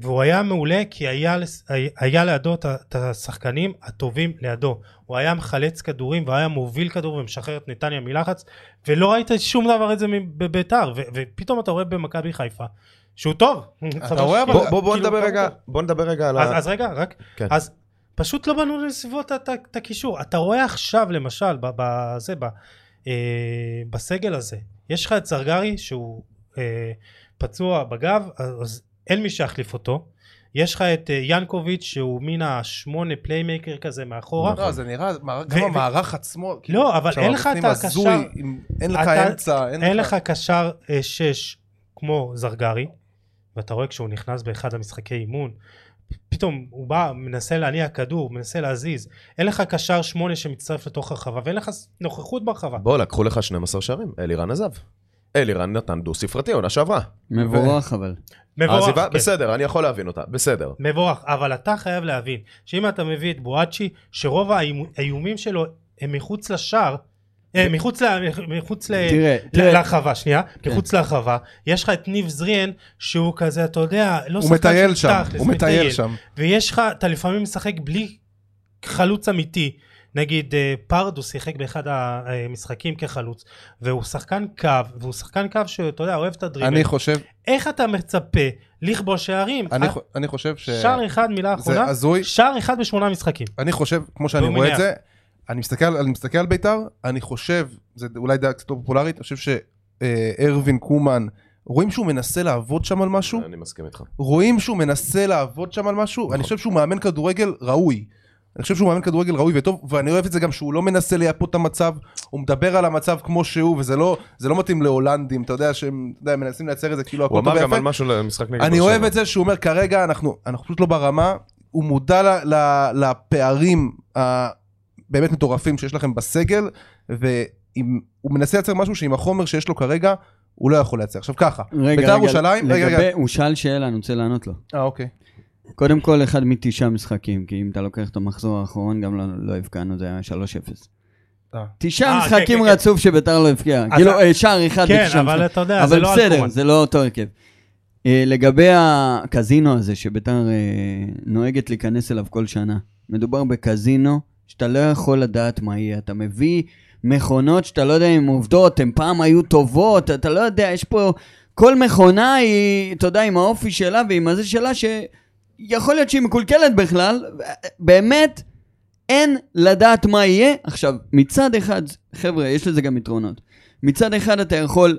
Speaker 1: והוא היה מעולה כי היה, לס- היה לידו את ה- את השחקנים הטובים לידו. הוא היה מחלץ כדורים והיה מוביל כדור ומשחרר את נתניה מלחץ, ולא ראית שום דבר את זה בביתר, ו- ופתאום אתה רואה במכבי חיפה שהוא טוב.
Speaker 2: אתה רואה אבל...
Speaker 3: בוא- בוא בוא
Speaker 1: כאילו,
Speaker 3: נדבר
Speaker 1: הוא
Speaker 3: רגע,
Speaker 1: טוב.
Speaker 3: בוא נדבר רגע על
Speaker 1: אז,
Speaker 3: ה...
Speaker 1: אז רגע, רק,
Speaker 3: כן.
Speaker 1: כן. אז פשוט לא בנו לסביבות את ה- את הקישור. אתה רואה עכשיו, למשל, ב- בזה, ב- אה, בסגל הזה, יש לך את זרגרי שהוא אה, פצוע בגב, אז אין מי שיחליף אותו. יש לך את אה, ינקוביץ' שהוא מן השמונה פליימייקר כזה מאחורה.
Speaker 2: לא, זה נראה, גם
Speaker 1: ו-
Speaker 2: המערך עצמו. כאילו,
Speaker 1: לא, אבל
Speaker 2: שם
Speaker 1: אין לך את
Speaker 2: מבפנים
Speaker 1: הקשר-
Speaker 2: הזוי, עם- אין לך
Speaker 1: אתה-
Speaker 2: אמצע,
Speaker 1: אין לך קשר אה, שש כמו זרגרי, ואתה רואה כשהוא נכנס באחד המשחקי אימון, פתאום הוא בא, מנסה להניע כדור, מנסה להזיז. אין לך קשר שמונה שמצטרף לתוך הרחבה, ואין לך ס- נוכחות ברחבה.
Speaker 3: בוא, לקחו לך 12 שערים, אלירן עזב. אלירן נתן דו ספרתי עונה שעברה.
Speaker 4: מבורך
Speaker 1: אה,
Speaker 4: אבל.
Speaker 1: מבורך,
Speaker 3: העזיבה-
Speaker 1: כן.
Speaker 3: בסדר, אני יכול להבין אותה, בסדר.
Speaker 1: מבורך, אבל אתה חייב להבין, שאם אתה מביא את בואצ'י, שרוב האימו- האיומים שלו הם מחוץ לשער, אה, מחוץ ל... מחוץ ל...
Speaker 4: תראה,
Speaker 1: ל-
Speaker 4: תראה,
Speaker 1: להרחבה, שנייה,
Speaker 2: כן.
Speaker 1: מחוץ להרחבה, יש לך את ניב זריאן, שהוא כזה, אתה יודע, לא
Speaker 2: הוא מטייל
Speaker 1: של
Speaker 2: שם,
Speaker 1: תכלס,
Speaker 2: הוא מטייל שם.
Speaker 1: ויש לך, אתה לפעמים משחק בלי חלוץ אמיתי. נגיד אה, פרדו שיחק באחד המשחקים כחלוץ, והוא שחקן קו, והוא שחקן קו שאתה יודע, אוהב את הדריבל.
Speaker 2: אני חושב,
Speaker 1: איך אתה מצפה לכבוש שערים?
Speaker 2: אני
Speaker 1: אה,
Speaker 2: חו- אני חושב ש...
Speaker 1: שער אחד, מילה
Speaker 2: זה
Speaker 1: אחרונה,
Speaker 2: הזוי.
Speaker 1: שער אחד בשמונה משחקים.
Speaker 2: אני חושב, כמו שאני
Speaker 1: דומינר.
Speaker 2: רואה את זה, אני מסתכל, אני מסתכל על בית"ר, אני חושב, זה אולי דעה קצת לא פופולרית, אני חושב שארווין קומן, רואים שהוא מנסה לעבוד שם על משהו,
Speaker 3: אני מסכים איתך.
Speaker 2: רואים שהוא מנסה לעבוד שם על משהו,
Speaker 3: נכון.
Speaker 2: אני חושב שהוא מאמן כדורגל ראוי. אני חושב שהוא מאמן כדורגל ראוי וטוב, ואני אוהב את זה גם שהוא לא מנסה לייפות את המצב, הוא מדבר על המצב כמו שהוא, וזה לא, זה לא מתאים להולנדים, אתה יודע שהם אתה יודע, מנסים לייצר את זה כאילו
Speaker 3: הוא
Speaker 2: הכל טוב
Speaker 3: אמר
Speaker 2: ויפה.
Speaker 3: גם על משהו למשחק נגד...
Speaker 2: אני אוהב את זה שהוא אומר כרגע אנחנו אנחנו פשוט לא ברמה הוא מודע ל, ל, לפערים הבאמת מטורפים שיש לכם בסגל והוא מנסה לייצר משהו שעם החומר שיש לו כרגע הוא לא יכול לייצר עכשיו ככה
Speaker 4: רגע,
Speaker 2: בית"ר
Speaker 4: רגע,
Speaker 2: ירושלים- רגע,
Speaker 4: לגבי-
Speaker 2: רגע.
Speaker 4: הוא שאל שאלה, אני רוצה לענות לו.
Speaker 2: אה אוקיי
Speaker 4: קודם כל, אחד מתשעה משחקים, כי אם אתה לוקח את המחזור האחרון, גם לא- לא הבקענו, זה היה 3-0.
Speaker 2: אה.
Speaker 4: תשעה
Speaker 1: אה, כן,
Speaker 4: משחקים
Speaker 1: כן, כן.
Speaker 4: רצוף שביתר לא הבקיעה.
Speaker 1: אז
Speaker 4: כאילו,
Speaker 1: ה-
Speaker 4: אה, שער אחד
Speaker 1: כן,
Speaker 4: בתשעה
Speaker 1: אבל
Speaker 4: משחקים.
Speaker 1: אתה יודע, זה
Speaker 4: אבל
Speaker 1: לא
Speaker 4: בסדר,
Speaker 1: אלכוהול.
Speaker 4: זה לא אותו הרכב. אה, לגבי הקזינו הזה שביתר אה, נוהגת להיכנס אליו כל שנה, מדובר בקזינו שאתה לא יכול לדעת מה יהיה. אתה מביא מכונות שאתה לא יודע אם הן עובדות, הן פעם היו טובות, אתה לא יודע, יש פה... כל מכונה היא, אתה יודע, עם האופי שלה ועם הזה שלה, שיכול להיות שהיא מקולקלת בכלל, ו- באמת, אין לדעת מה יהיה. עכשיו, מצד אחד, חבר'ה, יש לזה גם יתרונות. מצד אחד אתה יכול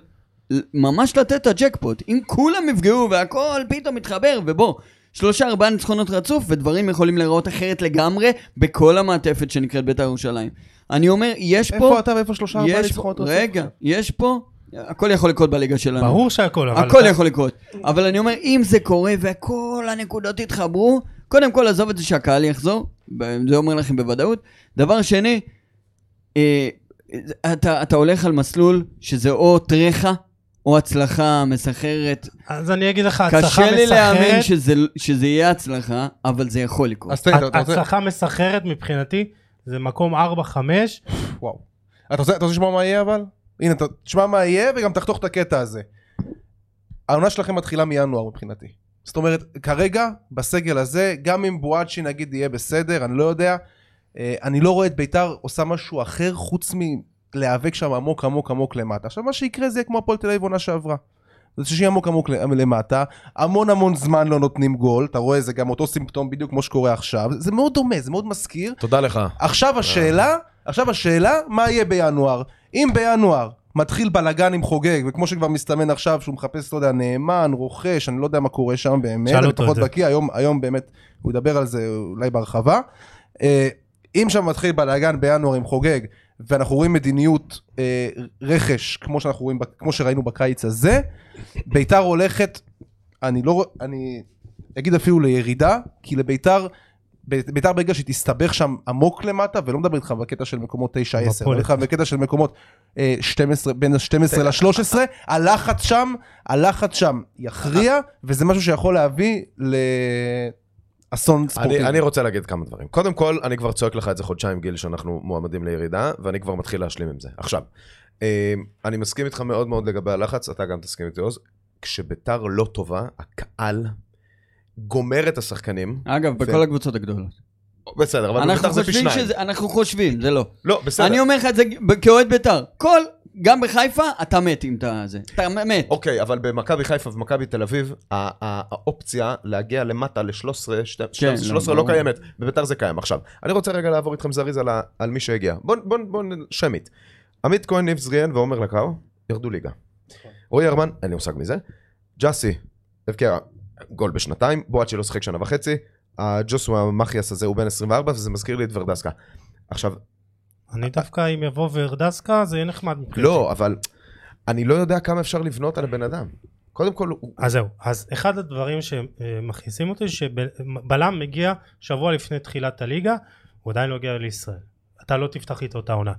Speaker 4: ל- ממש לתת את הג'קפוט. אם כולם יפגעו והכל פתאום מתחבר, ובוא, שלושה ארבעה ניצחונות רצוף, ודברים יכולים להיראות אחרת לגמרי בכל המעטפת שנקראת בית"ר ירושלים. אני אומר, יש פה...
Speaker 2: איפה אתה ואיפה שלושה ארבעה
Speaker 4: יש פה,
Speaker 2: ניצחונות רצוף?
Speaker 4: רגע, יש פה, הכל יכול לקרות בליגה שלנו.
Speaker 1: ברור שהכל, אבל...
Speaker 4: הכל
Speaker 1: אתה-
Speaker 4: יכול לקרות. אבל אני אומר, אם זה קורה וכל הנקודות יתחברו, קודם כל עזוב את זה שהקהל יחזור, ב- זה אומר לכם בוודאות. דבר שני, אה, אתה, אתה הולך על מסלול שזה או טרחה, או הצלחה מסחררת.
Speaker 1: אז אני אגיד לך, הצלחה
Speaker 4: קשה לי להאמין
Speaker 1: מסחררת,
Speaker 4: שזה, שזה יהיה הצלחה, אבל זה יכול לקרות.
Speaker 2: אז תן לי, אתה רוצה
Speaker 1: הצלחה מסחררת מבחינתי, זה מקום 4-5,
Speaker 2: וואו אתה רוצה אתה רוצה לשמוע מה יהיה אבל הנה אתה- תשמע מה יהיה וגם תחתוך את הקטע הזה. העונה שלכם מתחילה מינואר מבחינתי. זאת אומרת, כרגע, בסגל הזה, גם אם בואצ'י נגיד יהיה בסדר, אני לא יודע, אה, אני לא רואה את ביתר עושה משהו אחר חוץ מלהיאבק שם עמוק עמוק עמוק למטה. עכשיו, מה שיקרה זה יהיה כמו הפועל תל אביב עונה שעברה. זה שיהיה עמוק עמוק למטה, המון המון זמן לא נותנים גול, אתה רואה, זה גם אותו סימפטום בדיוק כמו שקורה עכשיו, זה מאוד דומה, זה מאוד מזכיר,
Speaker 3: תודה לך.
Speaker 1: אה.
Speaker 2: עכשיו השאלה, עכשיו השאלה, מה יהיה בינואר? אם בינואר מתחיל בלאגן עם חוגג, וכמו שכבר מסתמן עכשיו, שהוא מחפש, לא יודע, נאמן, רוכש, אני לא יודע מה קורה שם באמת,
Speaker 1: שאל
Speaker 2: אני
Speaker 1: אותו את
Speaker 2: פחות
Speaker 1: זה.
Speaker 2: בקיא, היום, היום באמת, הוא ידבר על זה אולי בהרחבה. אה, אם שם מתחיל בלאגן בינואר עם חוגג, ואנחנו רואים מדיניות אה, רכש, כמו, שאנחנו רואים, ב- כמו שראינו בקיץ הזה, ביתר הולכת, אני לא, רוא- אני אגיד אפילו לירידה, כי לביתר, בית- ביתר ברגע שהיא תסתבך שם עמוק למטה, ולא מדבר איתך בקטע של מקומות 9-10, מדבר
Speaker 1: מפולת.
Speaker 2: איתך בקטע של מקומות אה, 12, בין ה-12 ל-13, הלחץ שם, הלחץ שם יכריע, וזה משהו שיכול להביא לאסון ספורטיבי.
Speaker 3: אני, אני רוצה להגיד כמה דברים. קודם כל, אני כבר צועק לך את זה חודשיים, גיל, שאנחנו מועמדים לירידה, ואני כבר מתחיל להשלים עם זה. עכשיו, אה, אני מסכים איתך מאוד מאוד לגבי הלחץ, אתה גם תסכים איתי, עוז. כשביתר לא טובה, הקהל גומר את השחקנים.
Speaker 4: אגב, בכל הקבוצות הגדולות.
Speaker 3: בסדר, אבל
Speaker 4: אנחנו
Speaker 3: בביתר זה פי
Speaker 4: חושבים
Speaker 3: שניים.
Speaker 4: שזה, אנחנו חושבים, זה לא.
Speaker 3: לא, בסדר.
Speaker 4: אני אומר לך את זה ב- כאוהד בית"ר. כל, גם בחיפה, אתה מת עם אתה זה. אתה מ- מת.
Speaker 3: אוקיי, אבל במכבי חיפה ובמכבי תל אביב, ה- ה- האופציה להגיע למטה ל-13, 12, 13 לא
Speaker 4: ברור.
Speaker 3: קיימת, בביתר זה קיים. עכשיו, אני רוצה רגע לעבור איתכם זריז על ה- על מי שהגיע. בואו שמית. עמית כהן, ניב זריאן ועומר לקאו, ירדו ליגה. רועי הרמן, אין לי מושג מזה. ג'אסי, הבקיע גול בשנתיים, בואצ'י לא שיחק שנה וחצי. הג'וסווה מחיאס הזה הוא בן 24, וזה מזכיר לי את ורדסקה. עכשיו,
Speaker 1: אני דווקא, אם יבוא ורדסקה, זה יהיה נחמד מבחינתי.
Speaker 3: לא, אבל אני לא יודע כמה אפשר לבנות על הבן אדם. קודם כל, הוא-
Speaker 1: אז זהו, אז אחד הדברים שמכניסים אותי, שבלם מגיע שבוע לפני תחילת הליגה, הוא עדיין לא הגיע לישראל. אתה לא תפתח איתו את העונה.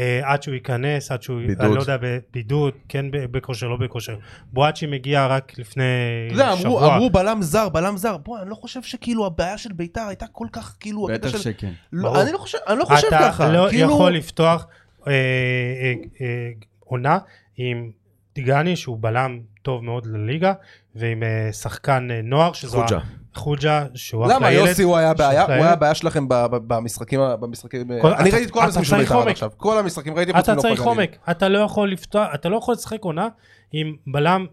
Speaker 1: אה, עד שהוא ייכנס, עד שהוא,
Speaker 3: בידוד.
Speaker 1: אני לא יודע, בבידוד, כן ב- בכושר, לא בכושר. בואצ'י מגיע רק לפני
Speaker 2: אתה יודע, אמרו,
Speaker 1: כאילו, שבוע.
Speaker 2: אמרו בלם זר, בלם זר, בוא, אני לא חושב שכאילו הבעיה של ביתר הייתה כל כך, כאילו, הקטע
Speaker 4: בטח
Speaker 2: של...
Speaker 4: שכן.
Speaker 1: ברור.
Speaker 2: לא, אני לא חושב, אני לא חושב ככה,
Speaker 1: אתה לא
Speaker 2: כאילו...
Speaker 1: יכול לפתוח אה, אה, אה, עונה עם דיגני, שהוא בלם טוב מאוד לליגה, ועם אה, שחקן אה, נוער, שזו... ה-
Speaker 3: חוג'ה.
Speaker 1: חוג'ה, שהוא אחלה ילד.
Speaker 2: למה יוסי הוא היה בעיה, הוא
Speaker 1: אחלה
Speaker 2: היה
Speaker 1: ילד.
Speaker 2: הבעיה שלכם ב- ב- במשחקים, ה- במשחקים,
Speaker 1: כל-
Speaker 2: אני
Speaker 1: אתה-
Speaker 2: ראיתי את כל
Speaker 1: אתה
Speaker 2: המשחקים של
Speaker 1: צריך
Speaker 2: ביתר עד
Speaker 1: עומק.
Speaker 2: עכשיו, כל המשחקים, ראיתי חוץ
Speaker 1: אתה
Speaker 2: מנוף
Speaker 1: צריך
Speaker 2: הגליל.
Speaker 1: עומק, אתה לא יכול לפתוח, אתה לא יכול לשחק עונה עם בלם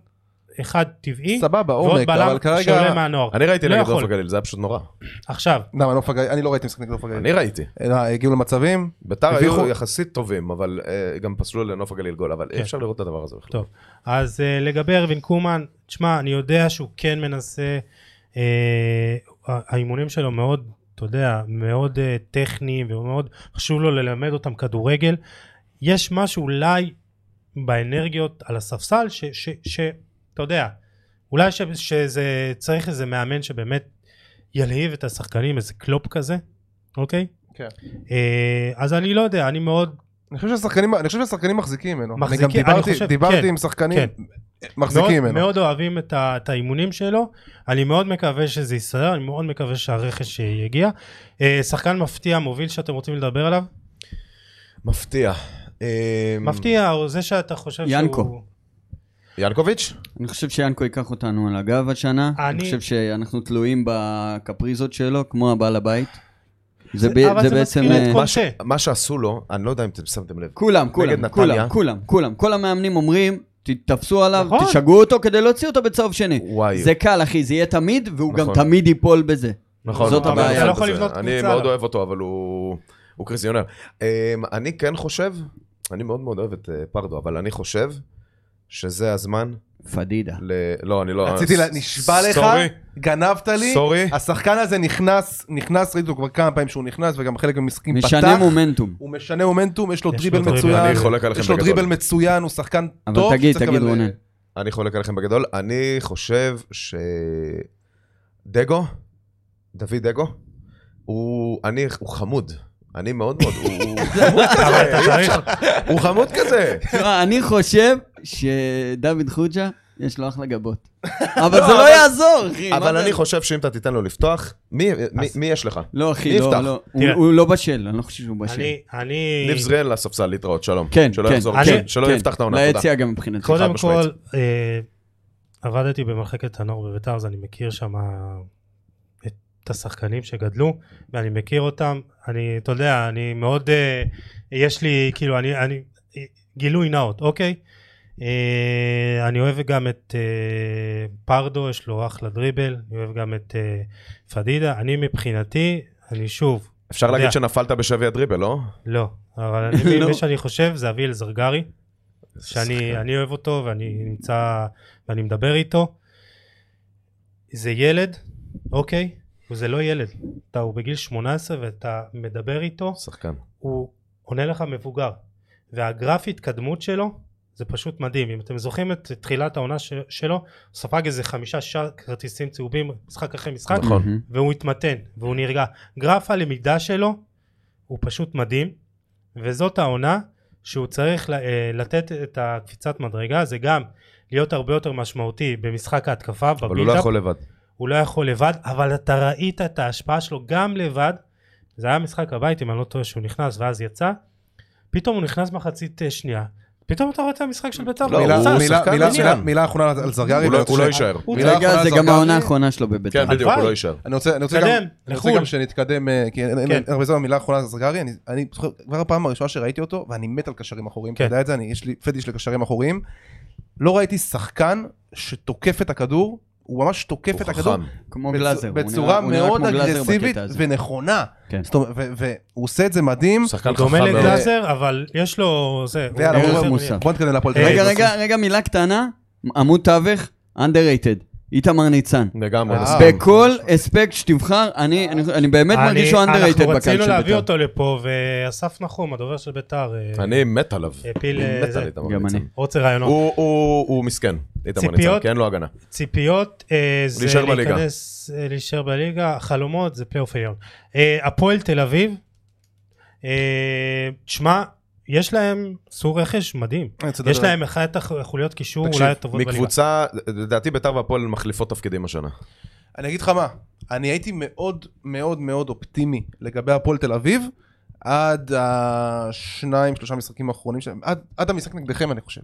Speaker 1: אחד טבעי,
Speaker 2: סבבה,
Speaker 1: ועוד
Speaker 2: עומק,
Speaker 1: בלם
Speaker 2: אבל כרגע...
Speaker 1: שעולה מהנוער.
Speaker 3: אני ראיתי
Speaker 1: לא
Speaker 3: נגד
Speaker 1: יכול.
Speaker 3: נוף הגליל, זה היה פשוט נורא.
Speaker 1: עכשיו,
Speaker 2: למה, נוף הגליל, אני לא ראיתי משחק נגד נוף
Speaker 3: אני
Speaker 2: הגליל.
Speaker 3: ראיתי.
Speaker 2: אלא הגיעו למצבים,
Speaker 3: ביתר
Speaker 2: הביכו-
Speaker 3: היו יחסית טובים, אבל אה, גם פסלו לנוף הגליל גול, אבל אי
Speaker 1: כן.
Speaker 3: אפשר לראות את הדבר הזה בכלל.
Speaker 1: טוב, אז אה, לגבי ארווין קומן, תשמע, אני יודע שהוא כן מנסה, אה, ה- האימונים שלו מאוד, אתה יודע, מאוד אה, טכניים ומאוד חשוב לו ללמד אותם כדורגל. יש משהו אולי באנרגיות על הספסל, ש- ש- ש- אתה יודע, אולי ש- שזה צריך איזה מאמן שבאמת ילהיב את השחקנים, איזה קלופ כזה, אוקיי?
Speaker 2: כן.
Speaker 1: אה, אז אני לא יודע, אני מאוד
Speaker 2: אני חושב שהשחקנים- אני חושב שהשחקנים מחזיקים ממנו, אני גם
Speaker 1: מחזיקים, אני
Speaker 2: דיברתי-
Speaker 1: חושב,
Speaker 2: דיברתי
Speaker 1: כן,
Speaker 2: עם שחקנים, מחזיקים
Speaker 1: מאוד,
Speaker 2: ממנו.
Speaker 1: מאוד אוהבים את, ה, את האימונים שלו, אני מאוד מקווה שזה יסתדר, אני מאוד מקווה שהרכש יגיע. אה, שחקן מפתיע, מוביל שאתם רוצים לדבר עליו?
Speaker 3: מפתיע. אה,
Speaker 1: מפתיע, או זה שאתה חושב
Speaker 4: ינקו.
Speaker 1: שהוא...
Speaker 3: ינקוביץ'?
Speaker 4: אני חושב שיאנקו ייקח אותנו על הגב השנה. אני...
Speaker 1: אני-
Speaker 4: חושב שאנחנו תלויים בקפריזות שלו, כמו הבעל הבית. זה, ב...
Speaker 1: אבל
Speaker 4: זה
Speaker 1: זה
Speaker 4: בעצם...
Speaker 1: מזכיר את
Speaker 4: אה,
Speaker 1: כל-
Speaker 3: מה ש-
Speaker 1: קונטה.
Speaker 3: מה שעשו לו, אני לא יודע אם אתם שמתם לב.
Speaker 4: כולם,
Speaker 3: נגד
Speaker 4: כולם,
Speaker 3: נתניה.
Speaker 4: כולם, כולם, כולם. כל המאמנים אומרים, תתפסו עליו,
Speaker 1: נכון.
Speaker 4: תשגעו אותו כדי להוציא אותו בצהוב שני.
Speaker 3: וואי.
Speaker 4: זה קל, אחי, זה יהיה תמיד, והוא גם
Speaker 3: נכון.
Speaker 4: תמיד ייפול בזה.
Speaker 3: נכון,
Speaker 4: זאת
Speaker 3: אבל
Speaker 4: הבעיה.
Speaker 3: זה
Speaker 4: אתה לא
Speaker 1: יכול
Speaker 3: זה.
Speaker 1: לבנות
Speaker 3: אני
Speaker 1: קבוצה
Speaker 3: מאוד
Speaker 1: עליו.
Speaker 3: אוהב אותו, אבל הוא הוא קריזיונר. אה, אני כן חושב, אני מאוד מאוד אוהב את אה, פרדו, אבל אני חושב שזה הזמן
Speaker 4: פדידה.
Speaker 3: ל... לא, אני לא...
Speaker 2: רציתי,
Speaker 1: אה,
Speaker 2: לה-
Speaker 3: ס-
Speaker 2: נשבע לך,
Speaker 3: סורי,
Speaker 2: גנבת לי,
Speaker 3: סורי.
Speaker 2: השחקן הזה נכנס, נכנס, ראיתי אותו כבר כמה פעמים שהוא נכנס, וגם חלק מהמשחקים פתח.
Speaker 4: משנה מומנטום.
Speaker 2: הוא משנה מומנטום, יש לו
Speaker 1: יש
Speaker 2: דריבל
Speaker 1: לו דריבל.
Speaker 2: מצוין,
Speaker 3: אני חולק עליכם
Speaker 2: יש לו
Speaker 3: בגדול.
Speaker 2: דריבל מצוין, הוא שחקן
Speaker 4: אבל
Speaker 2: טוב.
Speaker 4: תגיד,
Speaker 2: שצריך
Speaker 4: תגיד,
Speaker 2: לקבל- אה,
Speaker 4: רונן.
Speaker 3: אני חולק עליכם בגדול. אני חושב ש... דגו, דוד דגו, הוא, אני, הוא חמוד. אני מאוד מאוד, הוא, הוא חמוד
Speaker 1: אבל
Speaker 3: כזה,
Speaker 1: אתה צריך,
Speaker 3: הוא חמוד כזה.
Speaker 4: תשמע, אני חושב שדוד חוג'ה, יש לו אחלה גבות. אבל זה לא יעזור, אחי. מה
Speaker 3: אבל
Speaker 4: זה-
Speaker 3: אני חושב שאם אתה תיתן לו לפתוח, מי, מי, מי יש לך?
Speaker 4: לא,
Speaker 3: מי
Speaker 4: אחי, לא,
Speaker 3: יפתח?
Speaker 4: לא.
Speaker 1: תראה.
Speaker 4: הוא- הוא לא בשל, אני לא חושב שהוא בשל.
Speaker 1: אני, אני,
Speaker 3: ניב זריאן לספסל להתראות, שלום.
Speaker 4: כן,
Speaker 3: שלא
Speaker 4: כן,
Speaker 3: יחזור,
Speaker 1: אני-
Speaker 3: שלא- שלא
Speaker 4: כן.
Speaker 3: יפתח את העונה, תודה.
Speaker 4: ליציע גם מבחינתי.
Speaker 1: קודם כל,
Speaker 3: משמעית.
Speaker 1: אה, עבדתי במחלקת הנוער בביתר, אז אני מכיר שם את השחקנים שגדלו, ואני מכיר אותם, אני, אתה יודע, אני מאוד, אה, יש לי, כאילו, אני, אני, גילוי נאות, אוקיי? אה, אני אוהב גם את אה, פרדו, יש לו אחלה דריבל, אני אוהב גם את אה, פדידה, אני מבחינתי, אני שוב,
Speaker 3: אפשר להגיד
Speaker 1: יודע.
Speaker 3: שנפלת בשבי הדריבל, לא?
Speaker 1: לא, אבל אני,
Speaker 4: לא.
Speaker 1: מה שאני חושב זה אביאל זרגרי. שאני
Speaker 3: שחקן.
Speaker 1: אני אוהב אותו ואני נמצא ואני מדבר איתו. זה ילד, אוקיי? הוא זה לא ילד. אתה, הוא בגיל 18 ואתה מדבר איתו,
Speaker 3: שחקן.
Speaker 1: הוא עונה לך מבוגר. והגרף התקדמות שלו זה פשוט מדהים. אם אתם זוכרים את תחילת העונה ש- שלו, הוא ספג איזה חמישה שער כרטיסים צהובים משחק אחרי משחק,
Speaker 3: נכון.
Speaker 4: מהמם.
Speaker 1: והוא התמתן והוא נרגע. גרף הלמידה שלו הוא פשוט מדהים, וזאת העונה שהוא צריך ל- אה, לתת את הקפיצת מדרגה, זה גם להיות הרבה יותר משמעותי במשחק ההתקפה,
Speaker 3: אבל הוא לא
Speaker 1: בבילדאפ,
Speaker 3: יכול לבד.
Speaker 1: הוא לא יכול לבד, אבל אתה ראית את ההשפעה שלו גם לבד. זה היה משחק הבית, אם אני לא טועה, שהוא נכנס ואז יצא. פתאום הוא נכנס מחצית אה, שנייה. פתאום אתה רואה את המשחק של בית"ר.
Speaker 3: לא,
Speaker 1: הוא
Speaker 2: מילה-
Speaker 1: יצא.
Speaker 3: הוא
Speaker 2: מילה-
Speaker 3: שחקן
Speaker 2: מילה-
Speaker 3: מצוין.
Speaker 2: מילה- מילה אחרונה על זרגרי.
Speaker 3: הוא לא-
Speaker 2: ואני
Speaker 3: הוא
Speaker 2: רוצה
Speaker 3: לא
Speaker 2: ש-
Speaker 3: יישאר.
Speaker 1: הוא
Speaker 2: מילה
Speaker 4: רגע,
Speaker 2: אחרונה על
Speaker 4: זה גם
Speaker 2: זרגרי.
Speaker 4: העונה האחרונה שלו בביתר.
Speaker 3: כן, בדיוק, הוא לא יישאר.
Speaker 2: אני רוצה, אני רוצה
Speaker 1: תתקדם,
Speaker 2: גם, אני רוצה
Speaker 1: לחו"ל.
Speaker 2: גם שנתקדם, אה, כי אין אין-
Speaker 1: כן.
Speaker 2: אין הרבה זמן, מילה אחרונה על זרגרי, אני- אני זוכר, כבר הפעם הראשונה שראיתי אותו, ואני מת על קשרים אחוריים, אתה
Speaker 1: כן.
Speaker 2: יודע את זה, אני- יש לי פטיש לקשרים אחוריים, לא ראיתי שחקן שתוקף את הכדור, הוא ממש תוקף
Speaker 3: הוא
Speaker 2: את הכדור,
Speaker 3: חכם.
Speaker 4: כמו
Speaker 2: בצ-
Speaker 4: גלאזר. הוא
Speaker 2: בצורה
Speaker 4: נראה- הוא נראה
Speaker 2: מאוד
Speaker 4: כמו גלאזר
Speaker 2: אגרסיבית
Speaker 4: בקטע הזה.
Speaker 2: ונכונה,
Speaker 4: כן.
Speaker 2: זאת אומרת, ו- והוא עושה את זה מדהים,
Speaker 3: הוא שחקן
Speaker 1: הוא דומה
Speaker 3: חכם מאוד.
Speaker 1: לגלאזר, אבל יש לו... זה, הוא
Speaker 2: ויאללה,
Speaker 1: נראה
Speaker 2: בוא-
Speaker 1: יותר
Speaker 4: מוסר.
Speaker 1: מעניין.
Speaker 2: בוא נתקדם להפועל תל אביב.
Speaker 4: רגע, רגע, רגע, מילה קטנה, עמוד תווך, underrated, איתמר ניצן.
Speaker 3: לגמרי.
Speaker 2: אה,
Speaker 3: מסכים.
Speaker 4: בכל
Speaker 3: לא.
Speaker 4: אספקט שתבחר, אני- אני אני באמת
Speaker 1: אני-
Speaker 4: מרגיש שהוא underrated
Speaker 1: אנחנו
Speaker 4: בקהל של
Speaker 1: רצינו להביא
Speaker 4: בית"ר.
Speaker 1: אותו לפה, ואסף נחום, הדובר של בית"ר, אה,
Speaker 3: אני מת עליו.
Speaker 1: הפיל,
Speaker 3: אני
Speaker 1: אה,
Speaker 3: מת
Speaker 1: זה.
Speaker 3: על איתמר
Speaker 4: גם
Speaker 3: ניצן.
Speaker 4: אני.
Speaker 1: רוצה רעיונות.
Speaker 3: הוא- הוא הוא מסכן, איתמר ניצן,
Speaker 1: לא. ציפיות?
Speaker 2: כן,
Speaker 3: כי אין לו
Speaker 2: לא
Speaker 3: הגנה.
Speaker 1: ציפיות אה, זה
Speaker 3: להישאר בליגה.
Speaker 1: להיכנס, אה, להישאר בליגה, חלומות זה פלייאוף עליון. אה, הפועל תל אביב, אה, תשמע, יש להם סור רכש מדהים.
Speaker 2: אני רוצה
Speaker 1: יש
Speaker 2: לדבר-
Speaker 1: להם אחת החוליות קישור
Speaker 3: תקשיב,
Speaker 1: אולי הטובות בליגה.
Speaker 3: מקבוצה, לדעתי ביתר והפועל מחליפות תפקידים השנה.
Speaker 2: אה, אני אגיד לך מה, אני הייתי מאוד מאוד מאוד אופטימי לגבי הפועל תל אביב, עד השניים שלושה משחקים האחרונים שלהם, עד, עד המשחק נגדכם אני חושב.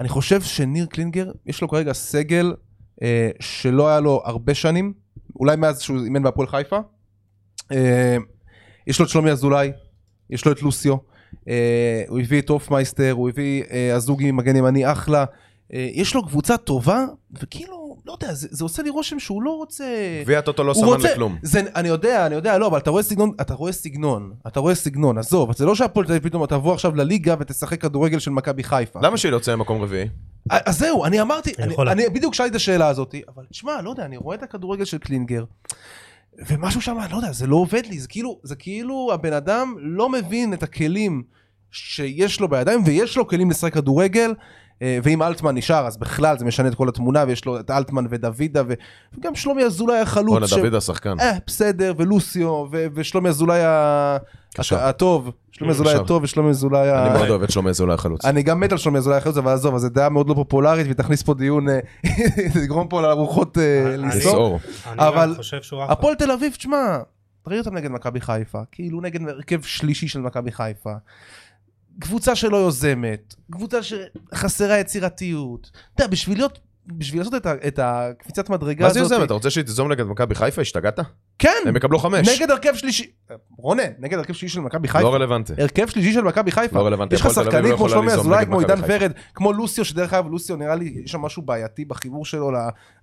Speaker 2: אני חושב שניר קלינגר יש לו כרגע סגל אה, שלא היה לו הרבה שנים, אולי מאז שהוא אימן בהפועל חיפה. אה, יש לו את שלומי אזולאי, יש לו את לוסיו, אה, הוא הביא את הופמייסטר, הוא הביא אה, הזוגי מגן ימני אחלה. אה, יש לו קבוצה טובה, וכאילו, לא יודע, זה, זה עושה לי רושם שהוא לא רוצה...
Speaker 3: גביע הטוטו לא
Speaker 2: הוא
Speaker 3: סמן
Speaker 2: רוצה-
Speaker 3: לכלום.
Speaker 2: זה, אני יודע, אני יודע, לא, אבל אתה רואה סגנון, אתה רואה סגנון, אתה רואה סגנון, עזוב, זה לא שהפועל תל אביב פתאום תבוא עכשיו לליגה ותשחק כדורגל של מכבי חיפה.
Speaker 3: למה שהיא לא יוצאה מקום רביעי?
Speaker 2: אז זהו, אני אמרתי,
Speaker 1: אני
Speaker 2: אני,
Speaker 1: יכול
Speaker 2: אני בדיוק שאלתי את השאלה הזאת, אבל תשמע, לא יודע, אני רואה את הכדורגל של קלינגר, ומשהו שם, לא יודע, זה לא עובד לי, זה כאילו, זה כאילו הבן אדם לא מבין את הכלים שיש לו בידיים, ויש לו כלים לשחק כדורגל, אה, ואם אלטמן נשאר, אז בכלל זה משנה את כל התמונה, ויש לו את אלטמן ודוידה, ו- וגם שלומי אזולאי
Speaker 3: בואנה,
Speaker 2: החלוץ, ש-
Speaker 3: דוד השחקן.
Speaker 2: אה, בסדר, ולוסיו, ו- ושלומי אזולאי ה-
Speaker 3: קשר.
Speaker 2: הש- הטוב, שלומי אזולאי
Speaker 3: קשר.
Speaker 2: הטוב ושלומי אזולאי ה...
Speaker 3: אה, אני מאוד אוהב את שלומי אזולאי החלוץ.
Speaker 2: אה, אני גם מת על שלומי אזולאי החלוץ, אבל עזוב, אז זו דעה מאוד לא פופולרית, והיא תכניס פה דיון, אה, תגרום פה לרוחות אה,
Speaker 1: אני-
Speaker 2: לנסוע.
Speaker 3: לסעור.
Speaker 1: אני
Speaker 2: אבל-
Speaker 1: גם חושב שהוא אחלה.
Speaker 2: הפועל תל אביב, תשמע, תראי אותם נגד מכבי חיפה, כאילו נגד הרכב שלישי של מכבי חיפה. קבוצה שלא יוזמת, קבוצה שחסרה יצירתיות. אתה יודע, בשביל להיות... בשביל לעשות את ה- את הקפיצת מדרגה
Speaker 3: מה זה
Speaker 2: הזאת...
Speaker 3: יוזם? אתה רוצה שהיא תיזום נגד מכבי חיפה? השתגעת?
Speaker 2: כן,
Speaker 3: הם יקבלו חמש.
Speaker 2: נגד הרכב שלישי... רונן, נגד הרכב שלישי של מכבי חיפה. אה,
Speaker 3: לא רלוונטי.
Speaker 2: הרכב שלישי של מכבי חיפה.
Speaker 3: לא רלוונטי.
Speaker 2: יש לך
Speaker 3: הפועל תל אביב
Speaker 2: שחקנים
Speaker 3: לא
Speaker 2: כמו
Speaker 3: יכולה
Speaker 2: שלומי
Speaker 3: ליזום
Speaker 2: אזולאי,
Speaker 3: נגד
Speaker 2: כמו
Speaker 3: מכבי
Speaker 2: עידן
Speaker 3: חיפה.
Speaker 2: ורד, כמו לוסיו, שדרך אגב, לוסיו נראה לי, יש שם משהו בעייתי בחיבור שלו, ל-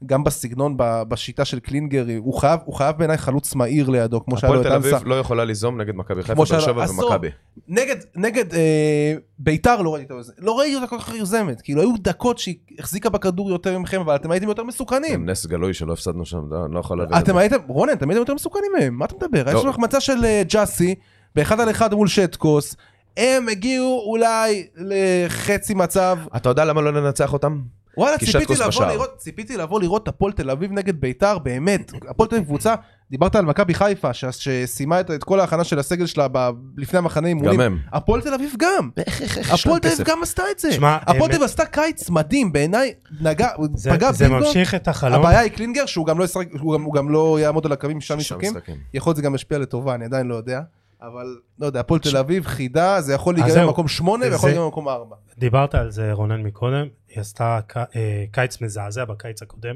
Speaker 2: גם בסגנון, ב- בשיטה של קלינגר, הוא חייב- הוא חייב בעיניי חלוץ מהיר לידו, כמו שהיה לו
Speaker 3: הפועל
Speaker 2: את
Speaker 3: תל
Speaker 2: אנסה.
Speaker 3: אביב לא יכולה ליזום נגד מכבי חיפה,
Speaker 2: כמו אה,
Speaker 3: באר
Speaker 2: שהיה לו-
Speaker 3: שבע
Speaker 2: עשור.
Speaker 3: ומכבי.
Speaker 2: נגד, נגד אה, ביתר לא ראיתי אותה יוזמת, לא ראיתי אותה כל כך יוזמת, כאילו היו דקות שהיא החזיקה בכדור יותר ממכם, אבל אתם הייתם יותר מסוכנים.
Speaker 3: הם נס גלוי שלא הפסדנו שם, לא- אני לא יכול להבין את זה.
Speaker 2: אתם הייתם, רונן, אתם הייתם יותר מסוכנים מהם, מה אתה מדבר? יש
Speaker 3: לא.
Speaker 2: לנו החמצה של אה, ג'אסי, באחד על אחד מול שטקוס, הם הגיעו אולי לחצי מצב,
Speaker 3: אתה יודע למה לא ננצח אותם?
Speaker 2: וואלה,
Speaker 3: כי
Speaker 2: ציפיתי
Speaker 3: שטקוס
Speaker 2: לבוא,
Speaker 3: בשער.
Speaker 2: לראות, ציפיתי לבוא לראות את הפועל תל אביב נגד ביתר, באמת. הפועל תל אביב קבוצה, דיברת על מכבי חיפה, ש- שסיימה את, את כל ההכנה של הסגל שלה ב, לפני המחנה אימונים.
Speaker 3: גם הם.
Speaker 2: הפועל תל אביב גם.
Speaker 3: יש להם
Speaker 2: הפועל תל אביב
Speaker 3: כסף?
Speaker 2: גם עשתה את זה.
Speaker 1: שמע,
Speaker 2: הפועל תל
Speaker 1: הם-
Speaker 2: אביב עשתה קיץ מדהים, בעיניי נגע,
Speaker 1: זה-
Speaker 2: פגע
Speaker 1: זה
Speaker 2: בינגו.
Speaker 1: ממשיך את החלום.
Speaker 2: הבעיה היא קלינגר, שהוא גם לא, ישחק, הוא גם, הוא גם לא יעמוד על הקווים שישה
Speaker 3: שישה
Speaker 2: משחקים. יכול להיות זה גם ישפיע לטובה, אני עדיין לא יודע. אבל לא יודע, הפועל תל אביב חידה, זה יכול
Speaker 1: אז
Speaker 2: להיגמר
Speaker 1: זהו.
Speaker 2: במקום שמונה ויכול
Speaker 1: זה-
Speaker 2: להיגמר במקום ארבע.
Speaker 1: דיברת על זה רונן מקודם, היא עשתה ק- אה, קיץ מזעזע בקיץ הקודם.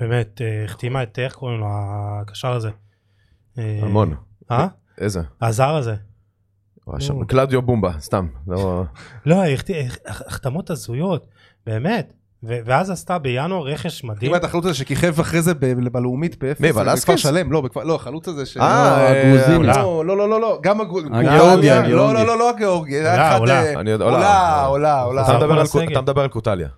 Speaker 1: באמת, אה, החתימה את, איך קוראים לו, הקשר הזה? אה,
Speaker 3: המון.
Speaker 1: אה?
Speaker 3: איזה?
Speaker 1: הזר הזה.
Speaker 3: הוא
Speaker 1: אה.
Speaker 3: היה שם. קלאודיו בומבה, סתם. לא-
Speaker 1: לא, היא החת- הח- החתמות הזויות, באמת. ו- ואז עשתה בינואר רכש מדהים.
Speaker 2: אם אתה החלוץ הזה שכיכב אחרי זה ב- בלאומית באפס,
Speaker 3: מי, ולסקס?
Speaker 2: בכפר שלם, לא, בכפר- לא, החלוץ הזה ש...
Speaker 3: אה,
Speaker 4: הגרוזיני.
Speaker 1: אולי.
Speaker 2: לא, לא, לא, לא, לא, גם הגרוזיני.
Speaker 4: הגיאורגי, הגיאורגי.
Speaker 2: לא, לא, לא, לא הגיאורגי. היה
Speaker 1: אה, עולה,
Speaker 2: אחד,
Speaker 1: עולה.
Speaker 2: אה,
Speaker 3: אני יודע,
Speaker 2: עולה, עולה, עולה.
Speaker 3: אתה מדבר על
Speaker 1: הסגל.
Speaker 3: קו- אתה מדבר על קוטליה.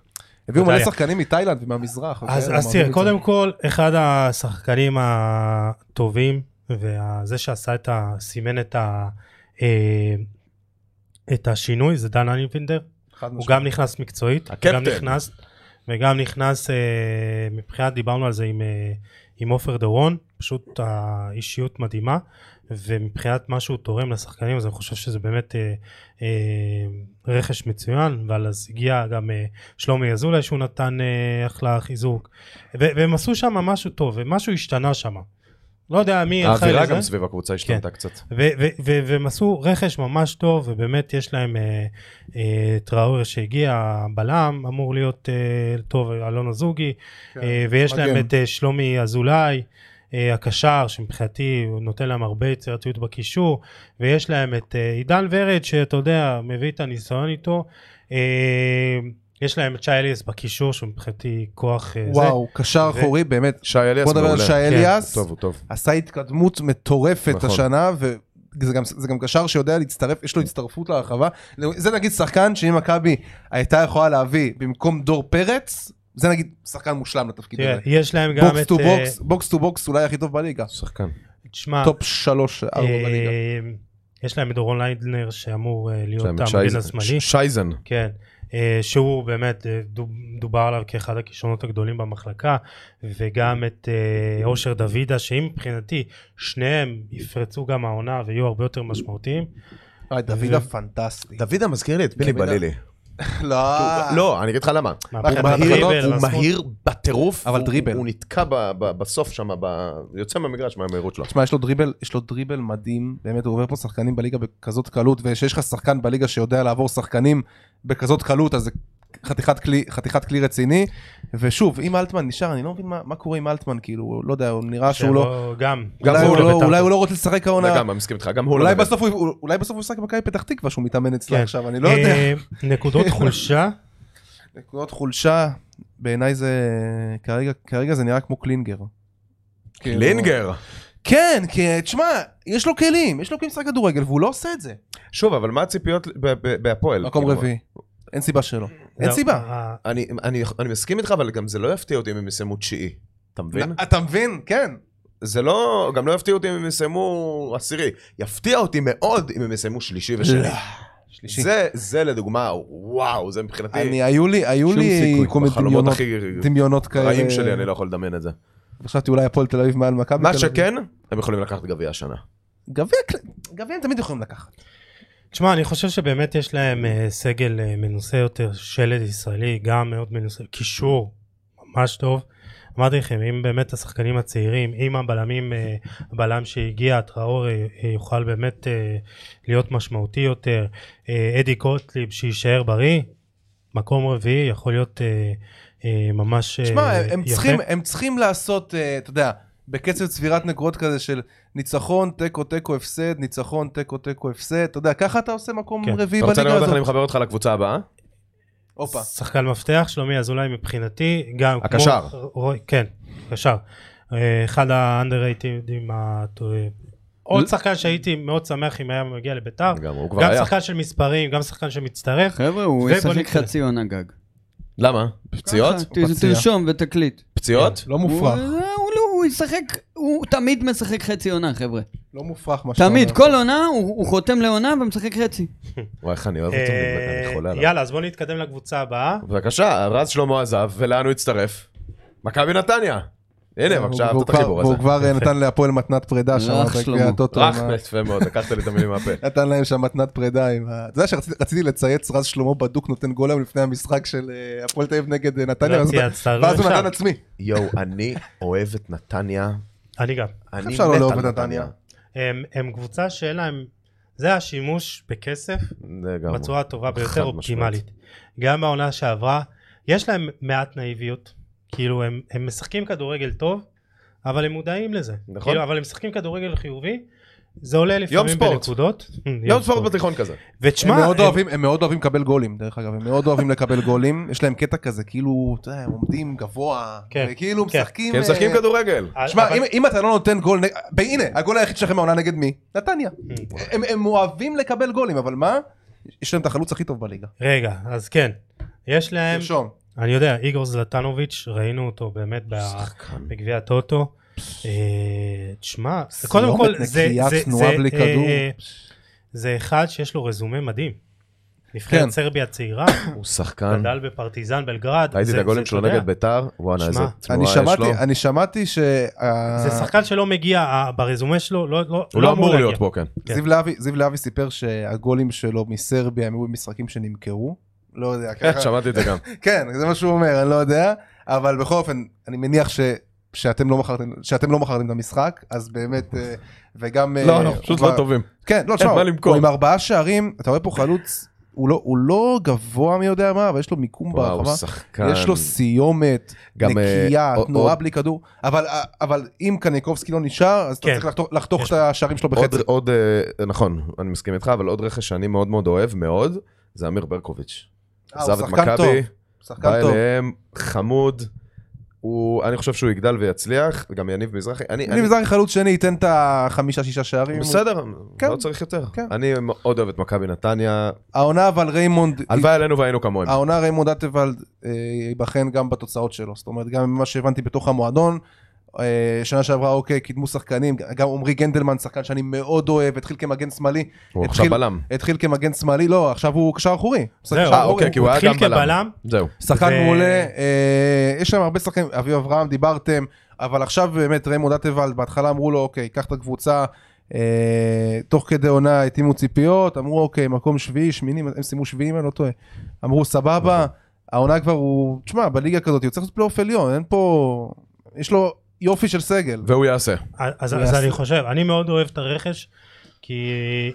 Speaker 2: הביאו מלא
Speaker 1: איטליה.
Speaker 2: שחקנים מתאילנד ומהמזרח.
Speaker 1: אז
Speaker 2: אוקיי,
Speaker 1: אז תראה,
Speaker 2: אמרנו את
Speaker 1: קודם כל, אחד השחקנים הטובים, וזה שעשה את ה... סימן את ה... אה, את השינוי זה דן אניבינדר,
Speaker 2: חד
Speaker 1: הוא
Speaker 2: משמעית.
Speaker 1: גם נכנס מקצועית,
Speaker 3: הקפטן.
Speaker 1: גם נכנס, וגם נכנס אה, מבחינת, דיברנו על זה עם, אה, עם עופר דורון, פשוט האישיות מדהימה, ומבחינת מה שהוא תורם לשחקנים, אז אני חושב שזה באמת אה, אה, רכש מצוין, אבל אז הגיע גם אה, שלומי אזולאי שהוא נתן אה, אחלה חיזוק, ו- והם עשו שם משהו טוב, ומשהו השתנה שם. לא יודע מי אחראי
Speaker 3: האווירה
Speaker 1: לזה.
Speaker 3: אה, גם סביב הקבוצה השתנתה קצת.
Speaker 1: ו- ו- ו- והם עשו רכש ממש טוב, ובאמת יש להם אה, אה, טראוור שהגיע, בלם אמור להיות אה, טוב, אלון אזוגי,
Speaker 2: כן,
Speaker 1: אה, ויש
Speaker 2: מגן.
Speaker 1: להם את אה, שלומי אזולאי. אה, הקשר שמבחינתי הוא נותן להם הרבה יצירתיות בקישור ויש להם את אה, עידן ורד שאתה יודע מביא את הניסיון איתו אה, יש להם את שי אליאס בקישור שהוא מבחינתי כוח אה, זה.
Speaker 2: וואו, קשר
Speaker 1: ו-
Speaker 2: אחורי, באמת.
Speaker 3: שי אליאס
Speaker 2: בוא
Speaker 3: מעולה.
Speaker 2: נדבר על שי אליאס,
Speaker 3: טוב, הוא טוב.
Speaker 2: עשה התקדמות מטורפת
Speaker 3: נכון.
Speaker 2: השנה, וזה גם- זה גם קשר שיודע להצטרף, יש לו הצטרפות להרחבה. זה נגיד שחקן שאם מכבי הייתה יכולה להביא במקום דור פרץ, זה נגיד שחקן מושלם לתפקיד
Speaker 1: תראה,
Speaker 2: הזה.
Speaker 1: יש להם כן, גם
Speaker 2: בוקס
Speaker 1: את...
Speaker 2: טו
Speaker 1: אה,
Speaker 2: בוקס, בוקס טו בוקס אולי הכי טוב בליגה.
Speaker 3: שחקן.
Speaker 1: תשמע,
Speaker 2: טופ שלוש, ארבע בליגה.
Speaker 1: אה, יש להם את דורון ליידנר שאמור אה, להיות
Speaker 3: שם,
Speaker 1: המגן
Speaker 3: שייזן.
Speaker 1: השמאלי,
Speaker 3: ש- שייזן.
Speaker 1: כן, אה, שהוא באמת אה, דוב- דובר עליו כאחד הכישרונות הגדולים במחלקה, וגם את אה, אושר דוידה, שאם מבחינתי שניהם יפרצו גם העונה ויהיו הרבה יותר משמעותיים,
Speaker 2: אה, דוידה פנטסטי.
Speaker 3: דוידה מזכיר לי את פיני
Speaker 2: דוידה.
Speaker 3: בלילי.
Speaker 2: לא,
Speaker 3: לא, אני אגיד לך למה.
Speaker 1: מהפך
Speaker 2: הוא מהיר,
Speaker 1: בדריבל,
Speaker 3: הוא
Speaker 1: והספורט.
Speaker 3: מהיר בטירוף,
Speaker 2: אבל
Speaker 3: הוא-
Speaker 2: דריבל.
Speaker 3: הוא נתקע ב- ב- בסוף שם, ב- יוצא מהמגרש מהמהירות שלו.
Speaker 2: תשמע, יש לו דריבל, יש לו דריבל מדהים, באמת, הוא עובר פה שחקנים בליגה בכזאת קלות, וכשיש לך שחקן בליגה שיודע לעבור שחקנים בכזאת קלות, אז זה חתיכת כלי, חתיכת כלי רציני. ושוב, אם אלטמן נשאר, אני לא מבין מה, מה קורה עם אלטמן, כאילו, הוא- לא יודע, הוא נראה שהוא לא...
Speaker 1: שיבוא כן, גם,
Speaker 3: גם
Speaker 2: אולי
Speaker 1: הוא
Speaker 2: הוא, לא
Speaker 1: לבית"ר.
Speaker 2: אולי הוא לא רוצה לשחק העונה,
Speaker 3: גם, אני מסכים איתך, גם הוא לא...
Speaker 2: אולי
Speaker 3: מבין.
Speaker 2: בסוף הוא אולי בסוף הוא ישחק במכבי פתח תקווה שהוא מתאמן אצלה
Speaker 1: כן.
Speaker 2: עכשיו, אני לא יודע.
Speaker 1: אה, נקודות חולשה,
Speaker 2: נקודות חולשה, בעיניי זה... כרגע, כרגע זה נראה כמו קלינגר. כאילו-
Speaker 3: לינגר.
Speaker 2: כן, כי תשמע, יש לו כלים, יש לו כלים לשחק כדורגל, והוא לא עושה את זה.
Speaker 3: שוב, אבל מה הציפיות ב- ב- בהפועל?
Speaker 2: מקום
Speaker 3: כאילו,
Speaker 2: רביעי. אין סיבה שלא. אין
Speaker 1: לא,
Speaker 2: סיבה.
Speaker 1: אה,
Speaker 3: אני, אני, אני מסכים איתך, אבל גם זה לא יפתיע אותי אם הם יסיימו תשיעי. אתה מבין?
Speaker 2: אתה מבין? כן.
Speaker 3: זה לא, גם לא יפתיע אותי אם הם יסיימו עשירי. יפתיע אותי מאוד אם הם יסיימו שלישי ושני.
Speaker 2: אה, לא, שלישי.
Speaker 3: זה, זה לדוגמה, וואו, זה מבחינתי
Speaker 2: אני, היו לי, היו
Speaker 3: שום
Speaker 2: לי
Speaker 3: סיכוי.
Speaker 2: כל מיני
Speaker 3: בחלומות
Speaker 2: דמיונות,
Speaker 3: הכי
Speaker 2: דמיונות אה, כאלה.
Speaker 3: רעים שלי, אני לא יכול לדמיין את זה.
Speaker 2: חשבתי אולי הפועל תל אביב מעל מכבי.
Speaker 3: מה
Speaker 2: תל אביב.
Speaker 3: שכן, הם יכולים לקחת גביע השנה.
Speaker 2: גביע, כל- גביע הם תמיד יכולים לקחת.
Speaker 1: תשמע, אני חושב שבאמת יש להם אה, סגל אה, מנוסה יותר, שלד ישראלי גם מאוד מנוסה, קישור ממש טוב. אמרתי לכם, אם באמת השחקנים הצעירים, אם הבלמים, אה, הבלם שהגיע, טראור, אה, אה, יוכל באמת אה, להיות משמעותי יותר, אה, אדי קוטליב שיישאר בריא, מקום רביעי, יכול להיות אה, אה, ממש אה,
Speaker 2: תשמע, הם- הם
Speaker 1: יפה.
Speaker 2: צריכים, הם צריכים לעשות, אה, אתה יודע, בקצב צבירת נקודות כזה של ניצחון, תיקו, תיקו, הפסד, ניצחון, תיקו, תיקו, הפסד, אתה יודע, ככה אתה עושה מקום
Speaker 1: כן.
Speaker 2: רביעי
Speaker 3: אתה רוצה
Speaker 2: בליגה
Speaker 3: לראות איך אני
Speaker 2: הזאת.
Speaker 3: מחבר אותך לקבוצה הבאה?
Speaker 2: הופה.
Speaker 1: שחקן מפתח, שלומי אזולאי מבחינתי, גם כמו-
Speaker 3: הקשר.
Speaker 1: רוי- כן, הקשר. אה, אחד האנדררייטים, עוד שחקן שהייתי מאוד שמח אם היה מגיע
Speaker 2: אה,
Speaker 1: לביתר,
Speaker 3: גם הוא כבר
Speaker 1: גם
Speaker 3: היה. כן,
Speaker 1: שחקן של מספרים, גם שחקן שמצטרף,
Speaker 4: חבר'ה, הוא
Speaker 1: ובוא
Speaker 4: ישחק
Speaker 1: נקרא.
Speaker 4: חצי עונה גג.
Speaker 3: למה? פציעות?
Speaker 4: ככה, ת-
Speaker 2: פציע.
Speaker 4: תרשום ותקליט.
Speaker 3: פציעות?
Speaker 2: לא מופרך.
Speaker 4: הוא- הוא לא- הוא ישחק, הוא תמיד משחק חצי עונה, חבר'ה.
Speaker 2: לא מופרך מה שאתה אומר.
Speaker 4: תמיד, כל עונה הוא הוא חותם לעונה ומשחק חצי.
Speaker 3: וואי, איך אני אוהב אותו,
Speaker 1: אה,
Speaker 3: אני חולה עליו.
Speaker 1: יאללה, אז בואו נתקדם לקבוצה הבאה.
Speaker 3: בבקשה, רז שלמה עזב, ולאן הוא הצטרף? מכבי נתניה. הנה,
Speaker 2: אה, הוא-
Speaker 3: בבקשה,
Speaker 2: והוא
Speaker 3: אהבת את
Speaker 2: כבר-
Speaker 3: החיבור הזה.
Speaker 2: והוא כבר אה, נתן להפועל מתנת פרידה שם,
Speaker 4: רך
Speaker 2: בגביע
Speaker 4: שלמה.
Speaker 2: הטוטו,
Speaker 3: רך,
Speaker 2: מה-
Speaker 3: יפה מאוד, לקחת לי את המילים מהפה.
Speaker 2: נתן להם שם מתנת פרידה עם ה... אתה יודע שרציתי רציתי לצייץ רז שלמה בדוק נותן גול היום לפני המשחק של אה, הפועל תל אביב נגד אה, נתניה,
Speaker 1: לא
Speaker 2: ואז הוא-
Speaker 1: צייצת, לא
Speaker 2: ואז הוא
Speaker 1: אפשר.
Speaker 2: נתן עצמי.
Speaker 3: יואו, אני אוהב את נתניה.
Speaker 1: אני גם.
Speaker 3: אני מת
Speaker 2: אפשר לא לאהוב
Speaker 3: על
Speaker 2: את נתניה?
Speaker 3: נתניה.
Speaker 1: הם- הם קבוצה שאין להם, זה השימוש בכסף
Speaker 3: לגמרי.
Speaker 1: בצורה הטובה
Speaker 3: חד
Speaker 1: ביותר
Speaker 3: משמעית.
Speaker 1: אופטימלית. גם בעונה שעברה, יש להם מעט נאיביות, כאילו הם, הם משחקים כדורגל טוב, אבל הם מודעים לזה.
Speaker 3: נכון.
Speaker 1: כאילו, אבל הם משחקים כדורגל חיובי, זה עולה
Speaker 3: יום
Speaker 1: לפעמים
Speaker 3: ספורט.
Speaker 1: בנקודות.
Speaker 3: יום ספורט בתיכון כזה.
Speaker 2: הם
Speaker 1: ותשמע,
Speaker 2: מאוד אוהבים, הם מאוד אוהבים לקבל גולים, דרך אגב, הם מאוד אוהבים לקבל גולים, יש להם קטע כזה, כאילו, אתה יודע, הם עומדים גבוה,
Speaker 1: כן,
Speaker 2: וכאילו
Speaker 1: כן.
Speaker 2: משחקים...
Speaker 3: כי הם משחקים
Speaker 2: אה,
Speaker 3: כדורגל.
Speaker 1: אבל-
Speaker 2: שמע, אם- אם אתה לא נותן גול, נג- ב- הנה, הגול היחיד שלכם העונה נגד מי? נתניה.
Speaker 3: Hmm.
Speaker 2: הם- הם אוהבים לקבל גולים, אבל מה? יש להם את החלוץ הכי טוב בליגה.
Speaker 1: רגע, אז כן, יש להם,
Speaker 2: תרשום.
Speaker 1: אני יודע, איגור זלטנוביץ', ראינו אותו באמת ב- בגביע הטוטו. אה, תשמע, קודם כל,
Speaker 2: סיומת
Speaker 1: זה-
Speaker 2: נקייה,
Speaker 1: זה-
Speaker 2: תנועה
Speaker 1: זה,
Speaker 2: בלי
Speaker 1: אה,
Speaker 2: כדור.
Speaker 1: אה, זה אחד שיש לו רזומה מדהים.
Speaker 2: כן.
Speaker 1: נבחרת סרביה צעירה,
Speaker 3: הוא שחקן.
Speaker 1: גדל בפרטיזן בלגרד.
Speaker 3: כן. ראיתי את
Speaker 1: זה-
Speaker 3: הגולים
Speaker 1: זה,
Speaker 3: שלו
Speaker 1: אתה יודע,
Speaker 3: נגד ביתר, וואלה,
Speaker 1: שמע,
Speaker 3: איזה
Speaker 1: אני
Speaker 3: תנועה
Speaker 2: אני
Speaker 3: יש לו.
Speaker 2: שמעתי, אני שמעתי ש...
Speaker 1: זה שחקן שלא מגיע, ה- ברזומה שלו, לא- לא לא
Speaker 3: הוא לא אמור להיות
Speaker 1: להגיע.
Speaker 3: פה, כן.
Speaker 1: כן.
Speaker 2: זיו להבי, זיו להבי סיפר שהגולים שלו מסרביה הם היו משחקים שנמכרו. לא יודע, ככה.
Speaker 3: שמעתי את זה גם.
Speaker 2: כן, זה מה שהוא אומר, אני לא יודע. אבל בכל אופן, אני מניח ש... שאתם לא מכרתם שאתם לא מכרתם את המשחק אז באמת אה, וגם אה,
Speaker 3: לא, אנחנו פשוט
Speaker 2: הוא
Speaker 3: לא
Speaker 2: כבר-
Speaker 3: טובים.
Speaker 2: כן לא תשמע
Speaker 3: מה
Speaker 2: הוא-
Speaker 3: למכור.
Speaker 2: הוא עם ארבעה שערים אתה רואה פה חלוץ הוא לא הוא לא גבוה מי יודע מה אבל יש לו מיקום
Speaker 3: וואו,
Speaker 2: ברחבה
Speaker 3: שחקן.
Speaker 2: יש לו סיומת
Speaker 3: גם, אה,
Speaker 2: נקייה
Speaker 3: עוד-
Speaker 2: תנועה
Speaker 3: עוד-
Speaker 2: בלי כדור אבל אה, אבל אם קניקובסקי לא נשאר אז אתה
Speaker 1: כן.
Speaker 2: צריך לחתוך- לחתוך
Speaker 1: יש-
Speaker 2: את השערים שלו
Speaker 3: עוד,
Speaker 2: בחצי
Speaker 3: עוד, אה, נכון, אני מסכים איתך, אבל עוד רכש שאני מאוד מאוד אוהב, מאוד, זה אמיר ברקוביץ'.
Speaker 2: אה, הוא
Speaker 3: עזב את
Speaker 2: שחקן טוב,
Speaker 3: מכבי, בא
Speaker 2: שחקן טוב
Speaker 3: אליהם, חמוד, הוא, אני חושב שהוא יגדל ויצליח, גם יניב מזרחי, אני,
Speaker 2: אני
Speaker 3: אני,
Speaker 2: מזרחי חלוץ שני ייתן את החמישה שישה שערים
Speaker 3: בסדר,
Speaker 2: כן.
Speaker 3: לא צריך יותר.
Speaker 2: כן.
Speaker 3: אני מאוד אוהב את מכבי נתניה,
Speaker 2: העונה אבל ריימונד
Speaker 3: הלוואי עלינו והיינו כמוהם.
Speaker 2: העונה ריימונד אטוולד אה, ייבחן גם בתוצאות שלו, זאת אומרת גם ממה שהבנתי בתוך המועדון, אה, שנה שעברה אוקיי קידמו שחקנים, גם עמרי גנדלמן שחקן שאני מאוד אוהב, התחיל כמגן שמאלי,
Speaker 3: הוא
Speaker 2: התחיל-
Speaker 3: עכשיו בלם.
Speaker 2: התחיל כמגן שמאלי, לא עכשיו הוא קשר אחורי, משחק
Speaker 1: זהו,
Speaker 2: קשר
Speaker 1: אה,
Speaker 2: אחורי.
Speaker 3: אוקיי, כי הוא היה
Speaker 1: התחיל
Speaker 3: גם בלם.
Speaker 1: כבלם,
Speaker 3: זהו.
Speaker 2: שחקן
Speaker 1: ו-
Speaker 2: מעולה, אה, יש להם הרבה שחקנים, אביב אברהם דיברתם, אבל עכשיו באמת ריימונד אטוולד, בהתחלה אמרו לו אוקיי, קח את הקבוצה. אה, תוך כדי עונה התאימו ציפיות, אמרו אוקיי, מקום שביעי, שמיני, הם סיימו שביעי אם אני לא טועה. אמרו סבבה, העונה כבר הוא, תשמע, בליגה כזאת, הוא צריך לעשות פלייאוף עליון, אין פה, יש לו יופי של סגל.
Speaker 3: והוא יעשה.
Speaker 1: אז,
Speaker 2: הוא
Speaker 1: אז
Speaker 2: יעשה.
Speaker 1: אני חושב, אני מאוד אוהב את הרכש, כי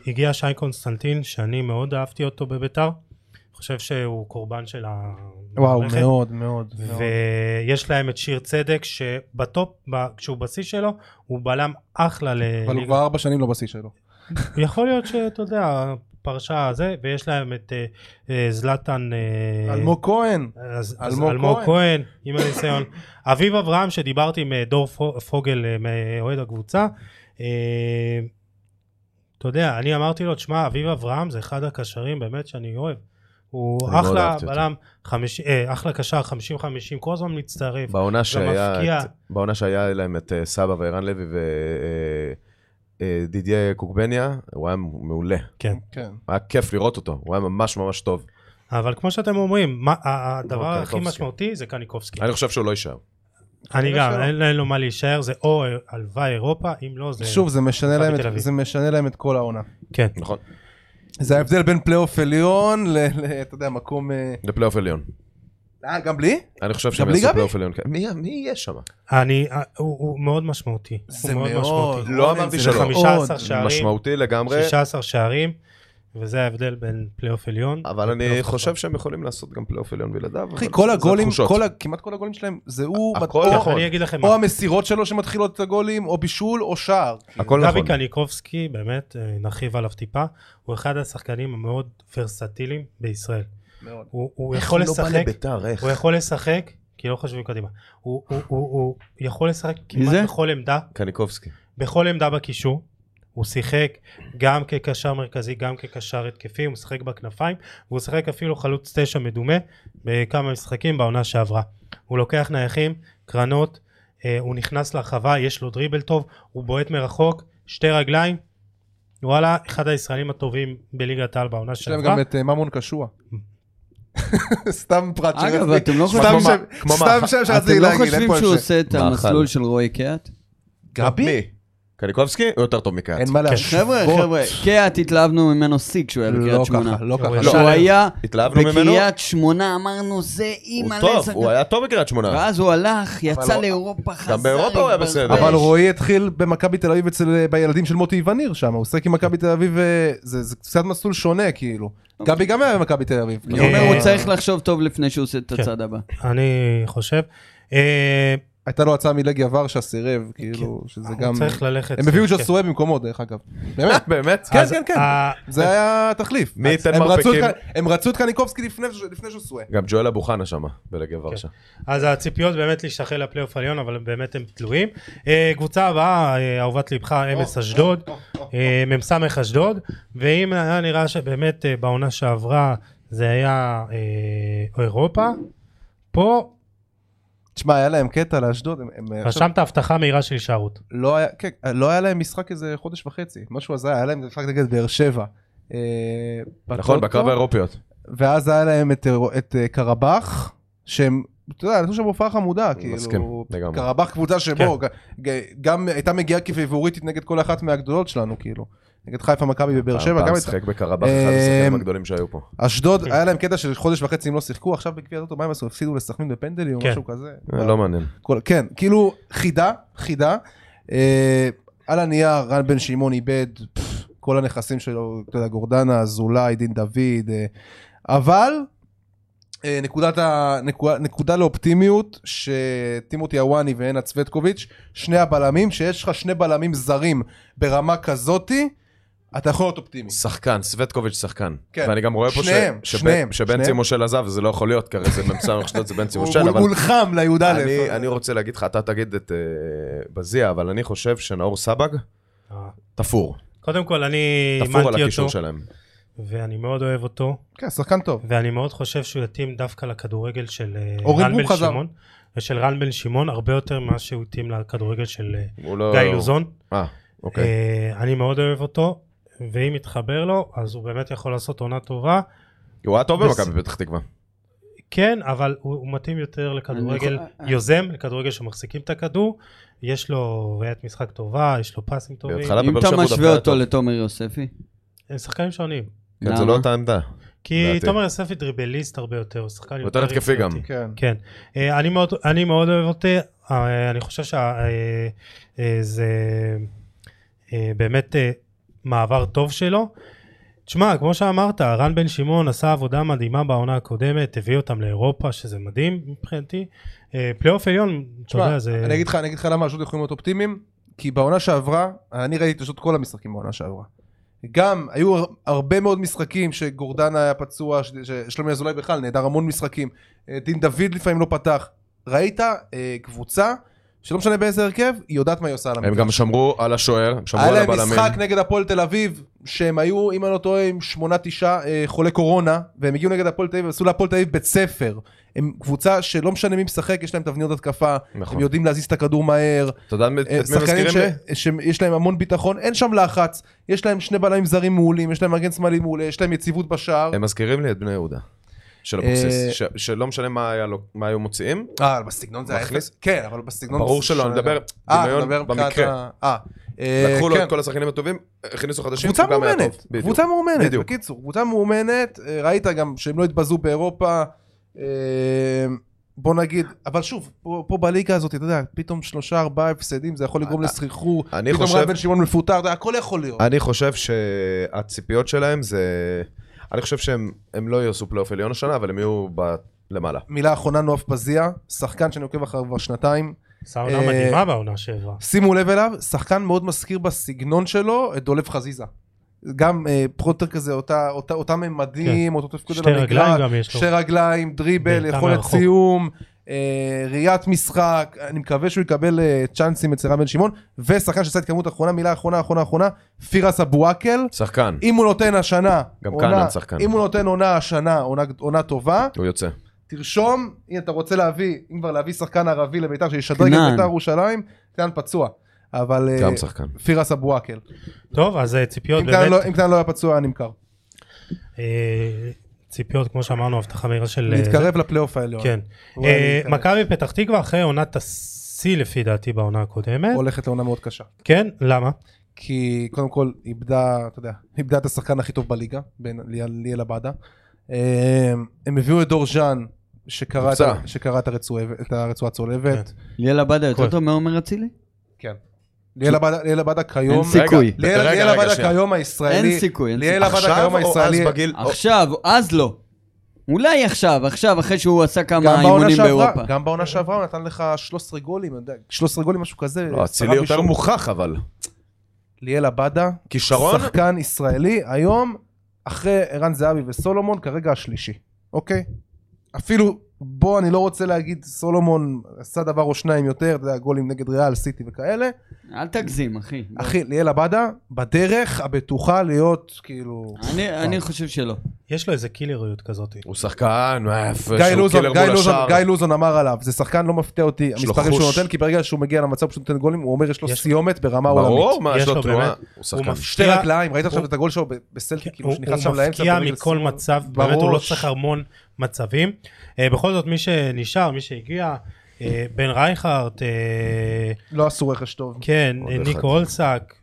Speaker 1: הגיע שי קונסטנטין, שאני מאוד אהבתי אותו בביתר, אני חושב שהוא קורבן של המערכת.
Speaker 2: וואו, מאוד, מאוד. מאוד.
Speaker 1: ויש להם את שיר צדק, שבטופ, ב- כשהוא בשיא שלו, הוא בלם אחלה
Speaker 2: אבל הוא
Speaker 1: לליגה.
Speaker 2: כבר ארבע שנים לא בשיא שלו.
Speaker 1: יכול להיות שאתה יודע, פרשה זה, ויש להם את אה, אה, זלאטן... אה,
Speaker 2: אלמוג כהן.
Speaker 1: אז אז
Speaker 2: אלמוג
Speaker 1: אלמוג
Speaker 2: כהן.
Speaker 1: כהן, עם הניסיון. אביב אברהם, שדיברתי עם אה, דור פרו- פוגל, אה, מאוהד הקבוצה, אה, אתה יודע, אני אמרתי לו, תשמע, אביב אברהם זה אחד הקשרים באמת שאני אוהב. הוא
Speaker 3: אני מאוד
Speaker 1: אחלה
Speaker 3: אהבתי אותו.
Speaker 1: בלם, חמישי- אה, אחלה קשר, 50-50, כל הזמן מצטרף.
Speaker 3: בעונה שהיה,
Speaker 1: מפקיע.
Speaker 3: את, בעונה שהיה להם את אה, סבא וערן לוי אה, ודידיה קוגבניה, הוא היה מעולה.
Speaker 2: כן.
Speaker 3: היה כיף לראות אותו, הוא היה ממש ממש טוב.
Speaker 1: אבל כמו שאתם אומרים, מה- ה- הדבר
Speaker 3: אוקיי,
Speaker 1: הכי
Speaker 3: קניקובסקי.
Speaker 1: משמעותי זה קניקובסקי.
Speaker 3: אני חושב שהוא לא יישאר.
Speaker 1: אני
Speaker 2: כנראה
Speaker 1: גם,
Speaker 2: שלא.
Speaker 1: אין אין לו מה להישאר, זה או אה, הלוואי אירופה, אם לא זה...
Speaker 2: שוב, זה משנה
Speaker 1: מכבי
Speaker 2: להם את-
Speaker 1: תל אביב.
Speaker 2: זה משנה להם את כל העונה.
Speaker 1: כן.
Speaker 3: נכון.
Speaker 2: זה ההבדל בין פלייאוף עליון ל... ל- אתה יודע, מקום... אה,
Speaker 3: לפלייאוף עליון.
Speaker 2: אה, גם בלי?
Speaker 3: אני חושב שהם
Speaker 2: בלי
Speaker 3: יעשו
Speaker 2: גבי?
Speaker 3: פלייאוף עליון. כן. מי- מי יהיה שם?
Speaker 1: אני, אה, הוא הוא מאוד משמעותי. הוא משמעותי.
Speaker 3: לא אמרתי
Speaker 2: זה
Speaker 3: שלא.
Speaker 2: מאוד.
Speaker 1: 15 שערים.
Speaker 3: משמעותי לגמרי,
Speaker 1: 16 שערים, וזה ההבדל בין פלייאוף עליון.
Speaker 3: אבל אני
Speaker 1: לפלייאוף
Speaker 3: חושב
Speaker 1: תחתון.
Speaker 3: שהם יכולים לעשות גם פלייאוף עליון בלעדיו.
Speaker 2: לא נכון. אחי,
Speaker 3: אבל
Speaker 2: כל
Speaker 3: זה
Speaker 2: הגולים,
Speaker 3: התחושות.
Speaker 2: כל ה- כמעט כל הגולים שלהם, זה הוא...
Speaker 3: הכל
Speaker 2: או-
Speaker 3: נכון.
Speaker 1: כן, אני אגיד לכם,
Speaker 2: או
Speaker 1: מה,
Speaker 2: המסירות שלו שמתחילות את הגולים, או בישול, או שער.
Speaker 3: הכל נכון.
Speaker 1: גבי קניקובסקי, באמת, אה, נרחיב עליו טיפה, הוא אחד השחקנים המאוד ורסטיליים בישראל. הוא- הוא יכול
Speaker 3: לא
Speaker 2: לא
Speaker 1: לשחק, הוא יכול לשחק, כי לא חושבים קדימה. הוא הוא- הוא- הוא יכול לשחק
Speaker 4: זה?
Speaker 1: כמעט בכל עמדה,
Speaker 3: קניקובסקי.
Speaker 1: בכל עמדה בקישור. הוא שיחק גם כקשר מרכזי, גם כקשר התקפי, הוא משחק בכנפיים, והוא שיחק אפילו חלוץ תשע מדומה בכמה משחקים בעונה שעברה. הוא לוקח נייחים, קרנות, אה, הוא נכנס לרחבה, יש לו דריבל טוב, הוא בועט מרחוק, שתי רגליים. וואלה, אחד הישראלים הטובים בליגת העל בעונה
Speaker 2: יש להם
Speaker 1: שעברה.
Speaker 2: גם את אה, ממון קשוע. סתם פרט
Speaker 4: אגב,
Speaker 2: שרציתי-
Speaker 4: אתם לא
Speaker 2: סתם
Speaker 4: חושבים-
Speaker 2: שם-
Speaker 3: כמו
Speaker 2: סתם
Speaker 3: מאכל.
Speaker 2: שם שרציתי
Speaker 4: אתם לא
Speaker 2: להגיד, אין
Speaker 4: חושבים
Speaker 2: פה
Speaker 4: שהוא
Speaker 2: איזה-
Speaker 4: עושה את
Speaker 3: מאכל.
Speaker 4: המסלול של רועי קהת?
Speaker 2: גבי?
Speaker 3: מי? קניקובסקי הוא יותר טוב מקאט.
Speaker 2: אין מה להגיד.
Speaker 1: קשור.
Speaker 4: חבר'ה,
Speaker 2: בוא.
Speaker 4: חבר'ה, קהת התלהבנו ממנו שיא כשהוא היה
Speaker 2: לא
Speaker 4: בקריית שמונה.
Speaker 2: ככה, לא
Speaker 1: הוא
Speaker 2: ככה.
Speaker 1: ישר-
Speaker 4: כשהוא
Speaker 3: לא.
Speaker 4: היה
Speaker 3: התלהבנו ממנו?
Speaker 4: בקריית שמונה, אמרנו זה
Speaker 3: הוא
Speaker 4: אימא
Speaker 3: טוב, הוא היה טוב בקריית שמונה.
Speaker 4: ואז הוא הלך, יצא
Speaker 2: הוא-
Speaker 4: לאירופה, חזר,
Speaker 3: באירופה הוא היה
Speaker 4: התברבש.
Speaker 3: בסדר.
Speaker 2: אבל רועי התחיל במכבי תל אביב אצל אה, בילדים של מוטי וניר שם, הוא עוסק עם מכבי תל אביב, אה, זה זה קצת מסלול שונה כאילו.
Speaker 3: אוקיי.
Speaker 2: גבי גם היה במכבי תל אביב.
Speaker 4: אני
Speaker 2: כאילו.
Speaker 4: אומר,
Speaker 1: אה,
Speaker 4: הוא צריך לחשוב טוב לפני שהוא עושה את
Speaker 1: כן.
Speaker 4: הצעד הבא.
Speaker 1: אני חושב. אה,
Speaker 2: הייתה לו הצעה מלגיה ורשה סירב, כאילו, שזה
Speaker 1: הוא
Speaker 2: גם...
Speaker 1: צריך ללכת.
Speaker 2: הם הביאו
Speaker 1: כן.
Speaker 2: ג'וסווה במקומו דרך אגב. באמת,
Speaker 3: באמת?
Speaker 2: כן,
Speaker 1: אז
Speaker 2: כן, כן.
Speaker 1: ה-
Speaker 2: זה היה התחליף.
Speaker 3: מי ייתן
Speaker 2: הם רצו את
Speaker 3: מרפקים?
Speaker 2: קנ- הם רצו את קניקובסקי לפני לפני ג'וסווה.
Speaker 3: גם ג'ואל אבוחנה שם, בלגיה
Speaker 1: כן.
Speaker 3: ורשה.
Speaker 1: אז הציפיות באמת להשתחל לפלייאוף עליון, אבל באמת הם תלויים. אה, קבוצה הבאה, אה, אהובת ליבך, אמס אשדוד, אה, מ"ס אשדוד, ואם היה נראה שבאמת אה, בעונה שעברה זה היה אה, אירופה, פה
Speaker 2: תשמע, היה להם קטע לאשדוד, הם- הם... עכשיו-
Speaker 1: רשמת הבטחה מהירה של הישארות.
Speaker 2: לא היה, כן, לא היה להם משחק איזה חודש וחצי, משהו הזיה, היה להם משחק נגד באר שבע. אה,
Speaker 3: נכון,
Speaker 2: בטוטו,
Speaker 3: בקרב האירופיות.
Speaker 2: ואז היה להם את, אה, את אה, קרבח, שהם, אתה יודע, נתנו שם הופעה חמודה,
Speaker 3: מסכים,
Speaker 2: כאילו,
Speaker 3: לגמרי. כן.
Speaker 2: קרבח קבוצה שבו, ג- ג- גם הייתה מגיעה כפיבוריטית נגד כל אחת מהגדולות שלנו, כאילו, נגד חיפה, מכבי ובאר שבע,
Speaker 3: כן, פעם
Speaker 2: גם את
Speaker 3: שיחק בקרבח, אחד השחקנים
Speaker 2: אמ,
Speaker 3: הגדולים שהיו פה.
Speaker 2: אשדוד, היה להם קטע של חודש וחצי הם לא שיחקו, עכשיו בגביע הטוטו, מה הם עשו? הפסידו לסכנין בפנדלים או
Speaker 1: כן.
Speaker 2: משהו כזה.
Speaker 3: לא מעניין.
Speaker 2: כל- כן, כאילו חידה, חידה. אה, על הנייר, רן בן שמעון איבד פף, כל הנכסים שלו, אתה יודע, גורדנה, אזולאי, דין דוד, אה, אבל אה, נקודת ה... נקודה, נקודה לאופטימיות, שטימותי הוואני והנה צוודקוביץ', שני הבלמים, שיש לך שני בלמים זרים ברמה כזאתי, אתה יכול להיות אופטימי.
Speaker 3: שחקן, סווטקוביץ' שחקן.
Speaker 2: כן.
Speaker 3: ואני גם רואה פה ש-
Speaker 2: שניהם,
Speaker 3: שבן-
Speaker 2: שניהם,
Speaker 3: שבן
Speaker 2: שניהם.
Speaker 3: צימושל עזב, זה לא יכול להיות, כי הרי זה מ"ס אשדוד, זה בן צימושל,
Speaker 2: הוא-
Speaker 3: אבל...
Speaker 2: הוא נלחם לי"א.
Speaker 3: אני- אני רוצה להגיד לך, אתה תגיד את אה, בזיע, אבל אני חושב שנאור סבג
Speaker 1: אה.
Speaker 3: תפור.
Speaker 1: קודם כל, אני
Speaker 3: תפור על
Speaker 1: אימנתי
Speaker 3: הקישור
Speaker 1: אותו,
Speaker 3: שלהם.
Speaker 1: ואני מאוד אוהב אותו,
Speaker 2: כן, שחקן טוב.
Speaker 1: ואני מאוד חושב שהוא יתאים דווקא לכדורגל של אה,
Speaker 2: אורי
Speaker 1: רן
Speaker 2: בוך
Speaker 1: בן
Speaker 2: חזר.
Speaker 1: שמעון, של רן בן שמעון, הרבה יותר ממה שהוא התאים לכדורגל של אה,
Speaker 3: הוא לא...
Speaker 1: גיא לוזון.
Speaker 3: אה, אוקיי.
Speaker 1: אה, אני מאוד אוהב אותו, ואם יתחבר לו, אז הוא באמת יכול לעשות עונה טובה.
Speaker 3: הוא היה טוב
Speaker 1: בס-
Speaker 3: במכבי פתח תקווה.
Speaker 1: כן, אבל הוא, הוא מתאים יותר לכדורגל
Speaker 4: אני-
Speaker 1: יוזם, לכדורגל שמחזיקים את הכדור. יש לו ראיית משחק טובה, יש לו פסים טובים.
Speaker 3: בהתחלה
Speaker 4: אם
Speaker 3: בבאר
Speaker 4: אתה
Speaker 3: שבע הוא דווקא
Speaker 4: משווה
Speaker 3: היה
Speaker 4: אותו
Speaker 3: טוב.
Speaker 4: לתומר יוספי,
Speaker 1: הם שחקנים שונים.
Speaker 3: כן, זה לא
Speaker 4: למה?
Speaker 3: אותה עמדה.
Speaker 1: כי
Speaker 3: לדעתי.
Speaker 1: תומר יוספי דריבליסט הרבה יותר, הוא שחקן
Speaker 3: יותר התקפי גם.
Speaker 1: יצירתי.
Speaker 2: כן.
Speaker 1: כן. אה, אני מאוד- אני מאוד אוהב אותי, אה, אני חושב שזה באמת אה, מעבר טוב שלו. תשמע, כמו שאמרת, רן בן שמעון עשה עבודה מדהימה בעונה הקודמת, הביא אותם לאירופה, שזה מדהים מבחינתי. אה, פלייאוף עליון, אתה יודע, זה...
Speaker 2: אני אגיד לך, אני אגיד לך למה אשדוד יכולים להיות אופטימיים, כי בעונה שעברה, אני ראיתי את אשדוד כל המשחקים בעונה שעברה. גם היו הר- הרבה מאוד משחקים שגורדנה היה פצוע, ש- ששלומי אזולאי בכלל נעדר המון משחקים, אה, דין דוד לפעמים לא פתח. ראית אה, קבוצה שלא משנה באיזה הרכב, היא יודעת מה היא עושה על
Speaker 3: הם גם שמרו על השוער, הם שמרו
Speaker 2: היה
Speaker 3: על
Speaker 2: להם
Speaker 3: הבלמים.
Speaker 2: משחק נגד הפועל תל אביב, שהם היו, אם אני לא טועה, עם שמונה תשעה אה, חולי קורונה, והם הגיעו נגד הפועל תל אביב, ועשו להפועל תל אביב בית ספר. הם קבוצה שלא משנה מי משחק, יש להם תבניות התקפה, הם
Speaker 3: נכון.
Speaker 2: יודעים להזיז את הכדור מהר,
Speaker 3: אתה יודע את מי
Speaker 2: אה, שחקנים
Speaker 3: מזכירים לי?
Speaker 2: ש- שיש להם המון ביטחון, אין שם לחץ, יש להם שני בלמים זרים מעולים, יש להם מגן שמאלי מעולה, יש להם יציבות בשער.
Speaker 3: הם מזכירים לי את בני יהודה. של
Speaker 2: אה,
Speaker 3: אבוקסיס, ש- שלא משנה מה היה לו- מה היו מוציאים,
Speaker 2: אה, בסגנון זה היה...
Speaker 3: מכניס?
Speaker 2: כן, אבל בסגנון...
Speaker 3: ברור
Speaker 2: זה
Speaker 3: שלא, אני
Speaker 2: שונה
Speaker 3: מדבר
Speaker 2: גם. אה, אתה
Speaker 3: דמיון
Speaker 2: מדבר מבחינת
Speaker 3: במקרה.
Speaker 2: ה- אה, אה,
Speaker 3: לקחו
Speaker 2: כן.
Speaker 3: לו את כל השחקנים הטובים, הכניסו חדשים,
Speaker 2: קבוצה
Speaker 3: הוא גם היה טוב.
Speaker 2: מאומנת,
Speaker 3: בדיוק.
Speaker 2: קבוצה מאומנת,
Speaker 3: בדיוק.
Speaker 2: בקיצור, קבוצה מאומנת, אה, ראית גם שהם לא התבזו באירופה, אה, בוא נגיד, אבל שוב, פה פה בליגה הזאת, אתה יודע, פתאום שלושה ארבעה הפסדים, זה יכול לגרום
Speaker 3: אה,
Speaker 2: לסחרחור,
Speaker 3: אני
Speaker 2: פתאום
Speaker 3: חושב-
Speaker 2: רן בן שמעון מפוטר, אתה יודע, הכל יכול להיות.
Speaker 3: אני חושב שהציפיות שלהם זה... אני חושב שהם הם לא יעשו פלייאוף עליון השנה, אבל הם יהיו ב- למעלה.
Speaker 2: מילה אחרונה, נואף פזיה, שחקן שאני עוקב אחריו כבר שנתיים,
Speaker 1: עשה עונה
Speaker 2: אה,
Speaker 1: מדהימה בעונה שעברה.
Speaker 2: שימו לב אליו, שחקן מאוד מזכיר בסגנון שלו את דולב חזיזה. גם אה, פחות או יותר כזה, אותה- אותה- אותם ממדים, אותו תפקוד
Speaker 1: כן. שתי
Speaker 2: על המגרש.
Speaker 1: רגליים גם יש לו.
Speaker 2: שתי רגליים, דריבל,
Speaker 1: בעיטה
Speaker 2: יכולת
Speaker 1: מרחוק.
Speaker 2: סיום, אה, ראיית משחק, אני מקווה שהוא יקבל אה, צ'אנסים אצל רן בן שמעון, ושחקן שעשה התקדמות אחרונה, מילה אחרונה, אחרונה, אחרונה, פירס אבואקל,
Speaker 3: שחקן,
Speaker 2: אם הוא נותן השנה,
Speaker 3: גם
Speaker 2: עונה-
Speaker 3: כהנן שחקן.
Speaker 2: אם הוא נותן עונה השנה, עונה- עונה טובה,
Speaker 3: הוא יוצא.
Speaker 2: תרשום, אם אתה רוצה להביא, אם כבר להביא שחקן ערבי לביתר שישדרג את
Speaker 4: כנען.
Speaker 2: ביתר ירושלים, כנען פצוע, אבל אה,
Speaker 3: גם שחקן.
Speaker 2: פירס אבואקל,
Speaker 1: טוב, אז אה, ציפיות
Speaker 2: אם כנען
Speaker 1: באמת,
Speaker 2: לא- אם כנען לא היה פצוע היה נמכר,
Speaker 1: אה, ציפיות, כמו שאמרנו, הבטחה מהירה של... אה,
Speaker 2: להתקרב לפלייאוף העליון,
Speaker 1: כן.
Speaker 2: אולי
Speaker 1: אה,
Speaker 2: להתקרב.
Speaker 1: מכבי פתח תקווה אחרי עונת השיא לפי דעתי בעונה הקודמת.
Speaker 2: הולכת לעונה מאוד קשה.
Speaker 1: כן, למה?
Speaker 2: כי קודם כל איבדה, אתה יודע, איבדה את השחקן הכי טוב בליגה, בין ליאל ליאל עבאדה. אמ, הם הביאו את דור ז'אן, שקרא את ה-
Speaker 3: נפצע.
Speaker 2: שקרא את הרצועה- את הרצועה הצולבת.
Speaker 4: ליאל עבדה יותר
Speaker 1: כואב.
Speaker 4: טוב מעומר אצילי?
Speaker 2: כן. ליאל עבאדה- ליאל עבאדה כיום,
Speaker 4: אין סיכוי.
Speaker 2: ליאל-
Speaker 3: רגע,
Speaker 2: ליאל
Speaker 3: רגע,
Speaker 2: עבאדה
Speaker 3: שנייה.
Speaker 2: כיום הישראלי,
Speaker 4: אין סיכוי, אין
Speaker 3: אה,
Speaker 2: ליאל
Speaker 4: סיכוי.
Speaker 2: עבאדה
Speaker 3: עכשיו
Speaker 2: כיום
Speaker 3: או אז
Speaker 2: הישראלי,
Speaker 3: בגיל... או-
Speaker 4: עכשיו, אז לא. אולי עכשיו, עכשיו, אחרי שהוא עשה
Speaker 2: גם
Speaker 4: כמה
Speaker 2: בעונה
Speaker 4: אימונים
Speaker 2: שעברה,
Speaker 4: באירופה.
Speaker 2: גם בעונה שעברה הוא נתן לך 13 גולים, אני יודע, 13 גולים משהו כזה,
Speaker 3: לא, אצילי
Speaker 2: עשרה
Speaker 3: יותר
Speaker 2: בישול.
Speaker 3: מוכח אבל.
Speaker 2: ליאל עבאדה,
Speaker 3: כישרון?
Speaker 2: שחקן ישראלי, היום, אחרי ערן זהבי וסולומון, כרגע השלישי, אוקיי? אפילו בוא, אני לא רוצה להגיד, סולומון עשה דבר או שניים יותר, אתה יודע, גולים נגד ריאל, סיטי וכאלה.
Speaker 4: אל תגזים, אחי.
Speaker 2: אחי, ליאל עבדה, בדרך הבטוחה להיות, כאילו...
Speaker 4: אני- אני חושב שלא.
Speaker 1: יש לו איזה קילריות כזאת.
Speaker 3: הוא שחקן, מה, יפה,
Speaker 2: גיא
Speaker 3: שהוא
Speaker 2: לוזון,
Speaker 3: קילר
Speaker 2: גיא
Speaker 3: מול
Speaker 2: לוזון-
Speaker 3: השער.
Speaker 2: גיא לוזון אמר עליו, זה שחקן לא מפתיע אותי,
Speaker 3: יש לו
Speaker 2: המספרים שהוא
Speaker 3: חוש.
Speaker 2: נותן, כי ברגע שהוא מגיע למצב שהוא נותן גולים, הוא אומר יש לו
Speaker 1: יש-
Speaker 2: סיומת ברמה עולמית.
Speaker 3: ברור, מה,
Speaker 1: יש
Speaker 3: יש לו
Speaker 1: לו
Speaker 3: תנועה.
Speaker 1: באמת,
Speaker 3: הוא
Speaker 1: הוא
Speaker 3: שחקן.
Speaker 1: מפתיע.
Speaker 2: שתי רגליים, ראית עכשיו
Speaker 1: הוא-
Speaker 2: את הגול שלו ב- בסלטיק, כאילו,
Speaker 1: הוא
Speaker 2: שנכנס שם
Speaker 1: הוא
Speaker 2: לאמצע.
Speaker 1: מפקיע
Speaker 2: ברגל
Speaker 1: מכל
Speaker 2: שמאל.
Speaker 1: מצב, באמת הוא לא
Speaker 2: בראש.
Speaker 1: צריך המון מצבים. אה, בכל זאת, מי שנשאר, מי שהגיע, אה, בן רייכרט, אה,
Speaker 2: לא עשו רכש טוב.
Speaker 1: כן,
Speaker 3: עוד
Speaker 1: אה,
Speaker 3: אחד.
Speaker 1: ניקו אולסק,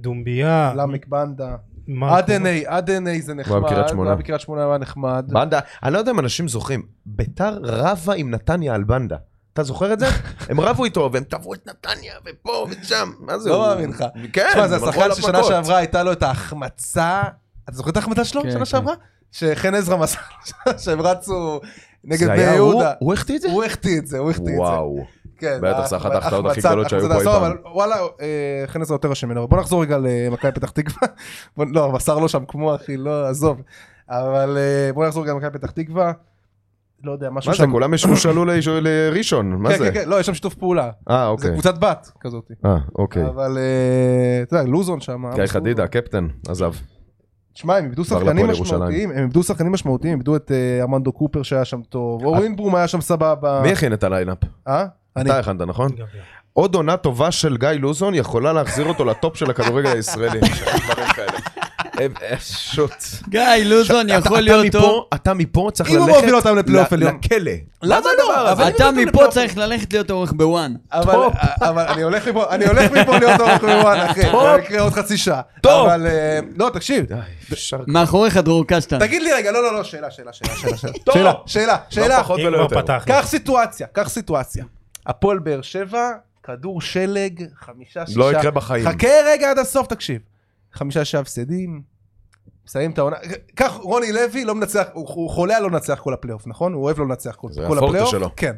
Speaker 1: דומביה,
Speaker 2: למק בנדה.
Speaker 1: מרקו-
Speaker 2: אדני, אדני זה נחמד.
Speaker 3: הוא היה בקריית שמונה.
Speaker 2: הוא היה בקריית שמונה היה נחמד.
Speaker 3: בנדה, אני לא יודע אם אנשים זוכרים, ביתר רבה עם נתניה על בנדה. אתה זוכר את זה? הם רבו איתו, והם טבעו את נתניה, ופה ושם. מה זה?
Speaker 2: לא
Speaker 3: הוא-
Speaker 2: מאמין לך.
Speaker 3: כן,
Speaker 2: תשמע, זה
Speaker 3: הם הלכו
Speaker 2: השחקן
Speaker 3: על
Speaker 2: ששנה
Speaker 3: הפקות.
Speaker 2: שעברה הייתה לו את ההחמצה. אתה זוכר את ההחמצה שלו?
Speaker 4: כן, כן.
Speaker 2: שנה שעברה? שחן עזרא מסר, שהם רצו נגד
Speaker 3: זה
Speaker 2: בני
Speaker 3: היה הוא?
Speaker 2: יהודה.
Speaker 3: הוא החטיא את זה?
Speaker 2: הוא החטיא את זה, הוא החטיא את זה.
Speaker 3: וואו.
Speaker 2: כן,
Speaker 3: בטח, זו אחת ההחטאות הכי גדולות שהיו פה אי
Speaker 2: פעם.
Speaker 3: פעם.
Speaker 2: אבל וואלה, אה, חן עזרא יותר אשם ממנו. אבל בוא נחזור רגע למכבי פתח תקווה. בוא- לא, בשר לא שם כמו אחי, לא, עזוב. אבל אה, בוא נחזור רגע למכבי פתח תקווה. לא יודע, משהו
Speaker 3: מה זה,
Speaker 2: שם.
Speaker 3: כולם ישבו שאלו לאיש- לראשון, מה
Speaker 2: כן,
Speaker 3: זה?
Speaker 2: כן, כן, לא, יש שם שיתוף פעולה.
Speaker 3: אה,
Speaker 2: זה
Speaker 3: אוקיי.
Speaker 2: קבוצת בת כזאת.
Speaker 3: אה, אוקיי.
Speaker 2: אבל אה, אתה יודע, לוזון שם.
Speaker 3: גיא
Speaker 2: עמוס
Speaker 3: חדידה,
Speaker 2: לוזון.
Speaker 3: קפטן, עזב.
Speaker 2: שמע, הם איבדו
Speaker 3: עבר
Speaker 2: שחקנים
Speaker 3: להפועל ירושלים.
Speaker 2: משמעותיים, הם איבדו שחקנים משמעותיים, איבדו את אה, ארמנדו קופר שהיה שם טוב, אורין ברום היה שם סבבה.
Speaker 3: מי הכין את הליינאפ?
Speaker 2: אה? אני.
Speaker 3: אתה הכנת, נכון?
Speaker 1: גם-
Speaker 3: עוד עונה טובה של גיא לוזון יכולה להחזיר אותו לטופ של הכדורגל הישראלי. דברים כאלה. אה, אה, שוט.
Speaker 4: גיא לוזון
Speaker 3: אתה-
Speaker 4: יכול
Speaker 3: אתה
Speaker 4: להיות טוב.
Speaker 3: מפה- אתה מפה צריך
Speaker 2: אם
Speaker 3: ללכת...
Speaker 2: הוא מוביל אותם לפלייאוף
Speaker 3: ל-
Speaker 2: עליון.
Speaker 3: לכלא.
Speaker 2: למה לא? אבל-
Speaker 4: אתה מפה צריך ללכת להיות עורך בוואן.
Speaker 2: אבל אבל אני הולך מפה, אני הולך מפה להיות אורך מוואן, אחי. זה יקרה עוד חצי שעה.
Speaker 3: טופ.
Speaker 2: אבל אה, לא, תקשיב.
Speaker 3: די, אפשר
Speaker 4: מאחוריך דרור קשטן.
Speaker 2: תגיד לי רגע, לא, לא, לא, שאלה, שאלה, שאלה, שאלה, שאלה.
Speaker 3: טוב.
Speaker 2: שאלה, שאלה, שאלה.
Speaker 3: פחות
Speaker 1: אם
Speaker 3: ולא
Speaker 1: כבר
Speaker 3: יותר.
Speaker 1: פתחנו.
Speaker 2: קח סיטואציה, קח סיטואציה. הפועל באר שבע, כדור שלג, חמישה, שישה.
Speaker 3: לא יקרה בחיים.
Speaker 2: חכה רגע עד הסוף, תקשיב. חמישה שישה הפסדים, מסיים את העונה. כך, רוני לוי לא מנצח, הוא, הוא חולה על לא לנצח כל הפלייאוף, נכון? הוא אוהב לא לנצח כל,
Speaker 3: זה
Speaker 2: כל
Speaker 3: הפורטה
Speaker 2: הפלייאוף.
Speaker 3: שלו.
Speaker 2: כן.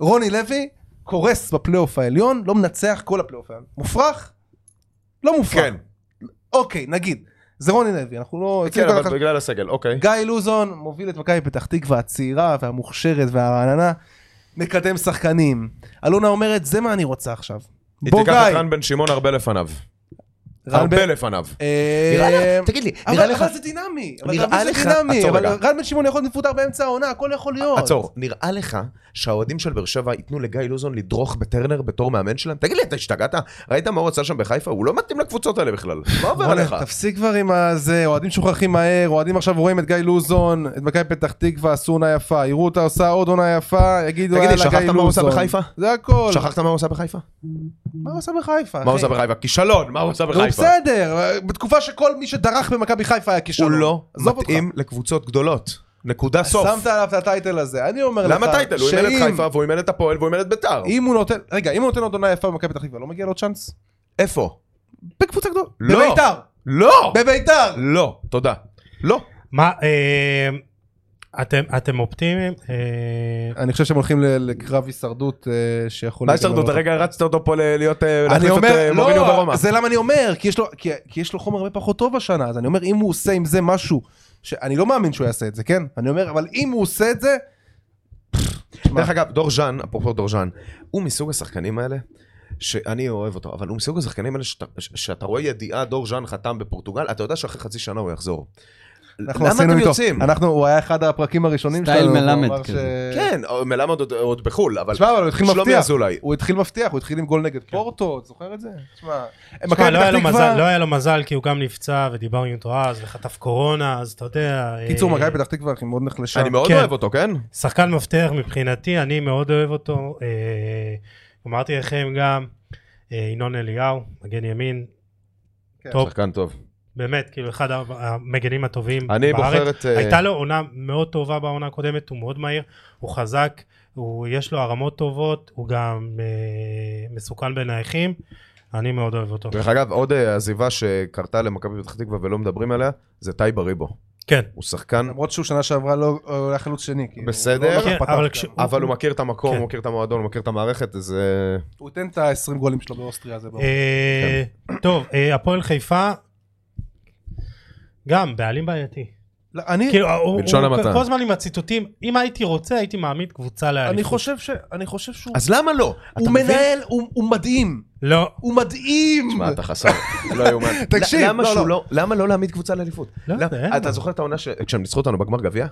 Speaker 2: רוני לוי קורס בפלייאוף העליון, לא מנצח כל הפלייאוף העליון. מופרך? לא מופרך.
Speaker 3: כן,
Speaker 2: אוקיי, נגיד. זה רוני לוי, אנחנו לא... אצלי
Speaker 3: כן,
Speaker 2: כל
Speaker 3: אבל
Speaker 2: אחד-
Speaker 3: בגלל הסגל, אוקיי.
Speaker 2: גיא לוזון מוביל את מכבי פתח תקווה הצעירה והמוכשרת והרעננה, מקדם שחקנים. אלונה אומרת, זה מה אני רוצה עכשיו.
Speaker 3: היא
Speaker 2: בוא
Speaker 3: תיקח את
Speaker 2: גיא.
Speaker 3: רן בן שמעון הרבה לפניו.
Speaker 2: רן בן-
Speaker 3: הרבה לפניו.
Speaker 2: אה,
Speaker 3: תגיד לי,
Speaker 2: אבל אבל זה דינמי, אבל
Speaker 3: נראה
Speaker 2: זה
Speaker 3: לך-
Speaker 2: דינמי,
Speaker 3: עצור
Speaker 2: אבל
Speaker 3: רגע.
Speaker 2: רן בן שמעון יכול להיות מפוטר באמצע העונה, הכל יכול להיות.
Speaker 3: עצור, נראה לך שהאוהדים של באר שבע ייתנו לגיא לוזון לדרוך בטרנר בתור מאמן שלהם? תגיד לי, אתה השתגעת? ראית מה הוא עשה שם בחיפה? הוא לא מתאים לקבוצות האלה בכלל. מה עובר
Speaker 2: בוא'נה,
Speaker 3: עליך?
Speaker 2: תפסיק כבר עם הזה, אוהדים שוכחים מהר, אוהדים עכשיו רואים את גיא לוזון, את מכבי פתח תקווה, עשו עונה יפה, יראו אותה עושה עוד עונה יפה, יגידו,
Speaker 3: תגיד לי,
Speaker 2: יאללה, גיא
Speaker 3: שכחת מה הוא עשה
Speaker 2: לוזון."
Speaker 3: בחיפה?
Speaker 2: זה הכל.
Speaker 3: שכחת מה הוא עשה בחיפה?
Speaker 2: מה הוא עושה בחיפה?
Speaker 3: מה הוא
Speaker 2: אחי?
Speaker 3: עשה בחיפה? כישלון, מה הוא עשה
Speaker 2: הוא
Speaker 3: בחיפה?
Speaker 2: בסדר, בתקופה שכל מי שדרך במכבי חיפה היה
Speaker 3: הוא
Speaker 2: כישלון.
Speaker 3: לא
Speaker 2: עזוב אותך.
Speaker 3: מתאים לקבוצות גדולות. נקודה סוף.
Speaker 2: שמת עליו את הטייטל הזה, אני אומר לך,
Speaker 3: למה טייטל? הוא אימן את
Speaker 2: שאם-
Speaker 3: חיפה לא. והוא אימן את הפועל והוא אימן את ביתר.
Speaker 2: אם הוא נותן, רגע, אם הוא נותן עוד עונה יפה במכבי פתח תקווה, לא מגיע לו עוד צ'אנס?
Speaker 3: איפה?
Speaker 2: בקבוצה גדולה.
Speaker 3: לא.
Speaker 2: בביתר.
Speaker 3: לא!
Speaker 2: בביתר.
Speaker 3: לא, תודה. לא.
Speaker 1: מה, אה, אתם אתם אופטימיים? אה,
Speaker 2: אני חושב שהם הולכים ל- לקרב הישרדות אה, שיכול...
Speaker 3: מה
Speaker 2: להיגמר
Speaker 3: הישרדות?
Speaker 2: לא טוב.
Speaker 3: הרגע הרצת אותו פה ל- להיות... אה,
Speaker 2: אני
Speaker 3: להחליף את,
Speaker 2: אומר,
Speaker 3: אה, מוריניו ברומא.
Speaker 2: לא, זה למה אני אומר, כי יש לו- כי- כי יש לו חומר הרבה פחות טוב השנה, אז אני אומר, אם הוא עושה עם זה משהו, שאני לא מאמין שהוא יעשה את זה, כן? אני אומר, אבל אם הוא עושה את זה... תשמע,
Speaker 3: דרך אגב, דור ז'אן, אפרופו דור ז'אן, הוא מסוג השחקנים האלה, שאני אוהב אותו, אבל הוא מסוג השחקנים האלה שאתה- ש- שאתה רואה ידיעה, דור ז'אן חתם בפורטוגל, אתה יודע שאחרי חצי שנה הוא יחזור.
Speaker 2: אנחנו
Speaker 3: למה
Speaker 2: עשינו
Speaker 3: אתם
Speaker 2: איתו.
Speaker 3: יוצאים?
Speaker 2: אנחנו, הוא היה אחד הפרקים הראשונים
Speaker 4: סטייל
Speaker 2: שלנו. הוא
Speaker 4: מלמד
Speaker 2: אמר ש-
Speaker 4: כזה.
Speaker 3: כן, או- מלמד עוד- עוד בחו"ל, אבל
Speaker 2: תשמע, אבל הוא התחיל
Speaker 3: שלומי כן.
Speaker 2: מבטיח.
Speaker 3: אזולאי.
Speaker 2: הוא התחיל מבטיח, הוא התחיל עם גול נגד פורטו, אתה זוכר את זה? תשמע,
Speaker 1: תשמע,
Speaker 2: מכבי
Speaker 1: לא היה לו
Speaker 2: פתח
Speaker 1: מזל-
Speaker 2: תקווה-
Speaker 1: לא היה לו מזל כי הוא גם נפצע ודיברנו איתו אז וחטף קורונה אז אתה יודע. אה,
Speaker 2: קיצור, מכבי פתח תקווה, אחי, מאוד נחלשה.
Speaker 3: אני מאוד
Speaker 1: כן.
Speaker 3: אוהב אותו, כן?
Speaker 1: שחקן מפתח מבחינתי, אני מאוד אוהב אותו. אה, אמרתי לכם גם, אה, ינון אליהו, מגן ימין,
Speaker 2: כן.
Speaker 1: טוב,
Speaker 3: שחקן טוב.
Speaker 1: באמת, כאילו אחד המגנים הטובים
Speaker 3: אני
Speaker 1: בארץ.
Speaker 3: בוחר את... אה,
Speaker 1: הייתה לו עונה מאוד טובה בעונה הקודמת, הוא מאוד מהיר, הוא חזק, הוא, יש לו הרמות טובות, הוא גם אה, מסוכן בנייחים, אני מאוד אוהב אותו.
Speaker 3: דרך אגב, עוד אה, עזיבה שקרתה למכבי פתח תקווה ולא מדברים עליה, זה טייב אריבו.
Speaker 1: כן,
Speaker 3: הוא שחקן,
Speaker 2: למרות שהוא שנה שעברה לא הוא היה חלוץ שני. כי הוא
Speaker 3: בסדר.
Speaker 2: לא
Speaker 1: כן,
Speaker 2: פתח.
Speaker 1: אבל כש-
Speaker 3: אבל הוא מכיר את המקום,
Speaker 1: כן.
Speaker 3: הוא מכיר את המועדון, הוא מכיר את המערכת, זה...
Speaker 2: הוא ייתן את ה-20 גולים שלו באוסטריה, זה ברור.
Speaker 1: אה, טוב, אה, הפועל חיפה, גם בעלים בעייתי.
Speaker 2: לא, אני,
Speaker 3: כן,
Speaker 1: כאילו, הוא-
Speaker 3: בלשון
Speaker 1: הוא
Speaker 3: המעטה.
Speaker 1: כל הזמן עם הציטוטים, אם הייתי רוצה, הייתי מעמיד קבוצה לאליפות.
Speaker 2: אני חושב ש... אני חושב שהוא...
Speaker 3: אז למה לא?
Speaker 2: הוא
Speaker 3: אתה מבין?
Speaker 2: מנהל, הוא הוא מדהים.
Speaker 1: לא,
Speaker 2: הוא מדהים!
Speaker 3: תשמע, אתה חסר, לא יאומן.
Speaker 2: תקשיב,
Speaker 3: למה
Speaker 2: לא,
Speaker 3: שהוא
Speaker 2: לא.
Speaker 3: לא- למה לא להעמיד קבוצה לאליפות?
Speaker 1: לא
Speaker 3: למה-
Speaker 1: יודע, אין
Speaker 3: אתה
Speaker 1: מה.
Speaker 3: זוכר את העונה ש- כשהם ניצחו אותנו בגמר גביע?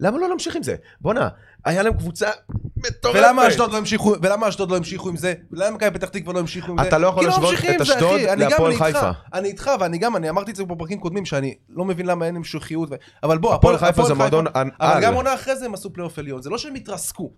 Speaker 3: למה לא להמשיך עם זה? בואנה, היה להם קבוצה מטורפת.
Speaker 2: ולמה אשדוד לא המשיכו, ולמה אשדוד לא המשיכו עם זה? ולמה מכבי פתח תקווה לא המשיכו עם זה?
Speaker 3: אתה לא יכול
Speaker 2: כי
Speaker 3: להשוות
Speaker 2: ממשיכים עם
Speaker 3: את
Speaker 2: זה, אחי.
Speaker 3: אשדוד
Speaker 2: אני גם-
Speaker 3: להפועל
Speaker 2: אני איתך.
Speaker 3: חיפה.
Speaker 2: אני איתך, ואני גם, אני אמרתי את זה בפרקים קודמים, שאני לא מבין למה אין המשכיות, ו- אבל בוא,
Speaker 3: הפועל חיפה זה מועדון על.
Speaker 2: אבל גם עונה אחרי זה הם עשו פלייאוף עליון, זה לא שהם התרסקו.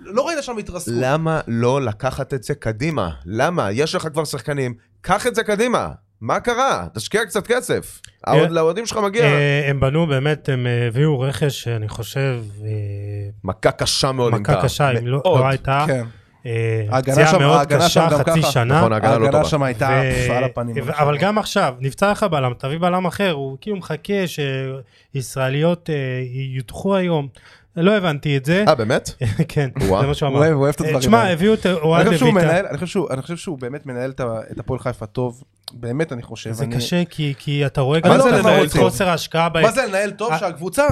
Speaker 2: לא ראית שהם התרסקו.
Speaker 3: למה לא לקחת את זה קדימה? למה? יש לך כבר שחקנים, קח את זה קדימה. מה קרה? תשקיע קצת כסף. האוהד- לאוהדים שלך מגיע.
Speaker 1: אה, הם בנו באמת, הם אה, הביאו רכש, אני חושב, אה,
Speaker 3: מכה קשה מאוד. עם
Speaker 1: מכה
Speaker 3: טאה.
Speaker 1: קשה, אם לא
Speaker 3: מאוד.
Speaker 1: לא הייתה.
Speaker 2: כן.
Speaker 1: אה,
Speaker 2: ההגנה
Speaker 1: פציעה
Speaker 2: שם-
Speaker 1: מאוד
Speaker 2: ההגנה שם
Speaker 1: קשה,
Speaker 2: גם
Speaker 1: חצי
Speaker 2: ככה.
Speaker 1: שנה.
Speaker 3: נכון, ההגנה לא
Speaker 2: ההגנה
Speaker 3: טובה.
Speaker 2: שם הייתה
Speaker 1: ו-
Speaker 2: פפה על הפנים.
Speaker 1: ו- אבל גם עכשיו, נפצע לך בלם, תביא בלם אחר, הוא כאילו מחכה שישראליות אה, יודחו היום. לא הבנתי את זה.
Speaker 3: אה, באמת?
Speaker 1: כן,
Speaker 3: וואו.
Speaker 1: זה מה שהוא
Speaker 2: הוא
Speaker 1: אמר.
Speaker 2: אוהב, הוא אוהב את הדברים
Speaker 1: אה, תשמע,
Speaker 2: האלה.
Speaker 1: הביאו את אוהד
Speaker 2: אני חושב שהוא
Speaker 1: לויטה.
Speaker 2: מנהל, אני חושב שהוא- אני חושב שהוא באמת מנהל את ה- את הפועל חיפה טוב, באמת אני חושב.
Speaker 1: זה
Speaker 2: אני-
Speaker 1: קשה, כי- כי אתה רואה
Speaker 2: אני
Speaker 1: גם
Speaker 2: לא
Speaker 1: את
Speaker 2: יודע מה
Speaker 1: ה-
Speaker 2: רוצים.
Speaker 1: חוסר ההשקעה בהם.
Speaker 2: מה זה לנהל טוב
Speaker 1: אה.
Speaker 2: שהקבוצה,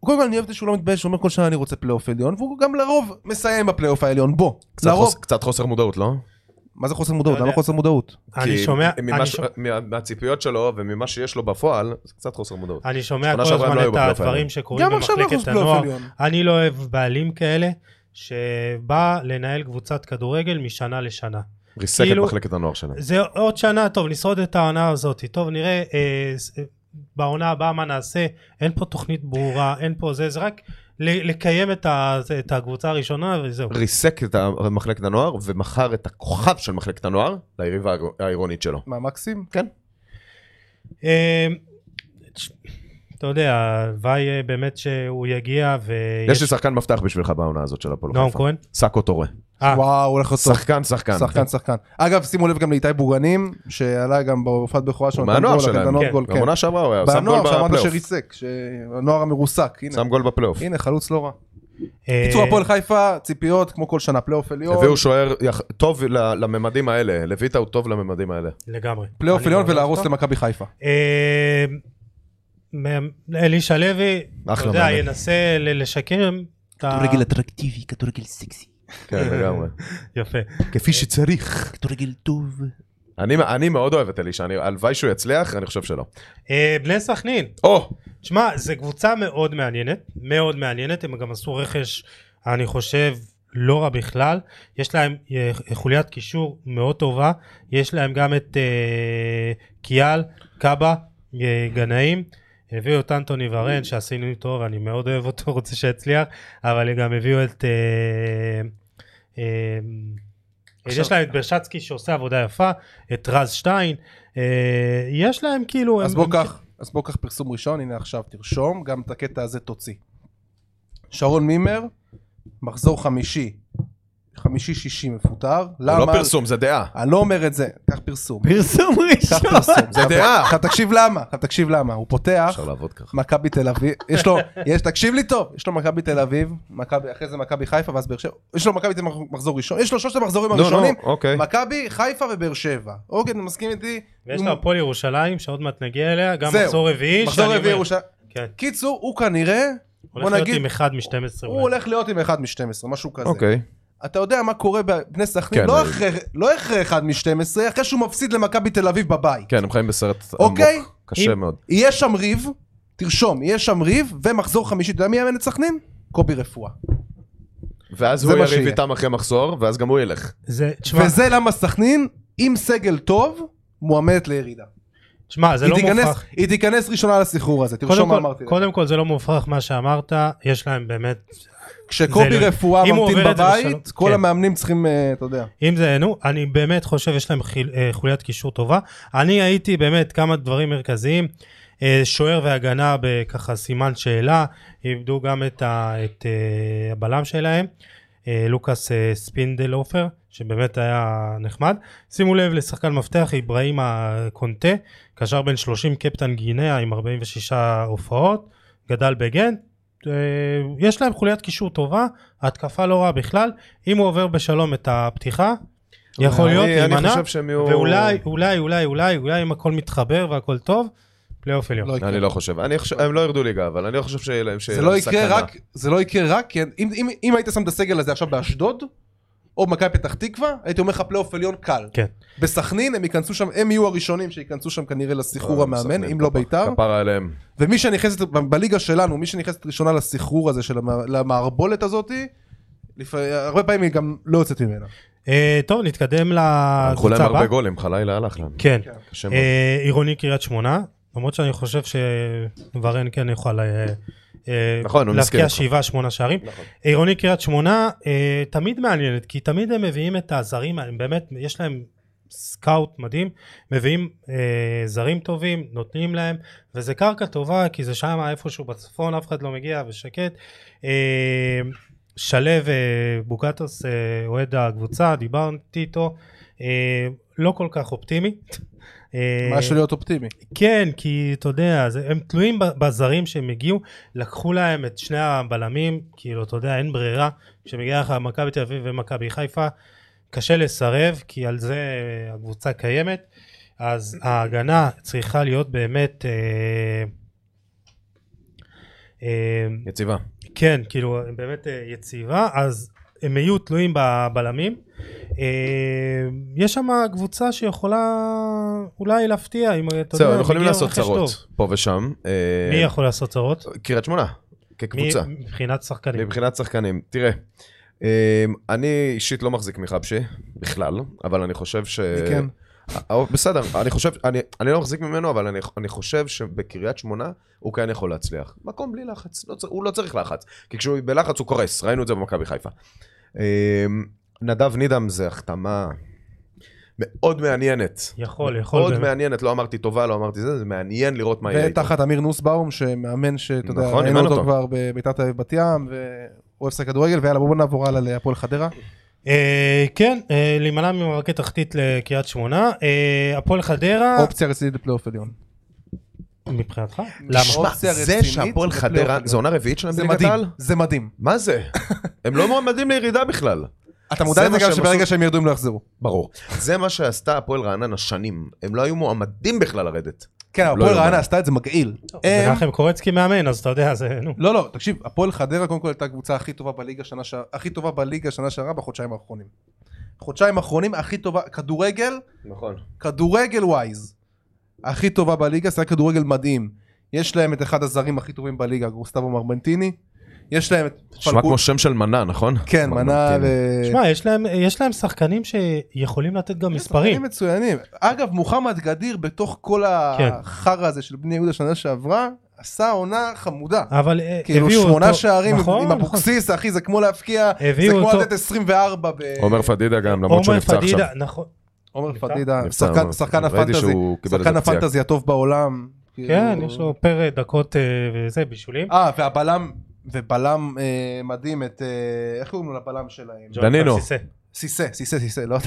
Speaker 2: קודם כל אני אוהב את זה שהוא לא מתבייש, הוא אומר כל שנה אני רוצה פלייאוף עליון, והוא גם לרוב מסיים בפלייאוף העליון, בוא.
Speaker 3: קצת
Speaker 2: לרוב.
Speaker 3: חוס- קצת חוסר מודעות, לא?
Speaker 2: מה זה חוסר מודעות?
Speaker 1: אתה לא יודע.
Speaker 2: למה חוסר מודעות?
Speaker 1: אני
Speaker 3: כי
Speaker 1: שומע,
Speaker 3: ממה
Speaker 1: אני
Speaker 3: ש-
Speaker 1: שומע-
Speaker 3: מה- מהציפיות שלו וממה שיש לו בפועל, זה קצת חוסר מודעות.
Speaker 1: אני שומע
Speaker 3: שנה
Speaker 1: כל
Speaker 3: שעברה הם
Speaker 1: הזמן
Speaker 3: לא היו
Speaker 1: את
Speaker 3: בפלייאוף
Speaker 1: הדברים
Speaker 3: העליון.
Speaker 1: שקורים
Speaker 2: גם עכשיו לא
Speaker 1: במחלקת
Speaker 2: חוץ פלייאוף
Speaker 1: הנוער.
Speaker 2: עליון.
Speaker 1: אני לא אוהב בעלים כאלה, שבא לנהל קבוצת כדורגל משנה לשנה.
Speaker 3: ריסק את
Speaker 1: כאילו-
Speaker 3: מחלקת הנוער שלהם.
Speaker 1: זה עוד שנה, טוב, נשרוד את העונה הזאת. טוב, נראה אה, ס- אה, בעונה הבאה מה נעשה. אין פה תוכנית ברורה, אין פה זה, זה רק ל- לקיים את ה- זה- את הקבוצה הראשונה וזהו.
Speaker 3: ריסק את ה- מחלקת הנוער ומכר את הכוכב של מחלקת הנוער ליריבה העירונית שלו.
Speaker 2: מה, מקסים?
Speaker 3: כן.
Speaker 1: אה, תש- אתה יודע, הלוואי אה, באמת שהוא יגיע ו...
Speaker 3: יש לי שחקן מפתח בשבילך בעונה הזאת של הפועל
Speaker 1: נועם
Speaker 3: חיפה.
Speaker 1: כהן?
Speaker 3: סאקו טורה.
Speaker 1: אה,
Speaker 2: וואו, הולך להיות טוב.
Speaker 3: שחקן, שחקן.
Speaker 2: שחקן, שחקן. אגב, שימו לב גם לאיתי בורגנים, שעלה גם בהופעת בכורה שלו,
Speaker 3: הוא
Speaker 2: נתן
Speaker 3: מהנוער
Speaker 2: גול, נתן
Speaker 3: שלהם.
Speaker 2: עוד
Speaker 1: כן.
Speaker 2: גול, כן.
Speaker 3: בעונה שעברה הוא היה, הוא שם גול
Speaker 2: בנוער שאמרת
Speaker 3: בפלייאוף.
Speaker 2: שריסק, שהנוער המרוסק, הנה.
Speaker 3: שם גול בפלייאוף.
Speaker 2: הנה, חלוץ לא רע.
Speaker 1: אה,
Speaker 2: קיצור, הפועל חיפה, ציפיות, כמו כל שנה, פלייאוף עליון,
Speaker 3: הביאו שוער יח- טוב ל- לממדים האלה, לויטה הוא טוב לממדים האלה.
Speaker 1: אה, לגמרי.
Speaker 2: פלייאוף
Speaker 1: אני לא
Speaker 2: עליון
Speaker 1: מעריך
Speaker 2: ולהרוס
Speaker 1: אותו.
Speaker 2: למכבי חיפה.
Speaker 1: אה, מ- אלישע לוי, אתה
Speaker 3: אחלה
Speaker 1: יודע,
Speaker 3: מאמן.
Speaker 1: ינסה ל- לשקם את ה...
Speaker 5: כדורגל אטרקטיבי, כדורגל סקסי,
Speaker 3: כן, לגמרי.
Speaker 1: יפה. כן.
Speaker 3: כפי שצריך.
Speaker 5: כדורגל טוב.
Speaker 3: אני אני מאוד אוהב את אלישע, אני- הלוואי שהוא יצליח, אני חושב שלא.
Speaker 1: אה, בני סכנין,
Speaker 3: או,
Speaker 1: תשמע, זו קבוצה מאוד מעניינת, מאוד מעניינת, הם גם עשו רכש, אני חושב, לא רע בכלל. יש להם אה, חוליית קישור מאוד טובה, יש להם גם את אה, קיאל, קאבה, אה, גנאים. הביאו את אנטוני ורן, שעשינו איתו, ואני מאוד אוהב אותו, רוצה שיצליח, אבל הם גם הביאו את... אה, אה,
Speaker 2: עכשיו-
Speaker 1: יש להם את ברשצקי שעושה עבודה יפה, את רז שטיין, אה, יש להם כאילו...
Speaker 2: אז
Speaker 1: הם-
Speaker 2: בוא
Speaker 1: הם-
Speaker 2: קח, אז בוא קח פרסום ראשון, הנה עכשיו תרשום, גם את הקטע הזה תוציא. שרון מימר, מחזור חמישי, חמישי-שישי מפוטר,
Speaker 3: זה
Speaker 2: למה?
Speaker 3: לא פרסום, זה דעה.
Speaker 2: אני לא אומר את זה, קח פרסום.
Speaker 4: פרסום
Speaker 2: קח
Speaker 4: ראשון.
Speaker 2: פרסום.
Speaker 3: זה
Speaker 2: עכשיו-
Speaker 3: דעה.
Speaker 2: עכשיו תקשיב למה, עכשיו תקשיב למה, הוא פותח,
Speaker 3: אפשר לעבוד ככה.
Speaker 2: מכבי תל אביב, יש לו, יש, תקשיב לי טוב, יש לו מכבי תל אביב, מכבי- אחרי זה מכבי חיפה ואז באר שבע, יש לו מכבי תל אביב מחזור ראשון, יש לו שלושת המחזורים
Speaker 3: נו, נו,
Speaker 2: הראשונים,
Speaker 3: אוקיי.
Speaker 2: מכבי, חיפה ובאר שבע. אוקיי, אתה מסכים איתי?
Speaker 1: ויש
Speaker 2: הוא-
Speaker 1: לה הפועל ירושלים שעוד מעט נגיע אליה, גם
Speaker 2: זהו.
Speaker 1: מחזור רביעי.
Speaker 2: מחזור
Speaker 1: שאני
Speaker 2: רביעי
Speaker 1: אומר-
Speaker 2: ירושלים.
Speaker 1: כן.
Speaker 2: קיצור, הוא כנראה, בוא
Speaker 1: הולך להיות
Speaker 2: נגיד,
Speaker 1: עם אחד מ-12
Speaker 2: הוא
Speaker 1: אולי.
Speaker 2: הולך להיות עם אחד מ-12, משהו כזה.
Speaker 3: אוקיי.
Speaker 2: אתה יודע מה קורה בבני סכנין?
Speaker 3: כן,
Speaker 2: לא
Speaker 3: אבל-
Speaker 2: אחרי- לא אחרי אחד מ-12, אחרי שהוא מפסיד למכבי תל אביב בבית.
Speaker 3: כן, הם חיים בסרט עמוק.
Speaker 2: אוקיי.
Speaker 3: קשה
Speaker 1: אם-
Speaker 3: מאוד.
Speaker 2: יהיה שם ריב, תרשום, יהיה שם ריב, ומחזור חמישי, אתה יודע מי יאמן את סכנין? קובי רפואה.
Speaker 3: ואז
Speaker 2: זה
Speaker 3: הוא
Speaker 2: מה
Speaker 3: יריב
Speaker 2: שיהיה.
Speaker 3: איתם אחרי מחסור, ואז גם הוא ילך.
Speaker 1: זה, תשמע,
Speaker 2: וזה למה סכנין, עם סגל טוב, מועמדת לירידה.
Speaker 1: תשמע, זה
Speaker 2: היא
Speaker 1: לא
Speaker 2: תיכנס-
Speaker 1: מופרך.
Speaker 2: היא תיכנס ראשונה לסחרור הזה,
Speaker 1: קודם
Speaker 2: תרשום מה
Speaker 1: כל,
Speaker 2: אמרתי. לך.
Speaker 1: קודם כל זה לא מופרך מה שאמרת, יש להם באמת,
Speaker 2: כשקובי
Speaker 1: זה לא-
Speaker 2: רפואה
Speaker 1: אם הוא
Speaker 2: ממתין
Speaker 1: עובר את זה בשלום-
Speaker 2: בבית, כל
Speaker 1: כן.
Speaker 2: המאמנים צריכים, אה, אתה יודע.
Speaker 1: אם זה, נו, אני באמת חושב יש להם חיל, אה, חוליית קישור טובה. אני הייתי באמת כמה דברים מרכזיים, אה, שוער והגנה בככה סימן שאלה, איבדו גם את, ה, את אה, הבלם שלהם, אה, לוקאס אה, ספינדלופר, שבאמת היה נחמד. שימו לב לשחקן מפתח, אברהים הקונטה, קשר בן 30 קפטן גינאה עם 46 הופעות, גדל בגנט. אה, יש להם חוליית קישור טובה, התקפה לא רעה בכלל, אם הוא עובר בשלום את הפתיחה, יכול להיות
Speaker 3: אני- אני
Speaker 1: להימנע,
Speaker 3: חושב שהם יהיו...
Speaker 1: ואולי, אולי, אולי, אולי, אולי אם הכל מתחבר והכל טוב, פלייאוף עליון.
Speaker 2: לא יקרה.
Speaker 3: אני לא חושב, אני חושב, הם לא ירדו ליגה, אבל אני לא חושב שיהיה להם
Speaker 2: זה לא יקרה רק, זה לא יקרה רק, כי אם- אם- אם היית שם את הסגל הזה עכשיו באשדוד, או במכבי פתח תקווה, הייתי אומר לך פלייאוף עליון קל.
Speaker 1: כן.
Speaker 2: בסכנין הם ייכנסו שם, הם יהיו הראשונים שייכנסו שם כנראה
Speaker 3: אה,
Speaker 2: לסחרור המאמן, אם לא ביתר.
Speaker 3: כפרה עליהם.
Speaker 2: ומי שנכנסת, ב- בליגה שלנו, מי שנכנסת ראשונה לסחרור הזה, של המע- למערבולת הזאתי, לפ- הרבה פעמים היא גם לא יוצאת ממנה.
Speaker 1: אה, טוב, נתקדם
Speaker 3: הלכו להם
Speaker 1: לקבוצה אה, הבאה.
Speaker 3: הרבה גולים, חלילה הלך להם.
Speaker 1: כן.
Speaker 3: קשה מאוד.
Speaker 1: אה, עירוני קריית שמונה, למרות שאני חושב שוורן כן יוכל אה, אה,
Speaker 3: נכון, הוא מסכים
Speaker 1: להבקיע
Speaker 3: איתך.
Speaker 1: שבעה, שמונה שערים.
Speaker 3: נכון.
Speaker 1: עירוני קריית שמונה אה, תמיד מעניינת, כי תמיד הם מביאים את הזרים, הם באמת, יש להם סקאוט מדהים, מביאים אה, זרים טובים, נותנים להם, וזה קרקע טובה, כי זה שם איפשהו בצפון, אף אחד לא מגיע ושקט. אה, שלו אה, בוקטוס, אה, אוהד הקבוצה, דיברתי איתו, אה, לא כל כך אופטימי. אה,
Speaker 2: משהו לא- להיות אופטימי.
Speaker 1: כן, כי אתה יודע, זה, הם תלויים ב- בזרים שהם הגיעו, לקחו להם את שני הבלמים, כאילו, אתה יודע, אין ברירה. כשמגיע לך מכבי תל אביב ומכבי חיפה, קשה לסרב, כי על זה אה, הקבוצה קיימת. אז ההגנה צריכה להיות באמת... אה, אה,
Speaker 3: יציבה.
Speaker 1: כן, כאילו, הם באמת אה, יציבה, אז הם יהיו תלויים בבלמים. אה, יש שם קבוצה שיכולה אולי להפתיע, אם אתה
Speaker 3: זהו,
Speaker 1: יודע,
Speaker 3: הם יכולים
Speaker 1: מגיע
Speaker 3: לעשות
Speaker 1: רכש טוב.
Speaker 3: צרות פה ושם. אה,
Speaker 1: מי יכול לעשות צרות?
Speaker 3: קריית שמונה, כקבוצה.
Speaker 1: מי- מבחינת שחקנים.
Speaker 3: מבחינת שחקנים, תראה, אה, אני אישית לא מחזיק מחבשי בכלל, אבל אני חושב ש...
Speaker 2: אני כן.
Speaker 3: אה, בסדר, אני חושב, אני, אני לא מחזיק ממנו, אבל אני, אני חושב שבקריית שמונה הוא כן יכול להצליח. מקום בלי לחץ, לא, צר- הוא לא צריך לחץ, כי כשהוא בלחץ הוא קורס, ראינו את זה במכבי חיפה. אה, נדב נידם זה החתמה מאוד מעניינת.
Speaker 1: יכול, יכול.
Speaker 3: מאוד
Speaker 1: באמת.
Speaker 3: מעניינת, לא אמרתי טובה, לא אמרתי זה, זה מעניין לראות מה יהיה איתו.
Speaker 2: ותחת אמיר נוסבאום, שמאמן שאתה יודע,
Speaker 3: נכון,
Speaker 2: ראינו
Speaker 3: אימן
Speaker 2: אותו
Speaker 3: אותו.
Speaker 2: כבר בביתר תל אביב בת ים, ואוהב לשחק כדורגל, ויאללה בואו נעבור הלאה להפועל חדרה.
Speaker 1: אה, כן, אה, להימנע ממרקי תחתית לקריית שמונה. אה, הפועל חדרה,
Speaker 2: אופציה רצינית לפלייאוף עליון.
Speaker 1: מבחינתך? למה?
Speaker 3: שמע,
Speaker 2: אופציה
Speaker 3: זה
Speaker 2: רצינית
Speaker 3: שהפועל
Speaker 2: לפלייאוף
Speaker 3: חדרה,
Speaker 2: עליון.
Speaker 3: זה עונה רביעית שלהם
Speaker 2: זה
Speaker 3: בליגת
Speaker 2: מדהים,
Speaker 3: העל?
Speaker 2: זה מדהים.
Speaker 3: מה זה? הם לא מועמדים לירידה בכלל.
Speaker 2: אתה מודע
Speaker 3: זה
Speaker 2: לזה
Speaker 3: מה
Speaker 2: גם
Speaker 3: שהם
Speaker 2: שברגע
Speaker 3: עשו-
Speaker 2: שהם ירדו הם לא יחזרו.
Speaker 3: ברור. זה מה שעשתה הפועל רעננה שנים. הם לא היו מועמדים בכלל לרדת.
Speaker 2: כן,
Speaker 3: לא
Speaker 2: הפועל
Speaker 3: יאומן.
Speaker 2: רעננה עשתה את זה מגעיל.
Speaker 3: אה,
Speaker 2: הם-
Speaker 1: מנחם קורצקי מאמן, אז אתה יודע, זה, נו.
Speaker 2: לא, לא, תקשיב, הפועל חדרה קודם כל הייתה הקבוצה הכי טובה בליגה שנה שעברה, הכי טובה בליגה שנה שעברה בחודשיים האחרונים. חודשיים האחרונים הכי טובה, כדורגל,
Speaker 3: נכון.
Speaker 2: כדורגל ווייז. הכי טובה בליגה, שיחק כדורגל מדהים. יש להם את אחד הזרים הכי טובים בליגה, גוסטבו מרמנטיני. יש להם את...
Speaker 3: נשמע
Speaker 2: פלגו-
Speaker 3: כמו שם של מנה, נכון?
Speaker 2: כן, מנה ו...
Speaker 3: אה.
Speaker 1: שמע, יש להם- יש להם שחקנים שיכולים לתת גם מספרים.
Speaker 2: שחקנים מצוינים. אגב, מוחמד גדיר בתוך כל
Speaker 1: כן.
Speaker 2: החרא הזה של בני יהודה שנה שעברה, עשה עונה חמודה.
Speaker 1: אבל אה, הביאו
Speaker 2: כאילו
Speaker 1: אותו...
Speaker 2: שמונה שערים עם-
Speaker 1: נכון,
Speaker 2: עם
Speaker 1: נכון.
Speaker 2: אבוקסיס, אחי, זה כמו להפקיע, זה
Speaker 1: הביאו
Speaker 2: כמו
Speaker 1: אותו-
Speaker 2: לתת 24 ב...
Speaker 3: עומר פדידה גם, למרות שהוא
Speaker 1: עומר
Speaker 3: נפצע עכשיו.
Speaker 1: פדידה, נכון.
Speaker 2: עומר
Speaker 1: נפצע?
Speaker 2: פדידה,
Speaker 3: נפצע,
Speaker 2: שחקן-
Speaker 3: עומר.
Speaker 2: שחקן
Speaker 3: ראיתי
Speaker 2: הפנטזי,
Speaker 3: שהוא קיבל איזה
Speaker 2: שחקן
Speaker 3: פציעה.
Speaker 2: הפנטזי הטוב בעולם.
Speaker 1: כן,
Speaker 2: כאילו-
Speaker 1: יש לו פר דקות אה, וזה, בישולים.
Speaker 2: אה, והבלם, ובלם אה, מדהים את, אה, איך קוראים לו לבלם שלהם?
Speaker 1: ג'ון
Speaker 3: דנינו.
Speaker 1: פרסיסה.
Speaker 2: סיסה, סיסה, סיסה, לא יודע.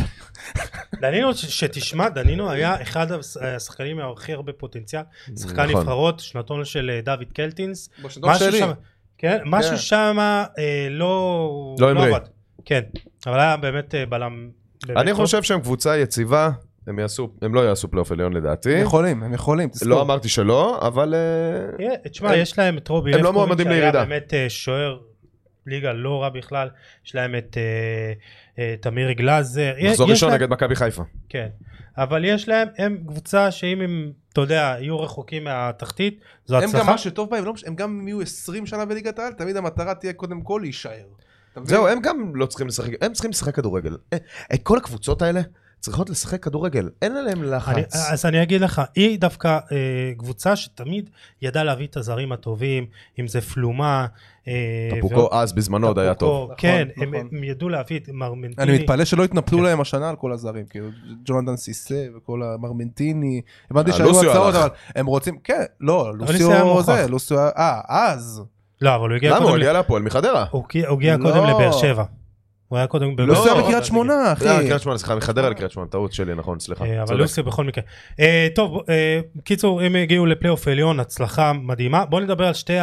Speaker 1: דנינו, ש- שתשמע, דנינו היה אחד הש- השחקנים עם הכי הרבה פוטנציאל. שחקן
Speaker 3: נכון.
Speaker 1: נבחרות, שנתון של אה, דוד קלטינס.
Speaker 2: בשדות
Speaker 1: משהו
Speaker 2: שלי.
Speaker 1: שם- כן, משהו
Speaker 2: כן.
Speaker 1: שם אה, לא...
Speaker 3: לא המריא.
Speaker 1: עבד. כן, אבל היה באמת אה, בלם... באמת
Speaker 3: אני
Speaker 1: טוב.
Speaker 3: חושב שהם קבוצה יציבה, הם יעשו- הם לא יעשו פלייאוף עליון לדעתי.
Speaker 2: הם יכולים, הם יכולים,
Speaker 3: לא
Speaker 2: תזכור.
Speaker 3: אמרתי שלא, אבל... אה,
Speaker 1: אה, תשמע,
Speaker 3: הם-
Speaker 1: יש להם את רובי
Speaker 3: הם לא
Speaker 1: לבקוביץ',
Speaker 3: מועמדים לירידה.
Speaker 1: שהיה באמת אה, שוער ליגה לא רע בכלל. יש להם את אה, אה, תמיר גלאזר.
Speaker 3: מחזור
Speaker 1: יש
Speaker 3: ראשון
Speaker 1: להם-
Speaker 3: נגד מכבי חיפה.
Speaker 1: כן, אבל יש להם, הם קבוצה שאם הם, אתה יודע, יהיו רחוקים מהתחתית, זו
Speaker 2: הם גם
Speaker 1: הצלחה.
Speaker 2: מה שטוב בהם, לא מש- הם גם אם יהיו 20 שנה בליגת העל, תמיד המטרה תהיה קודם כל להישאר. אתה מבין?
Speaker 3: זהו, הם גם לא צריכים לשחק, הם צריכים לשחק כדורגל. אה, אה, כל הקבוצות האלה צריכות לשחק כדורגל, אין עליהם
Speaker 1: אני, אה,
Speaker 3: לחץ.
Speaker 1: אז אני אגיד לך, היא דווקא אה, קבוצה שתמיד ידעה להביא את הזרים הטובים, אם זה פלומה. אה,
Speaker 3: טפוקו אז בזמנו עוד היה טוב.
Speaker 1: טפוקו, כן,
Speaker 2: נכון,
Speaker 1: הם,
Speaker 2: נכון.
Speaker 1: הם ידעו להביא את מרמנטיני.
Speaker 2: אני מתפלא שלא התנפלו
Speaker 1: כן.
Speaker 2: להם השנה על כל הזרים, כאילו ג'ונתן סיסה וכל המרמנטיני, הבנתי
Speaker 3: אה,
Speaker 2: שהיו
Speaker 3: לוסיו
Speaker 2: הצעות,
Speaker 3: הלך.
Speaker 2: אבל הם רוצים, כן, לא,
Speaker 1: לוסיו היה
Speaker 2: לוסיו
Speaker 1: מוכח.
Speaker 2: זה, לוסיו, אה, אז,
Speaker 1: לא, אבל הוא הגיע
Speaker 3: למה? הוא
Speaker 1: קודם, ל-
Speaker 3: הגיע להפועל מחדרה.
Speaker 1: הוא הגיע- הוא הגיע
Speaker 2: לא.
Speaker 1: קודם לבאר שבע. הוא היה קודם בבאר
Speaker 2: לוסיו
Speaker 3: לא,
Speaker 2: היה בקריית שמונה, אחי.
Speaker 3: אה, קריית שמונה, סליחה, מחדרה לקריית שמונה, טעות שלי, נכון, סליחה.
Speaker 1: אה, אבל
Speaker 3: צודק.
Speaker 1: לוסיו בכל מקרה. אה, טוב, אה, קיצור, הם הגיעו לפלייאוף עליון, הצלחה מדהימה. בואו נדבר על שתי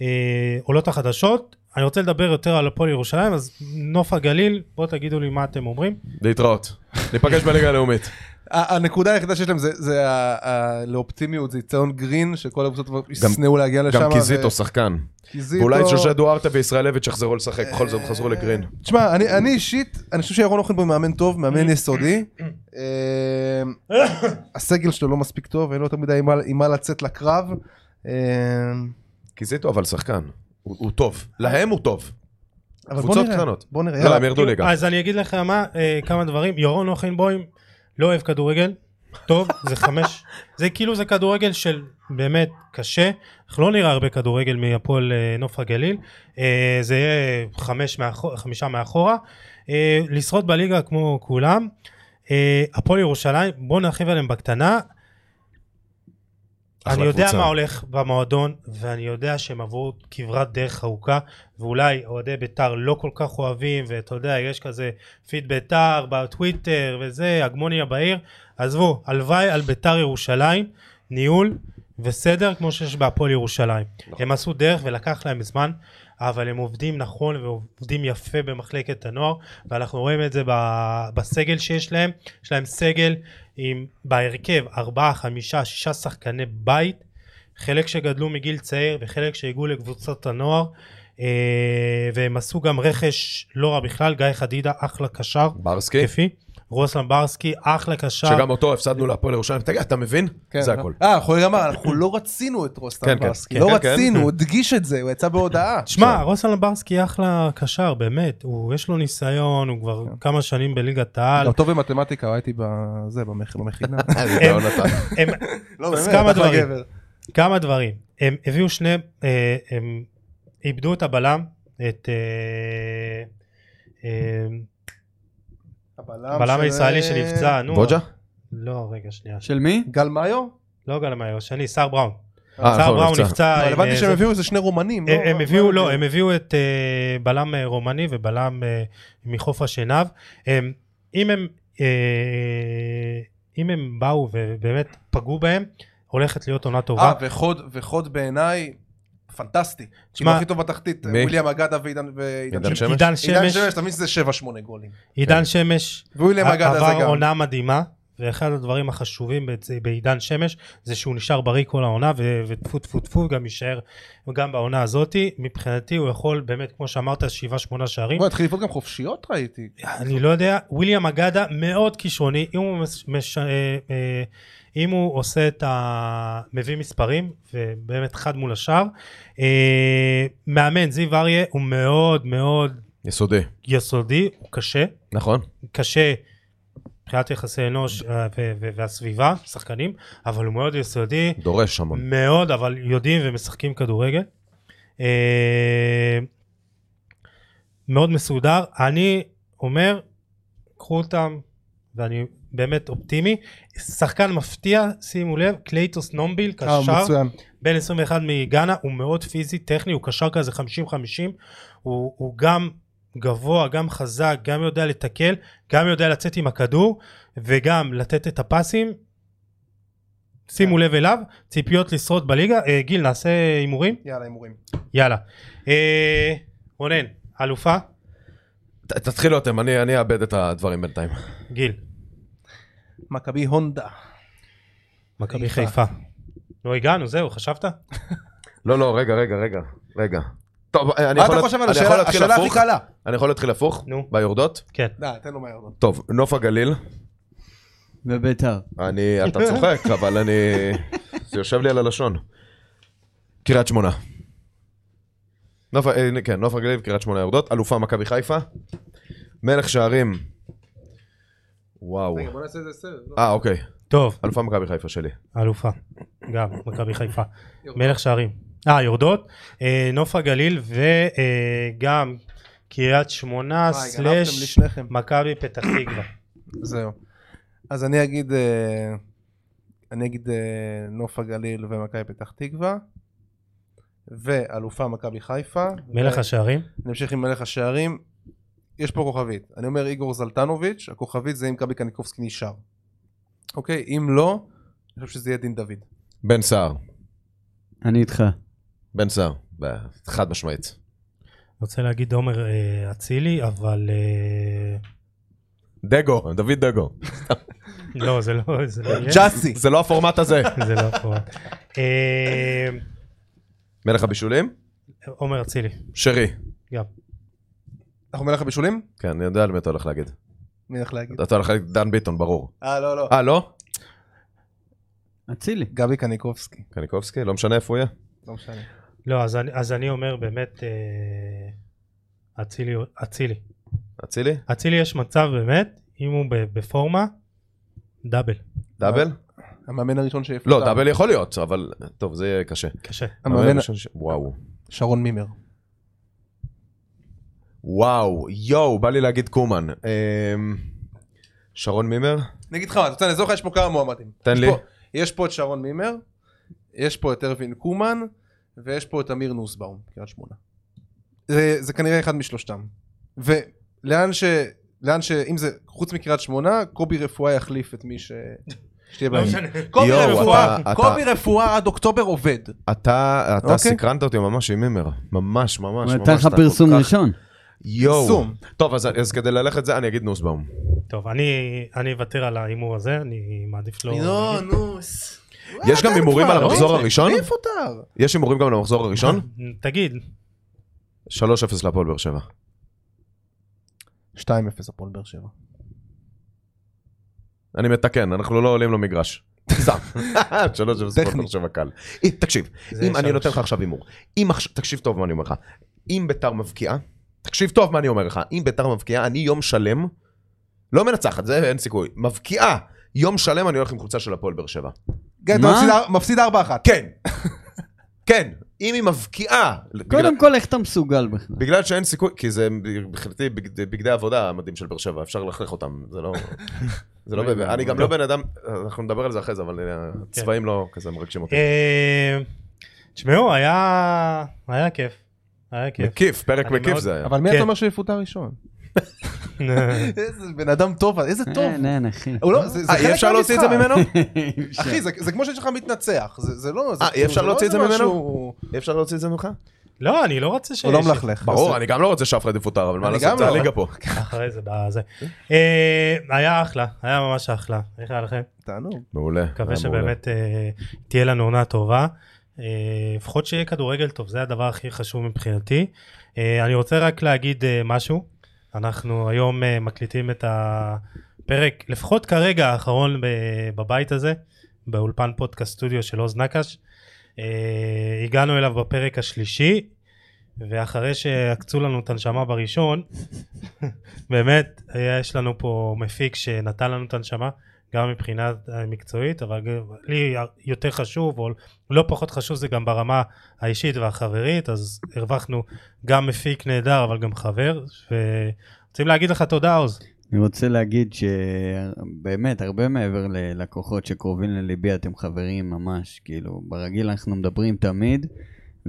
Speaker 1: העולות החדשות. אני רוצה לדבר יותר על הפועל ירושלים, אז נוף הגליל, בואו תגידו לי מה אתם אומרים.
Speaker 3: להתראות. ניפגש בליגה הלאומית.
Speaker 2: ה- הנקודה היחידה שיש להם זה- זה ה- ה- לאופטימיות, זה יציון גרין, שכל הקבוצות כבר ישנאו להגיע לשם.
Speaker 3: גם קיזיטו
Speaker 2: ו-
Speaker 3: שחקן.
Speaker 2: קיזיטו.
Speaker 3: ואולי שושי דוארטה וישראלביץ' יחזרו לשחק, בכל זאת חזרו לגרין.
Speaker 2: תשמע, אני- אני אישית, אני חושב שירון אוחנבוים הוא מאמן טוב, מאמן יסודי. אה, הסגל שלו לא מספיק טוב, אין לו יותר מדי עם מה- עם מה לצאת לקרב. אה,
Speaker 3: קיזיטו אבל שחקן. הוא הוא טוב. להם הוא טוב.
Speaker 2: אבל בוא
Speaker 3: קבוצות
Speaker 2: נראה,
Speaker 3: קטנות.
Speaker 2: בוא נראה.
Speaker 3: לא,
Speaker 2: יאללה.
Speaker 3: הם ירדו ליגה.
Speaker 1: אז אני אגיד לך מה, אה, כמה דברים. ירון אוכנבוים לא אוהב כדורגל, טוב, זה חמש. זה כאילו זה כדורגל של באמת קשה. אנחנו לא נראה הרבה כדורגל מהפועל אה, נוף הגליל. אה, זה יהיה חמש מאחור, חמישה מאחורה. אה, לשרוד בליגה כמו כולם. אה, הפועל ירושלים, בואו נרחיב עליהם בקטנה.
Speaker 3: אחלה
Speaker 1: אני יודע
Speaker 3: קבוצה.
Speaker 1: מה הולך במועדון, ואני יודע שהם עברו כברת דרך ארוכה, ואולי אוהדי בית"ר לא כל כך אוהבים, ואתה יודע, יש כזה פיד בית"ר בטוויטר וזה, הגמוניה בעיר. עזבו, הלוואי על בית"ר ירושלים, ניהול וסדר כמו שיש בהפועל ירושלים.
Speaker 3: נכון.
Speaker 1: הם עשו דרך ולקח להם זמן, אבל הם עובדים נכון ועובדים יפה במחלקת הנוער, ואנחנו רואים את זה ב- בסגל שיש להם. יש להם סגל עם בהרכב ארבעה, חמישה, שישה שחקני בית, חלק שגדלו מגיל צעיר וחלק שהגיעו לקבוצות הנוער, אה, והם עשו גם רכש לא רע בכלל, גיא חדידה אחלה קשר,
Speaker 3: ברסקי,
Speaker 1: כיפי, רוסלן ברסקי אחלה קשר,
Speaker 3: שגם אותו הפסדנו להפועל ירושלים. תגיד, אתה מבין?
Speaker 2: כן.
Speaker 3: זה הכל.
Speaker 2: אה, אנחנו גם אמרנו, אנחנו לא רצינו את רוסטן
Speaker 3: כן, כן.
Speaker 2: ברסקי.
Speaker 1: כן,
Speaker 2: לא
Speaker 3: כן, כן.
Speaker 2: רצינו, הוא הדגיש את זה, הוא יצא בהודעה.
Speaker 1: תשמע, רוסלן ברסקי אחלה קשר, באמת, הוא, יש לו ניסיון, הוא כבר כמה שנים בליגת העל,
Speaker 2: גם טוב במתמטיקה, הייתי בזה, במכ- במכינה.
Speaker 3: רעיון אתה.
Speaker 1: הם,
Speaker 2: לא,
Speaker 1: אז
Speaker 2: באמת,
Speaker 1: כמה
Speaker 2: אחלה
Speaker 1: דברים.
Speaker 2: גבר.
Speaker 1: כמה דברים. הם הביאו שני, אה, הם איבדו את הבלם, את אה, אה, הבלם
Speaker 2: של- אה,
Speaker 1: הישראלי שנפצע, נו.
Speaker 3: בוג'ה?
Speaker 1: לא, רגע, שנייה.
Speaker 4: של מי?
Speaker 2: גל מאיו?
Speaker 1: לא גל המאיו, השני, סער בראון.
Speaker 3: אה,
Speaker 1: סער
Speaker 3: נכון,
Speaker 1: בראון
Speaker 3: נפצע.
Speaker 1: נפצע.
Speaker 2: אבל
Speaker 1: עם,
Speaker 2: הבנתי
Speaker 1: אה,
Speaker 2: לא, שהם
Speaker 1: זה-
Speaker 2: הביאו איזה שני רומנים.
Speaker 1: הם- הם
Speaker 2: מה-
Speaker 1: הביאו,
Speaker 2: מה
Speaker 1: לא, הם הביאו את אה, בלם אה, רומני ובלם אה, מחוף השנהב. הם- אם הם, אה, אם הם באו ובאמת פגעו בהם, הולכת להיות עונה
Speaker 2: אה,
Speaker 1: טובה.
Speaker 2: וחוד, וחוד בעיניי, פנטסטי. כאילו
Speaker 1: תשמע,
Speaker 2: הכי טוב בתחתית,
Speaker 3: מי?
Speaker 2: וויליאם אגדה ועידן ועידן
Speaker 3: עידן
Speaker 2: שמש.
Speaker 3: שמש.
Speaker 1: עידן
Speaker 2: עידן
Speaker 1: שמש,
Speaker 2: שמש, אתה מבין שזה 7-8 גולים.
Speaker 1: עידן שמש,
Speaker 2: וויליאם אגדה זה
Speaker 1: עבר
Speaker 2: גם.
Speaker 1: עונה מדהימה, ואחד הדברים החשובים בצ- בעידן שמש זה שהוא נשאר בריא כל העונה, ו- וטפו טפו טפו גם יישאר גם בעונה הזאתי. מבחינתי הוא יכול באמת, כמו שאמרת, שבעה שמונה שערים.
Speaker 2: בוא, התחיל לפעול גם חופשיות ראיתי.
Speaker 1: אני לא יודע, וויליאם אגדה מאוד כישרוני, אם הוא, מש, מש, אה, אה, אם הוא עושה את ה... מביא מספרים, ובאמת אחד מול השאר. אה, מאמן זיו אריה הוא מאוד מאוד
Speaker 3: יסודי.
Speaker 1: יסודי, הוא קשה,
Speaker 3: נכון.
Speaker 1: קשה מבחינת יחסי אנוש אה, ו- ו- והסביבה, שחקנים, אבל הוא מאוד יסודי,
Speaker 3: דורש המון.
Speaker 1: מאוד, אבל יודעים ומשחקים כדורגל. אה, מאוד מסודר. אני אומר, קחו אותם, ואני באמת אופטימי. שחקן מפתיע, שימו לב, קלייטוס נומביל,
Speaker 2: אה,
Speaker 1: קשר.
Speaker 2: מצוין.
Speaker 1: בן 21 מגאנה, הוא מאוד פיזי, טכני, הוא קשר כזה 50-50, הוא, הוא גם גבוה, גם חזק, גם יודע לתקל, גם יודע לצאת עם הכדור, וגם לתת את הפסים. שימו לב אליו, ציפיות לשרוד בליגה. אה, גיל, נעשה הימורים?
Speaker 2: יאללה, הימורים.
Speaker 1: יאללה. אה, רונן, אלופה?
Speaker 3: ת- תתחילו אתם, אני אני אאבד את הדברים בינתיים.
Speaker 1: גיל.
Speaker 2: מכבי הונדה.
Speaker 1: מכבי חיפה. לא הגענו, זהו, חשבת?
Speaker 3: לא, לא, רגע, רגע, רגע. רגע. טוב, אני
Speaker 2: מה
Speaker 3: יכול
Speaker 2: אתה
Speaker 3: להת-
Speaker 2: חושב על
Speaker 3: אני
Speaker 2: השאלה
Speaker 3: יכול להתחיל
Speaker 2: השאלה הכי
Speaker 3: הפוך?
Speaker 2: קלה?
Speaker 3: אני יכול להתחיל הפוך?
Speaker 1: נו.
Speaker 3: ביורדות?
Speaker 1: כן.
Speaker 2: די, תן לו מהר. לא.
Speaker 3: טוב, נוף הגליל.
Speaker 4: בביתר.
Speaker 3: אני, אתה צוחק, אבל אני... זה יושב לי על הלשון. קריית שמונה. נוף, אה, כן, נוף הגליל, קריית שמונה יורדות, אלופה מכבי חיפה, מלך שערים, וואו,
Speaker 2: רגע, בוא נעשה איזה סרט.
Speaker 3: אה אוקיי,
Speaker 1: טוב,
Speaker 3: אלופה מכבי חיפה שלי,
Speaker 1: אלופה. גם, מכבי חיפה.
Speaker 2: יורדות.
Speaker 1: מלך שערים. אה, יורדות. אה, נוף הגליל וגם קריית
Speaker 2: אה,
Speaker 1: שמונה סלאש
Speaker 2: לשניכם.
Speaker 1: מכבי פתח תקווה.
Speaker 2: זהו. אז אני אגיד, אה, אני אגיד אה, נוף הגליל ומכבי פתח תקווה, ואלופה מכבי חיפה.
Speaker 1: מלך השערים?
Speaker 2: אני אמשיך עם מלך השערים. יש פה כוכבית. אני אומר איגור זלטנוביץ', הכוכבית זה אם קאבי קניקובסקי נשאר. אוקיי? אם לא, אני חושב שזה יהיה דין דוד.
Speaker 3: בן סער,
Speaker 4: אני איתך.
Speaker 3: בן סער, ב- חד משמעית,
Speaker 1: רוצה להגיד עומר אה, אצילי, אבל... אה,
Speaker 3: דגו, דוד דגו,
Speaker 1: לא, זה לא, זה לא יהיה.
Speaker 2: ג'אסי.
Speaker 3: זה לא הפורמט הזה.
Speaker 1: זה לא פה. אה,
Speaker 3: מלך הבישולים?
Speaker 1: עומר אצילי,
Speaker 3: שרי.
Speaker 1: גם.
Speaker 2: אנחנו מלך הבישולים?
Speaker 3: כן, אני יודע על מי אתה הולך להגיד.
Speaker 2: מי הולך להגיד?
Speaker 3: אתה הולך להגיד דן ביטון, ברור.
Speaker 2: אה, לא, לא.
Speaker 3: אה, לא?
Speaker 4: אצילי.
Speaker 2: גבי קניקובסקי.
Speaker 3: קניקובסקי? לא משנה איפה הוא יהיה.
Speaker 2: לא משנה.
Speaker 1: לא, אז אני- אז אני אומר באמת, אה, אצילי, אצילי.
Speaker 3: אצילי?
Speaker 1: אצילי יש מצב באמת, אם הוא ב- בפורמה, דאבל,
Speaker 3: דאבל?
Speaker 2: המאמן הראשון שהפתע.
Speaker 3: לא, דאבל יכול להיות, אבל... טוב, זה יהיה קשה.
Speaker 1: קשה.
Speaker 3: אבל
Speaker 2: המאמן
Speaker 3: אני חושב ש- וואו.
Speaker 2: שרון מימר.
Speaker 3: וואו, יואו, בא לי להגיד קומן. אמ, שרון מימר?
Speaker 2: אני אגיד לך מה, אתה רוצה, אני אעזור לך, יש פה כמה מועמדים.
Speaker 3: תן
Speaker 2: יש
Speaker 3: לי.
Speaker 2: פה- יש פה את שרון מימר, יש פה את ארווין קומן, ויש פה את אמיר נוסבאום, קריית שמונה. זה- זה כנראה אחד משלושתם. ולאן ש... לאן ש... אם זה חוץ מקריית שמונה, קובי רפואה יחליף את מי ש... שתהיה
Speaker 1: לא
Speaker 2: בהם.
Speaker 1: משנה.
Speaker 2: קובי
Speaker 3: יואו,
Speaker 2: רפואה,
Speaker 3: אתה- אתה-
Speaker 2: קובי רפואה עד אוקטובר עובד.
Speaker 3: אתה, אתה
Speaker 2: אוקיי.
Speaker 3: סקרנת אותי ממש עם מימר. ממש, ממש,
Speaker 4: הוא
Speaker 3: ממש.
Speaker 4: נתן לך
Speaker 3: אתה כל
Speaker 4: פרסום
Speaker 3: כך-
Speaker 4: ראשון.
Speaker 3: יואו.
Speaker 2: פרסום.
Speaker 3: טוב, אז, אז כדי ללכת זה, אני אגיד נוסבאום.
Speaker 1: טוב, אני אני אוותר על ההימור הזה, אני מעדיף לא...
Speaker 2: נו,
Speaker 1: להגיד.
Speaker 2: נו.
Speaker 3: יש
Speaker 2: אה,
Speaker 3: גם הימורים על המחזור הראשון?
Speaker 2: מעיף אותר.
Speaker 3: יש הימורים גם למחזור הראשון?
Speaker 1: תגיד,
Speaker 3: 3-0 להפועל באר שבע.
Speaker 2: 2-0 הפועל באר שבע.
Speaker 3: אני מתקן, אנחנו לא עולים למגרש. סתם. 3-0 להפועל
Speaker 2: טכני.
Speaker 3: באר שבע קל. אם- תקשיב,
Speaker 1: זה
Speaker 3: אם אני
Speaker 1: שלוש.
Speaker 3: נותן לך עכשיו הימור, אם עכשיו, תקשיב טוב מה אני אומר לך, אם ביתר מבקיעה, תקשיב טוב מה אני אומר לך, אם ביתר מבקיעה, אני יום שלם, לא מנצחת, זה אין סיכוי, מבקיעה, יום שלם אני הולך עם חולצה של הפועל באר שבע.
Speaker 2: כן, אתה
Speaker 4: מה?
Speaker 2: מפסיד אר- מפסיד 4-1.
Speaker 3: כן, כן, אם היא מבקיעה, בגלל-
Speaker 4: קודם כל, איך אתה מסוגל בכלל?
Speaker 3: בגלל שאין סיכוי, כי זה מבחינתי בגד- בגדי עבודה המדים של באר שבע, אפשר ללכלך אותם, זה לא... זה לא... ב- אני גם לא בן אדם, אנחנו נדבר על זה אחרי זה, אבל אה, הצבעים לא כזה מרגשים אותי.
Speaker 1: אה, תשמעו, היה היה כיף. היה כיף.
Speaker 3: מקיף, פרק
Speaker 1: אני
Speaker 3: מקיף
Speaker 1: מאוד-
Speaker 3: זה היה.
Speaker 2: אבל מי
Speaker 1: כן.
Speaker 2: אתה אומר שיפוטר ראשון? איזה בן אדם טוב, איזה
Speaker 1: כן,
Speaker 2: טוב.
Speaker 4: אין, אין, אחי.
Speaker 2: הוא לא, זה זה
Speaker 3: אה, אי אפשר להוציא את זה
Speaker 2: מהמשחק.
Speaker 3: ממנו?
Speaker 2: אחי, זה- זה כמו שיש לך מתנצח, זה זה לא... זה-
Speaker 3: אה, אי אפשר
Speaker 2: זה לא
Speaker 3: להוציא את זה
Speaker 2: איזה
Speaker 3: ממנו?
Speaker 2: משהו-
Speaker 3: אי אפשר להוציא את זה ממך?
Speaker 1: לא, אני לא רוצה ש...
Speaker 2: הוא לא
Speaker 1: ש-
Speaker 2: מלכלך.
Speaker 3: ברור, אני גם לא רוצה שאף אחד יפוטר, אבל מה
Speaker 2: אני
Speaker 3: לעשות,
Speaker 2: גם
Speaker 3: זה
Speaker 2: לא.
Speaker 3: הליגה פה.
Speaker 1: אחרי זה, בזה.
Speaker 3: כן.
Speaker 1: אה, היה אחלה, היה ממש אחלה. איך היה לכם?
Speaker 2: תענוג.
Speaker 3: מעולה.
Speaker 1: מקווה
Speaker 3: היה מעולה.
Speaker 1: שבאמת אה, תהיה לנו עונה טובה. אה, לפחות שיהיה כדורגל טוב, זה הדבר הכי חשוב מבחינתי. אה, אני רוצה רק להגיד אה, משהו. אנחנו היום אה, מקליטים את הפרק, לפחות כרגע האחרון ב- בבית הזה, באולפן פודקאסט סטודיו של עוז נקש. אה, הגענו אליו בפרק השלישי, ואחרי שעקצו לנו את הנשמה בראשון, באמת, היה- יש לנו פה מפיק שנתן לנו את הנשמה, גם מבחינה אה, מקצועית, אבל גם- לי יותר חשוב, או לא פחות חשוב, זה גם ברמה האישית והחברית, אז הרווחנו גם מפיק נהדר, אבל גם חבר, ורוצים להגיד לך תודה, עוז.
Speaker 4: אני רוצה להגיד שבאמת, הרבה מעבר ללקוחות שקרובים לליבי, אתם חברים ממש, כאילו, ברגיל אנחנו מדברים תמיד,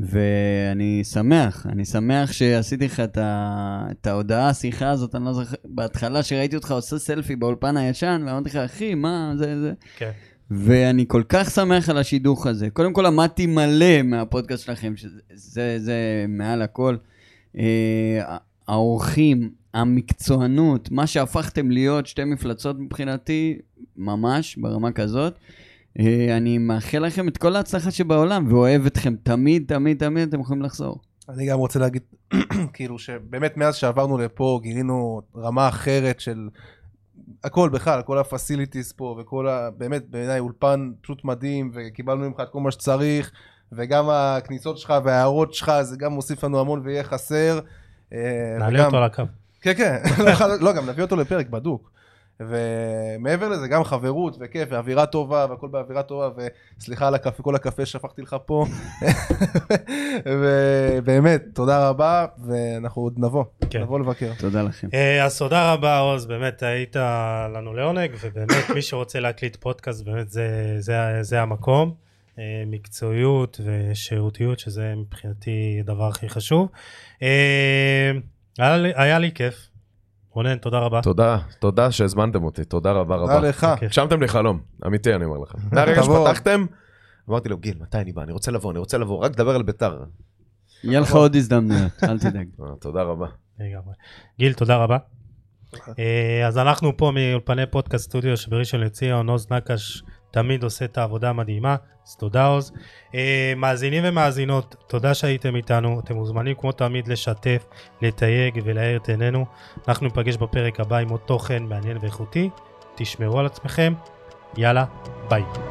Speaker 4: ואני שמח, אני שמח שעשיתי לך את, ה... את ההודעה, השיחה הזאת, אני לא זוכר, בהתחלה שראיתי אותך עושה סלפי באולפן הישן, ואמרתי לך, אחי, מה זה זה?
Speaker 1: כן.
Speaker 4: ואני כל כך שמח על השידוך הזה. קודם כל למדתי מלא מהפודקאסט שלכם, שזה זה, זה מעל הכל. אה, האורחים, המקצוענות, מה שהפכתם להיות שתי מפלצות מבחינתי, ממש ברמה כזאת. אה, אני מאחל לכם את כל ההצלחה שבעולם, ואוהב אתכם תמיד, תמיד, תמיד, אתם יכולים לחזור.
Speaker 2: אני גם רוצה להגיד, כאילו, שבאמת מאז שעברנו לפה גילינו רמה אחרת של הכל בכלל, כל הפסיליטיס פה וכל ה... באמת, בעיניי אולפן פשוט מדהים, וקיבלנו ממך את כל מה שצריך, וגם הכניסות שלך וההערות שלך, זה גם מוסיף לנו המון ויהיה חסר. אה,
Speaker 1: נעלה
Speaker 2: וגם-
Speaker 1: אותו לקו.
Speaker 2: כן, כן, לא יכול- לא, גם נביא אותו לפרק בדוק. ומעבר לזה, גם חברות וכיף ואווירה טובה והכל באווירה טובה וסליחה על הקפה, כל הקפה שפכתי לך פה. ובאמת, תודה רבה ואנחנו עוד נבוא,
Speaker 1: כן.
Speaker 2: נבוא לבקר.
Speaker 4: תודה לכם.
Speaker 1: אה, אז תודה רבה עוז, באמת היית לנו לעונג, ובאמת מי שרוצה להקליט פודקאסט, באמת זה, זה, זה המקום. אה, מקצועיות ושירותיות, שזה מבחינתי הדבר הכי חשוב. אה, היה לי, היה לי כיף. רונן, תודה רבה.
Speaker 3: תודה, תודה שהזמנתם אותי, תודה רבה
Speaker 2: תודה
Speaker 3: רבה.
Speaker 2: לך.
Speaker 1: כיף.
Speaker 3: הגשמתם לי חלום, אמיתי אני אומר לך. מהרגע
Speaker 2: תבוא.
Speaker 3: שפתחתם, אמרתי לו, גיל, מתי אני בא? אני רוצה לבוא, אני רוצה לבוא, רק דבר על ביתר.
Speaker 4: יהיה לך עוד הזדמנויות, אל תדאג.
Speaker 3: אה, תודה רבה.
Speaker 1: לגמרי. גיל, תודה רבה. אה, אז אנחנו פה מאולפני פודקאסט סטודיו שבראשון לציון, עוז נקש תמיד עושה את העבודה המדהימה, אז תודה עוז. אה, מאזינים ומאזינות, תודה שהייתם איתנו, אתם מוזמנים כמו תמיד לשתף, לתייג ולהאיר את עינינו. אנחנו ניפגש בפרק הבא עם עוד תוכן מעניין ואיכותי, תשמרו על עצמכם, יאללה, ביי.